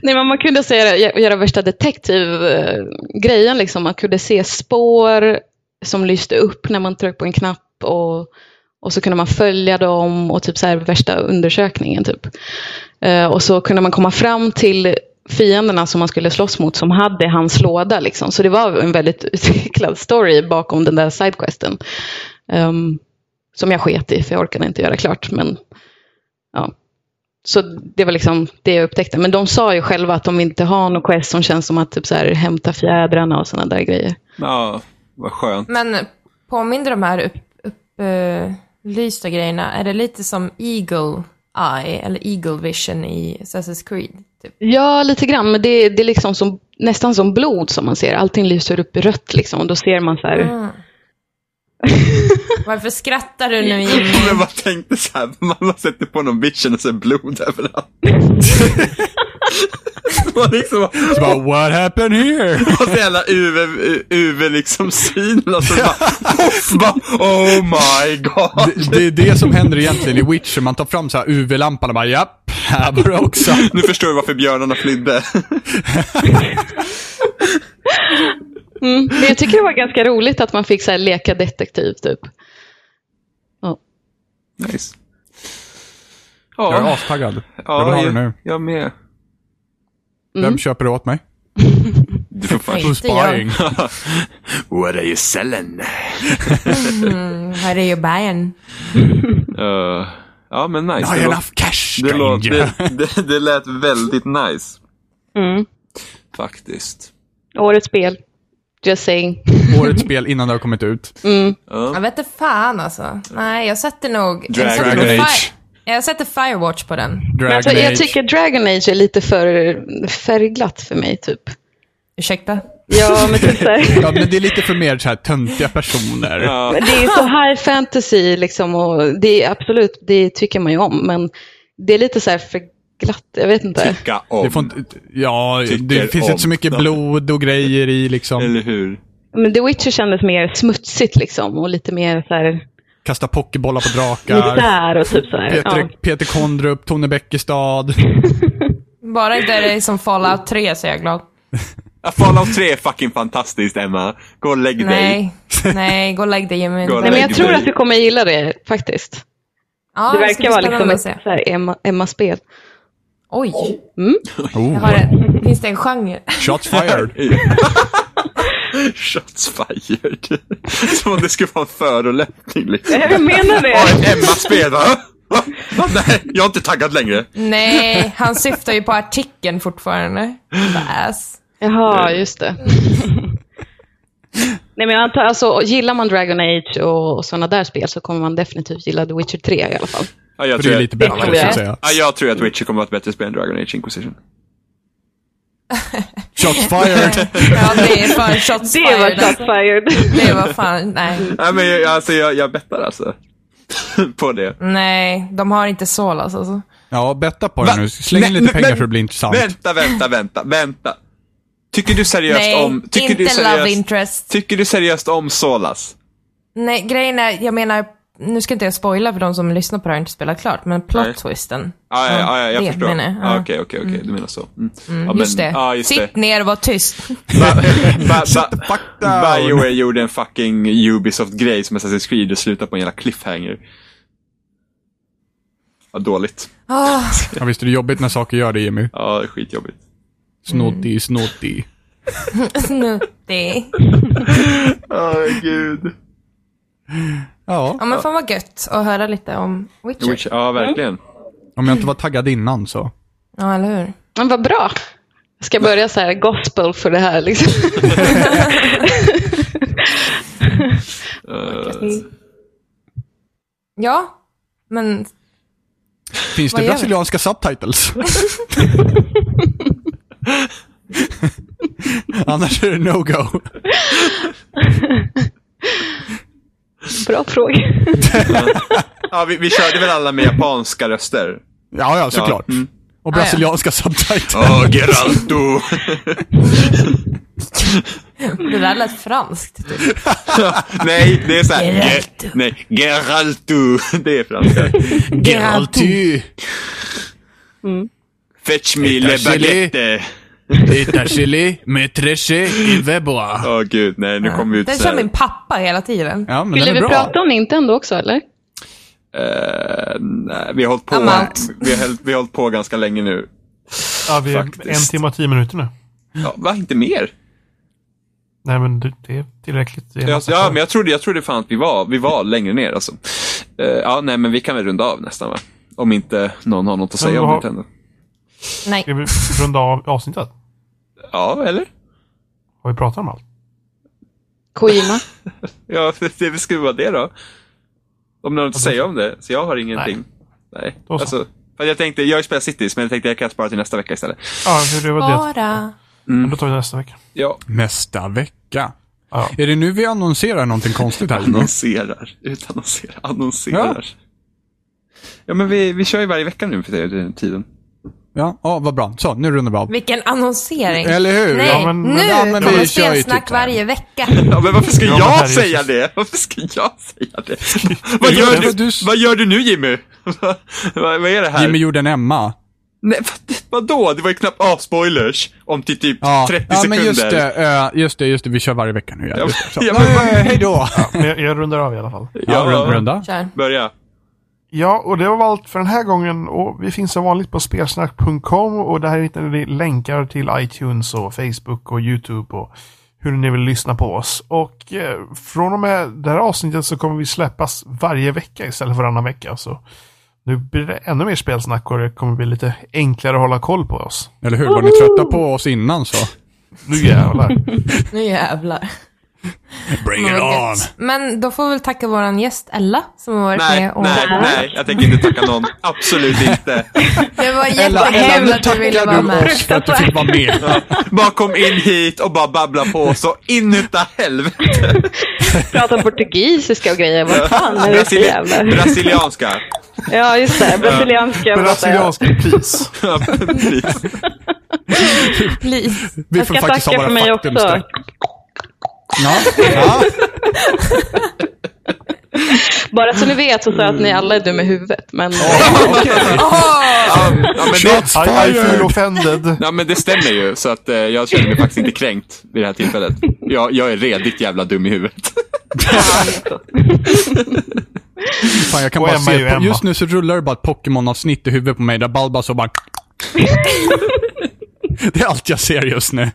Speaker 3: Nej, men man kunde se, det- göra värsta detektivgrejen. Liksom. Man kunde se spår som lyste upp när man tryckte på en knapp. Och, och så kunde man följa dem och typ så här värsta undersökningen. Typ. Eh, och så kunde man komma fram till fienderna som man skulle slåss mot som hade hans låda. Liksom. Så det var en väldigt <laughs> utvecklad story bakom den där sidequesten. Ehm, som jag sket i, för jag orkade inte göra klart. Men ja, så det var liksom det jag upptäckte. Men de sa ju själva att de inte har något quest som känns som att typ så här, hämta fjädrarna och sådana där grejer.
Speaker 2: Ja, vad skönt. <laughs>
Speaker 5: Men påminner de här upplysta upp, eh, lysta grejerna, är det lite som Eagle Eye eller Eagle Vision i Assassin's Creed? Typ?
Speaker 3: Ja, lite grann. Men det, det är liksom som, nästan som blod som man ser. Allting lyser upp i rött liksom. Och då ser man så här.
Speaker 2: Mm.
Speaker 5: Ah, Varför skrattar
Speaker 2: <laughs>
Speaker 5: du nu Jimmy?
Speaker 2: Jag bara tänkte så här, man sätter på någon vision och så är blod överallt. <laughs> Man liksom
Speaker 1: Så bara, what happened here?
Speaker 2: har så jävla UV, UV liksom syn. Alltså bara, poff, bara, <laughs> oh my god.
Speaker 1: Det, det är det som händer egentligen i Witcher, man tar fram så här UV-lampan och bara, japp, här var det
Speaker 2: <laughs>
Speaker 1: också.
Speaker 2: Nu förstår du varför björnarna flydde.
Speaker 3: <laughs> Mm. Men jag tycker det var ganska roligt att man fick så här, leka detektiv typ.
Speaker 2: Nice.
Speaker 1: Jag är
Speaker 2: Ja,
Speaker 1: astaggad. jag vill
Speaker 2: ja Mm.
Speaker 1: ha det
Speaker 2: jag,
Speaker 1: nu.
Speaker 2: jag med.
Speaker 1: Vem köper det åt mig?
Speaker 2: Du får fan.
Speaker 5: Inte jag.
Speaker 1: <laughs> Spying.
Speaker 2: What are you selling?
Speaker 5: Här är ju Bayern.
Speaker 2: Uh, ja, men nice.
Speaker 1: I
Speaker 2: Det
Speaker 1: have
Speaker 2: låter-
Speaker 1: enough cash,
Speaker 2: Det, låt,
Speaker 1: stranger.
Speaker 2: det, det, det lät väldigt nice.
Speaker 3: Mm.
Speaker 2: Faktiskt.
Speaker 3: Årets spel. Just saying.
Speaker 1: <laughs> Årets spel innan det har kommit ut.
Speaker 3: Mm.
Speaker 5: Jag vet inte fan alltså. Nej, jag sätter nog...
Speaker 2: Dragon
Speaker 5: jag sätter nog
Speaker 2: Age.
Speaker 5: Fi- Jag sätter Firewatch på den.
Speaker 1: Dragon
Speaker 3: Men alltså, jag
Speaker 1: Age.
Speaker 3: tycker Dragon Age är lite för färgglatt för mig typ.
Speaker 5: Ursäkta?
Speaker 3: Ja, men typ så här.
Speaker 1: Ja, men det är lite för mer så här töntiga personer.
Speaker 3: Men det är så high fantasy liksom och det är absolut, det tycker man ju om, men det är lite så här för glatt, jag vet inte.
Speaker 2: Tycka om.
Speaker 1: Det får inte, ja,
Speaker 2: Tycker
Speaker 1: det finns
Speaker 2: om
Speaker 1: inte så mycket
Speaker 2: dem.
Speaker 1: blod och grejer i liksom.
Speaker 2: Eller hur?
Speaker 3: Men The Witcher kändes mer smutsigt liksom och lite mer så här
Speaker 1: Kasta pokébollar på drakar.
Speaker 3: misär och typ så här.
Speaker 1: Peter,
Speaker 3: Ja.
Speaker 1: Peter Kondrup, Tone Bäckestad.
Speaker 5: Bara inte det är som Fallout 3 så är jag glad.
Speaker 2: Ja, Fallout 3 är fucking fantastiskt, Emma. Gå och lägg dig.
Speaker 5: Nej, nej, gå och lägg dig Jimmy.
Speaker 2: <laughs> Gå och
Speaker 5: Det-
Speaker 3: Nej, men jag
Speaker 2: Lägg
Speaker 3: tror
Speaker 2: dig.
Speaker 3: att du kommer gilla det faktiskt.
Speaker 5: Ja,
Speaker 3: Det
Speaker 5: ska bli
Speaker 3: verkar vara liksom
Speaker 5: spännande
Speaker 3: ett
Speaker 5: att
Speaker 3: så
Speaker 5: se.
Speaker 3: här Emma- Emma-spel.
Speaker 5: Oj,
Speaker 1: Oh,
Speaker 3: Mm?
Speaker 5: har det, finns det en genre?
Speaker 2: <laughs>
Speaker 1: shots fired.
Speaker 2: <laughs> Shots fired. Som om det skulle vara en förolämpning liksom.
Speaker 3: Jag menar
Speaker 2: Ja,
Speaker 3: det.
Speaker 2: ett Emma-spel va? Va? Va? Nej, jag är inte taggad längre.
Speaker 5: Nej, han syftar ju på artikeln fortfarande. Ass.
Speaker 3: <laughs> Jaha, just det. <laughs> Nej, men jag antar, alltså, gillar man Dragon Age och, och sådana där spel så kommer man definitivt gilla The Witcher 3 i alla fall.
Speaker 2: Ja, jag,
Speaker 1: För det
Speaker 2: tror
Speaker 1: är
Speaker 2: att-
Speaker 1: lite bättre,
Speaker 5: tror jag.
Speaker 1: så att säga.
Speaker 2: ja, jag tror att Witcher kommer att vara ett bättre spel än Dragon Age Inquisition.
Speaker 1: Shots fired.
Speaker 5: Ja, det är fan
Speaker 3: <laughs>
Speaker 5: shots
Speaker 3: Det var shot
Speaker 5: fired.
Speaker 3: fired.
Speaker 5: Det var fan, nej.
Speaker 2: Nej, men jag, alltså, jag, jag bettar alltså. <laughs> på det.
Speaker 1: Mm,
Speaker 5: Nej, de har inte Solas alltså.
Speaker 1: Ja, betta på det
Speaker 2: Va?
Speaker 1: nu. Släng in
Speaker 2: Men-
Speaker 1: lite pengar
Speaker 2: men-
Speaker 1: för att bli intressant.
Speaker 2: Vänta, vänta, vänta, vänta. Tycker du seriöst
Speaker 5: Nej,
Speaker 2: om... Tycker
Speaker 5: inte
Speaker 2: du
Speaker 5: love
Speaker 2: seriöst,
Speaker 5: interest.
Speaker 2: Tycker du seriöst om Solas?
Speaker 5: Nej, grejen är, jag menar, nu ska inte jag spoila för de som lyssnar på det här och inte spelat klart, men
Speaker 2: Nej.
Speaker 5: plot twisten.
Speaker 2: Ja, ja, ja, jag
Speaker 5: det
Speaker 2: förstår.
Speaker 5: menar jag.
Speaker 2: Ah,
Speaker 5: Ja.
Speaker 2: Okej, okej, okej, du menar så. Mm. Ja,
Speaker 5: Just det.
Speaker 2: Ja, just det.
Speaker 5: Sitt ner och var
Speaker 2: <laughs>
Speaker 5: tyst.
Speaker 2: Ba- ba- ba-
Speaker 1: Fuck down.
Speaker 2: Bioware gjorde en fucking Ubisoft-grej som Assassin's Creed och slutade på en jävla cliffhanger. Vad dåligt.
Speaker 5: Ah,
Speaker 1: Ja, visst är det jobbigt när saker gör det, Jimmy.
Speaker 2: Ja, det är skitjobbigt.
Speaker 1: Snoddy, snoddy.
Speaker 5: snuttig.
Speaker 2: Åh, gud.
Speaker 5: Ja
Speaker 1: Ja,
Speaker 5: men fan vad gött att höra lite om Witcher.
Speaker 2: Witcher, ja, verkligen.
Speaker 1: om jag inte var taggad innan så.
Speaker 5: Ja, eller hur?
Speaker 3: Men vad bra. Jag ska börja så här gospel för det här liksom.
Speaker 2: Eh,
Speaker 5: Ja, men
Speaker 1: Finns
Speaker 5: Vad
Speaker 1: det
Speaker 5: gör vi?
Speaker 1: brasilianska subtitles? Annars är det no-go.
Speaker 3: <laughs> Bra fråga.
Speaker 2: Ja, vi, vi körde väl alla med japanska röster?
Speaker 1: Ja, ja, såklart.
Speaker 2: Ja, mm.
Speaker 1: Och brasilianska subtitles.
Speaker 2: Åh, Geralto!
Speaker 5: det där lät franskt. Typ.
Speaker 2: <laughs> nej, det är såhär...
Speaker 5: Geralto.
Speaker 2: Ge, nej, Geralto. Det är franska.
Speaker 1: Geraltu,
Speaker 2: Fetch me le
Speaker 1: Gelé.
Speaker 2: baguette.
Speaker 1: etachele, metreche, iveboa.
Speaker 2: Åh gud, nej nu kommer vi ut
Speaker 5: Den
Speaker 2: så här-
Speaker 5: kör min pappa hela tiden.
Speaker 1: Ja, men
Speaker 3: Ville
Speaker 1: den
Speaker 3: vi
Speaker 1: är bra.
Speaker 3: prata om Nintendo också eller?
Speaker 2: Eh, nej, vi har hållit på,
Speaker 5: I'm out.
Speaker 2: vi har, hållit- vi har hållit på ganska länge nu.
Speaker 4: Ja, vi är
Speaker 2: Faktiskt.
Speaker 4: en timme och tio minuter nu.
Speaker 2: Ja, va, inte mer?
Speaker 4: Nej, men det, det är tillräckligt. Det är en
Speaker 2: Ja,
Speaker 4: massa
Speaker 2: ja,
Speaker 4: kvar.
Speaker 2: men jag trodde, jag trodde fan att vi var, vi var längre ner alltså. Eh, ja, nej, men vi kan väl runda av nästan va? Om inte någon har något att säga
Speaker 4: Men
Speaker 2: om
Speaker 4: vad-
Speaker 2: Nintendo.
Speaker 5: Nej.
Speaker 4: Ska vi runda av avsnittet?
Speaker 2: Ja, eller?
Speaker 4: Har vi pratat om allt?
Speaker 3: <laughs> Kojima.
Speaker 2: Ja, <laughs> det skulle vara det då. Om någon inte säger om det, så jag har ingenting. Nej.
Speaker 4: Då så.
Speaker 2: Alltså, för jag tänkte, jag spelar Cities, men jag tänkte jag kan spara till nästa vecka istället.
Speaker 4: Ja, det- det var det.
Speaker 5: Bara.
Speaker 4: Men då tar vi nästa vecka.
Speaker 2: Ja,
Speaker 1: Nästa vecka.
Speaker 4: Ja.
Speaker 1: Är det nu vi annonserar någonting konstigt
Speaker 2: Mm.
Speaker 1: här? Jonas?
Speaker 2: Annonserar. Utannonserar. Annonserar. Ja, men vi, vi kör ju varje vecka nu för det- den tiden.
Speaker 1: Ja, ja vad bra. Så, nu rundar vi av.
Speaker 5: Vilken annonsering.
Speaker 1: Eller hur?
Speaker 5: Nej,
Speaker 1: Ja,
Speaker 4: men-
Speaker 5: nu
Speaker 4: men-
Speaker 1: ja, men vi
Speaker 5: kommer
Speaker 1: kör ju typ
Speaker 5: spelsnack
Speaker 1: så här.
Speaker 2: <laughs>
Speaker 5: varje vecka.
Speaker 2: Ja, men varför ska
Speaker 4: Ja, men
Speaker 2: jag
Speaker 4: här är ju-
Speaker 2: säga det? Varför ska jag
Speaker 1: <laughs>
Speaker 2: säga det? vad, gör
Speaker 1: men
Speaker 2: du,
Speaker 1: du-
Speaker 2: vad gör du nu Jimmy? <laughs> vad, vad är det här?
Speaker 1: Jimmy gjorde en Emma.
Speaker 2: Nej, vad, vadå? Det var ju knappt ah, spoilers om till typ
Speaker 1: Ja,
Speaker 2: 30
Speaker 1: ja
Speaker 2: sekunder.
Speaker 1: men just det, eh, just det, just det. Vi kör varje vecka nu. Ja. Just det. Så.
Speaker 2: <laughs>
Speaker 1: Ja,
Speaker 2: ja, men vad-
Speaker 1: hej då!
Speaker 4: Men jag, jag rundar av i alla fall.
Speaker 1: Ja, rund- runda.
Speaker 5: Kör.
Speaker 2: Börja.
Speaker 4: Ja, och det var allt för den här gången. Och vi finns som vanligt på spelsnack.com och där hittar ni länkar till iTunes och Facebook och YouTube och hur ni vill lyssna på oss. Och eh, från och med det här avsnittet så kommer vi släppas varje vecka istället för varannan vecka. Så nu blir det ännu mer spelsnack och det kommer bli lite enklare att hålla koll på oss.
Speaker 1: Eller hur? Var ni trötta på oss innan så?
Speaker 4: Nu jävlar.
Speaker 5: Nu jävlar.
Speaker 1: Bring
Speaker 5: Men vad gött. Men då får vi väl tacka våran gäst Ella som har varit
Speaker 2: Nej,
Speaker 5: med. Och...
Speaker 2: nej, nej. Jag tänker inte tacka någon. Absolut inte.
Speaker 5: Det var
Speaker 1: Ella,
Speaker 5: jättehemskt
Speaker 1: Ella,
Speaker 5: att du ville vara
Speaker 1: du
Speaker 5: med.
Speaker 1: oss för att du fick vara med.
Speaker 2: Bara kom in hit och bara babbla på så inuta helvete.
Speaker 3: Prata portugisiska och grejer. Vad fan är det för
Speaker 2: Brasili-
Speaker 3: jävla...
Speaker 2: Brasilianska. <laughs>
Speaker 3: Ja, just det. Brasilianska. pratar jag.
Speaker 4: Brasiliansk pris.
Speaker 2: Ja, precis.
Speaker 5: Please.
Speaker 1: Vi
Speaker 3: Jag
Speaker 1: får
Speaker 3: ska
Speaker 1: faktiskt ha
Speaker 3: tacka
Speaker 1: våra
Speaker 3: för mig också.
Speaker 1: faktumstreck. Ja, ja.
Speaker 3: Bara så ni vet så sa jag att
Speaker 1: Mm.
Speaker 3: ni alla är dumma i huvudet. Men...
Speaker 2: ja, ja, men det,
Speaker 1: Shots
Speaker 4: I, I feel
Speaker 1: fired!
Speaker 4: offended.
Speaker 2: ja, men det stämmer ju, så att eh, jag känner mig faktiskt inte kränkt vid det här tillfället. Jag, jag är redigt jävla dum i huvudet.
Speaker 1: Fan, jag kan
Speaker 4: Och
Speaker 1: bara
Speaker 4: Emma är ju
Speaker 1: se, på,
Speaker 4: Emma.
Speaker 1: just nu så rullar det bara ett Pokémon-avsnitt i huvudet på mig där Balba så bara... det är allt jag ser just nu.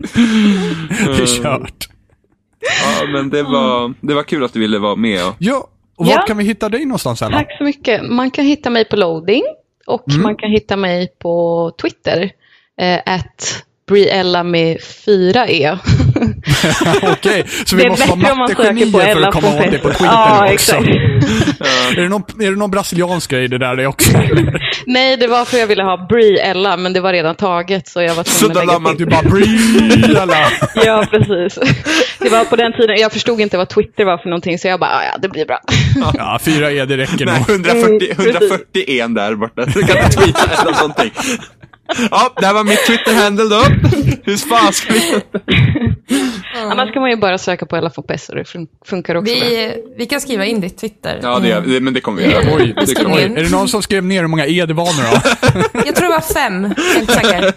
Speaker 1: det är kört.
Speaker 2: Ja, men det var, det var kul att du ville vara med. Och,
Speaker 1: Ja, och var
Speaker 3: Ja.
Speaker 1: kan vi hitta dig någonstans Ella?
Speaker 3: Tack så mycket. Man kan hitta mig på Loading och
Speaker 1: Mm.
Speaker 3: man kan hitta mig på Twitter. Eh, at Briella med 4 E.
Speaker 1: <laughs>
Speaker 3: <laughs>
Speaker 1: Okej, så vi måste vara mattegenier för att komma åt dig på Twitter
Speaker 3: ja,
Speaker 1: också. <laughs>
Speaker 3: Exakt.
Speaker 1: Är det, någon, är det någon brasiliansk grej det där det också?
Speaker 3: Nej, det var för jag ville ha Briella, men det var redan taget så jag var
Speaker 2: Så
Speaker 3: tvungen
Speaker 2: där
Speaker 3: att
Speaker 2: la
Speaker 3: lägga
Speaker 2: man
Speaker 3: till.
Speaker 1: Du typ bara Briella.
Speaker 3: Ja,
Speaker 1: <laughs>
Speaker 3: precis. Det var på den tiden, jag förstod inte vad Twitter var för någonting så jag bara, "Ah, ja, det blir bra.
Speaker 1: Ja, fyra E, det räcker
Speaker 2: nej,
Speaker 1: nog.
Speaker 2: 140,
Speaker 3: Eh,
Speaker 2: 141 där borta. Du kan inte tweeta eller någonting. Ja, det här var mitt Twitter-handle då. Hur fan ska vi...
Speaker 3: <laughs> Annars kan man ju bara söka på Ella von Pess och det fun- funkar också. bra.
Speaker 5: Vi, vi kan skriva in ditt Twitter.
Speaker 2: Ja, det gör vi. Det- Men det kommer vi göra.
Speaker 1: Oj,
Speaker 2: det kommer
Speaker 1: oj.
Speaker 2: vi.
Speaker 1: Är det någon som skrev ner hur många E det var nu då?
Speaker 5: Jag tror det var fem, jag är inte säker.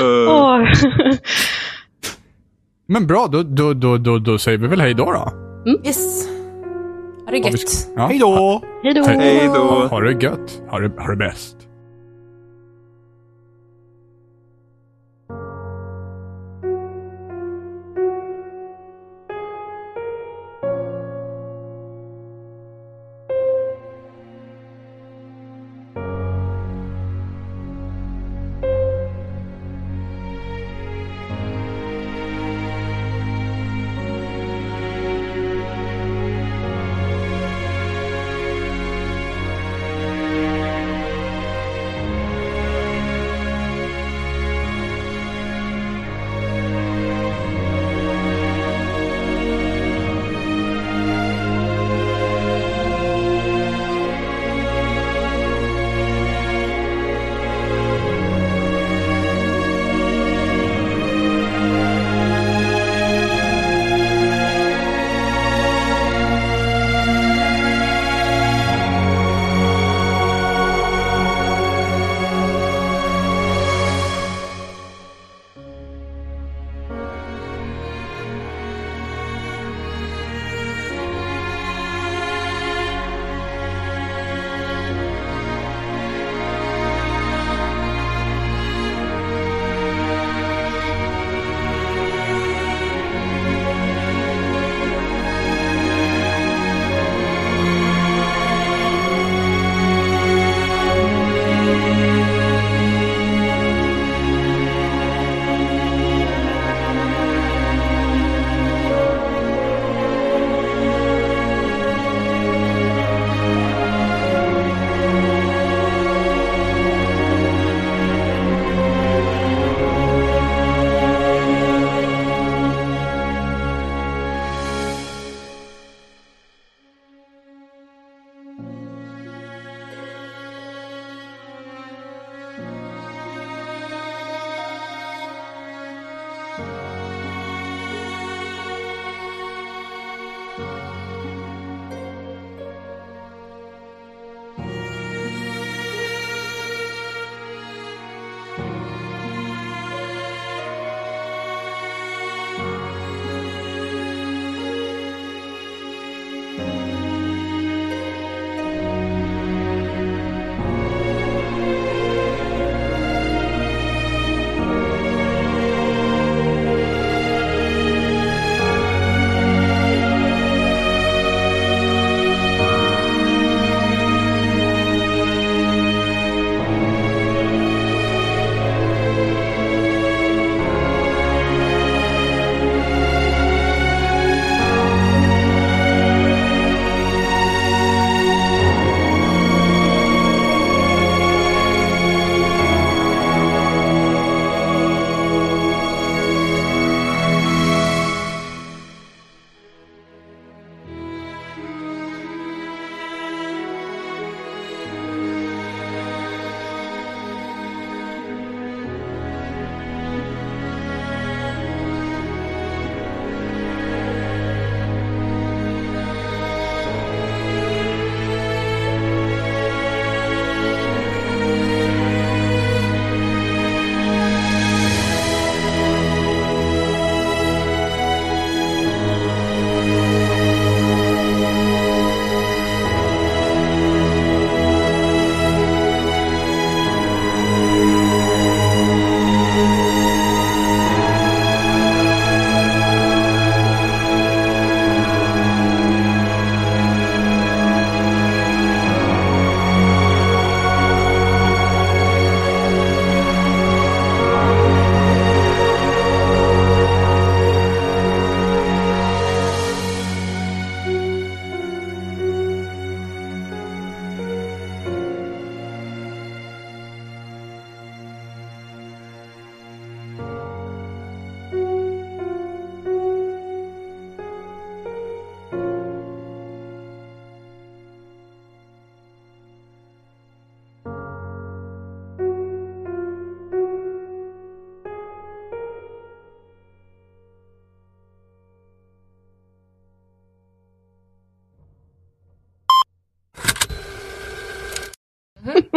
Speaker 2: Eh,
Speaker 3: Åh. <laughs>
Speaker 1: Men bra, då, då, då, då, då säger vi väl hej då då.
Speaker 5: Yes. Ha det
Speaker 1: Har vi-
Speaker 5: gött.
Speaker 1: Ja.
Speaker 4: Hej då!
Speaker 3: Hej då.
Speaker 2: Hej då.
Speaker 1: Ha det gött. Ha det, ha det bäst.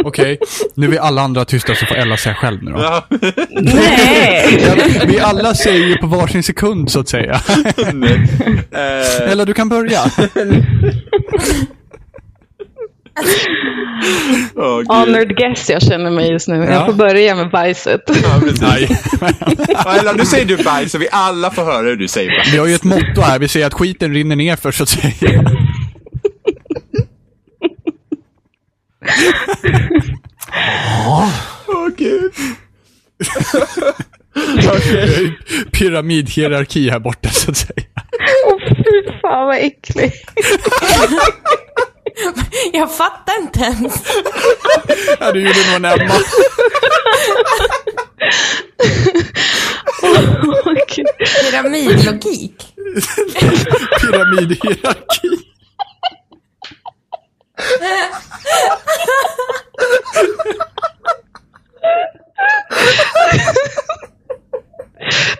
Speaker 1: Okej, nu är alla andra tysta så får Ella säga själv nu då.
Speaker 2: Ja.
Speaker 6: Nej!
Speaker 1: Ja, vi alla säger ju på varsin sekund så att säga.
Speaker 2: Eh,
Speaker 1: Ella, du kan börja.
Speaker 2: åh, gud.
Speaker 3: Honored guest jag känner mig just nu.
Speaker 1: Ja.
Speaker 3: Jag får börja med bajset.
Speaker 2: Ja, precis. Ja, Ella, nu säger du bajs så vi alla får höra hur du säger bajs.
Speaker 1: Vi har ju ett motto här, vi säger att skiten rinner ner för så att säga.
Speaker 2: Åh gud.
Speaker 1: <laughs> Pyramidhierarki här borta så att säga.
Speaker 3: <laughs> Åh fy fan vad äckligt.
Speaker 5: Jag fattar inte ens.
Speaker 1: Ja, du gjorde nog en Emma.
Speaker 3: Åh, gud.
Speaker 5: Pyramidlogik.
Speaker 1: Pyramidhierarki.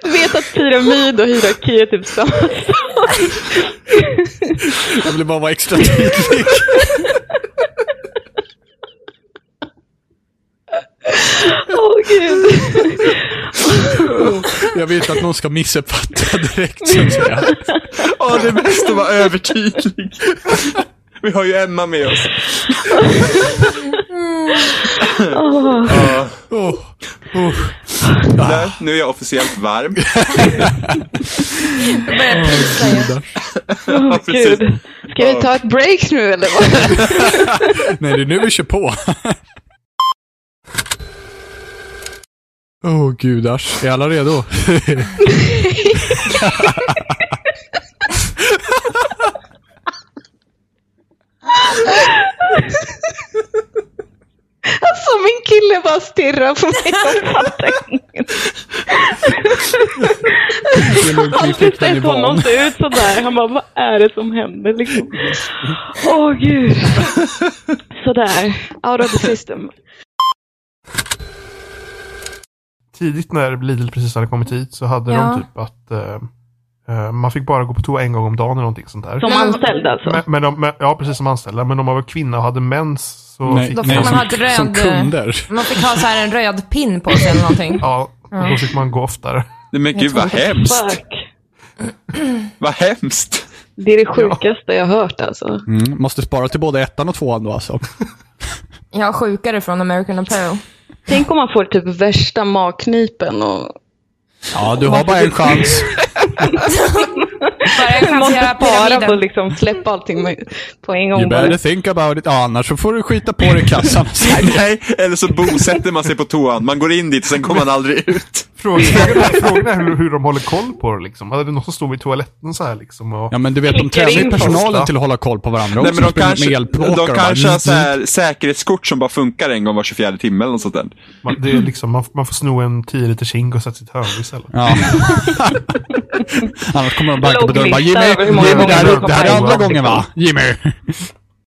Speaker 3: Du vet att pyramid och hierarki är typ samma.
Speaker 1: Jag ville bara vara extra tydlig.
Speaker 3: Åh gud.
Speaker 1: Jag vet att någon ska missuppfatta direkt så att säga.
Speaker 2: Åh, det är bäst
Speaker 1: <laughs>
Speaker 2: att vara övertydlig. Vi har ju Emma med oss. Ja.
Speaker 1: Åh, åh.
Speaker 2: Där, nu är jag officiellt varm.
Speaker 5: Jag börjar pysa ju. <laughs>
Speaker 2: Ja, precis.
Speaker 3: Gud. Ska vi ta ett break nu eller vad? <laughs>
Speaker 1: Nej, det är nu vi kör på. Åh oh, gudars, är alla redo?
Speaker 3: Alltså min kille bara stirrar på mig. Jag fattar ingenting.
Speaker 1: Det är lugnt,
Speaker 6: Han
Speaker 1: ni fick den i
Speaker 6: tittar på honom
Speaker 1: van.
Speaker 6: inte ut sådär. Han bara, vad är det som händer liksom?
Speaker 3: Åh gud. Sådär. Out of the system.
Speaker 4: Tidigt när Lidl precis hade kommit hit så hade
Speaker 5: Ja.
Speaker 4: de typ att eh, eh, man fick bara gå på toa en gång om dagen eller någonting sånt där.
Speaker 6: Som
Speaker 5: Men-
Speaker 6: anställd alltså.
Speaker 4: Men, men de, men, ja, precis som anställda. Men om man var kvinna och hade mens så
Speaker 1: Nej,
Speaker 4: fick
Speaker 5: Då
Speaker 4: man...
Speaker 5: får man
Speaker 1: som-
Speaker 5: ha ett
Speaker 1: Som
Speaker 5: röd...
Speaker 1: kunder.
Speaker 5: Man fick ha så här en röd pin på sig eller någonting.
Speaker 4: Ja, då fick man gå oftare. <laughs>
Speaker 2: Nej, men gud vad hemskt.
Speaker 6: Fuck.
Speaker 2: Vad hemskt.
Speaker 3: Det är det sjukaste jag hört alltså.
Speaker 1: Mm, måste spara till både ettan och tvåan då alltså.
Speaker 5: Jag har sjukare från American Apparel.
Speaker 3: Tänk om man får typ värsta magknipen och
Speaker 1: Ja, du har bara en chans.
Speaker 5: Bara jag kan
Speaker 3: måste
Speaker 5: göra
Speaker 3: spara på
Speaker 5: pyramiden.
Speaker 3: liksom släppa allting med, på en gång.
Speaker 1: You
Speaker 3: bara.
Speaker 1: better think about it. Ja, annars så får du skita på dig i kassan.
Speaker 2: Nej, eller så bosätter man sig på toan. Man går in dit och sen kommer man aldrig ut.
Speaker 4: Frågan är, frågan är hur, hur de håller koll på det liksom. Hade det någon som stod vid toaletten så här liksom? Och,
Speaker 1: Ja, men du vet, de
Speaker 3: Klickar
Speaker 1: tränar ju
Speaker 3: in
Speaker 1: personalen
Speaker 4: första.
Speaker 1: till att hålla koll på varandra
Speaker 2: Nej,
Speaker 1: också.
Speaker 2: men de
Speaker 1: med
Speaker 2: kanske,
Speaker 1: elpåkar och
Speaker 2: de
Speaker 1: bara,
Speaker 2: kanske har
Speaker 1: mm,
Speaker 2: så här säkerhetskort som bara funkar en gång var 24 timme eller något sånt där.
Speaker 4: man, det är liksom, man, man får sno en 10 liters hink och sätta sitt hörn istället.
Speaker 1: Ja. Annars kommer de banka på dörren och bara
Speaker 3: Logglista
Speaker 1: Jimmy,
Speaker 3: över hur många
Speaker 1: Jimmy
Speaker 3: gånger
Speaker 1: där
Speaker 3: du
Speaker 1: uppe. Det
Speaker 3: har
Speaker 1: här är
Speaker 3: kommit
Speaker 1: andra
Speaker 3: hem.
Speaker 1: gången va? Jimmy.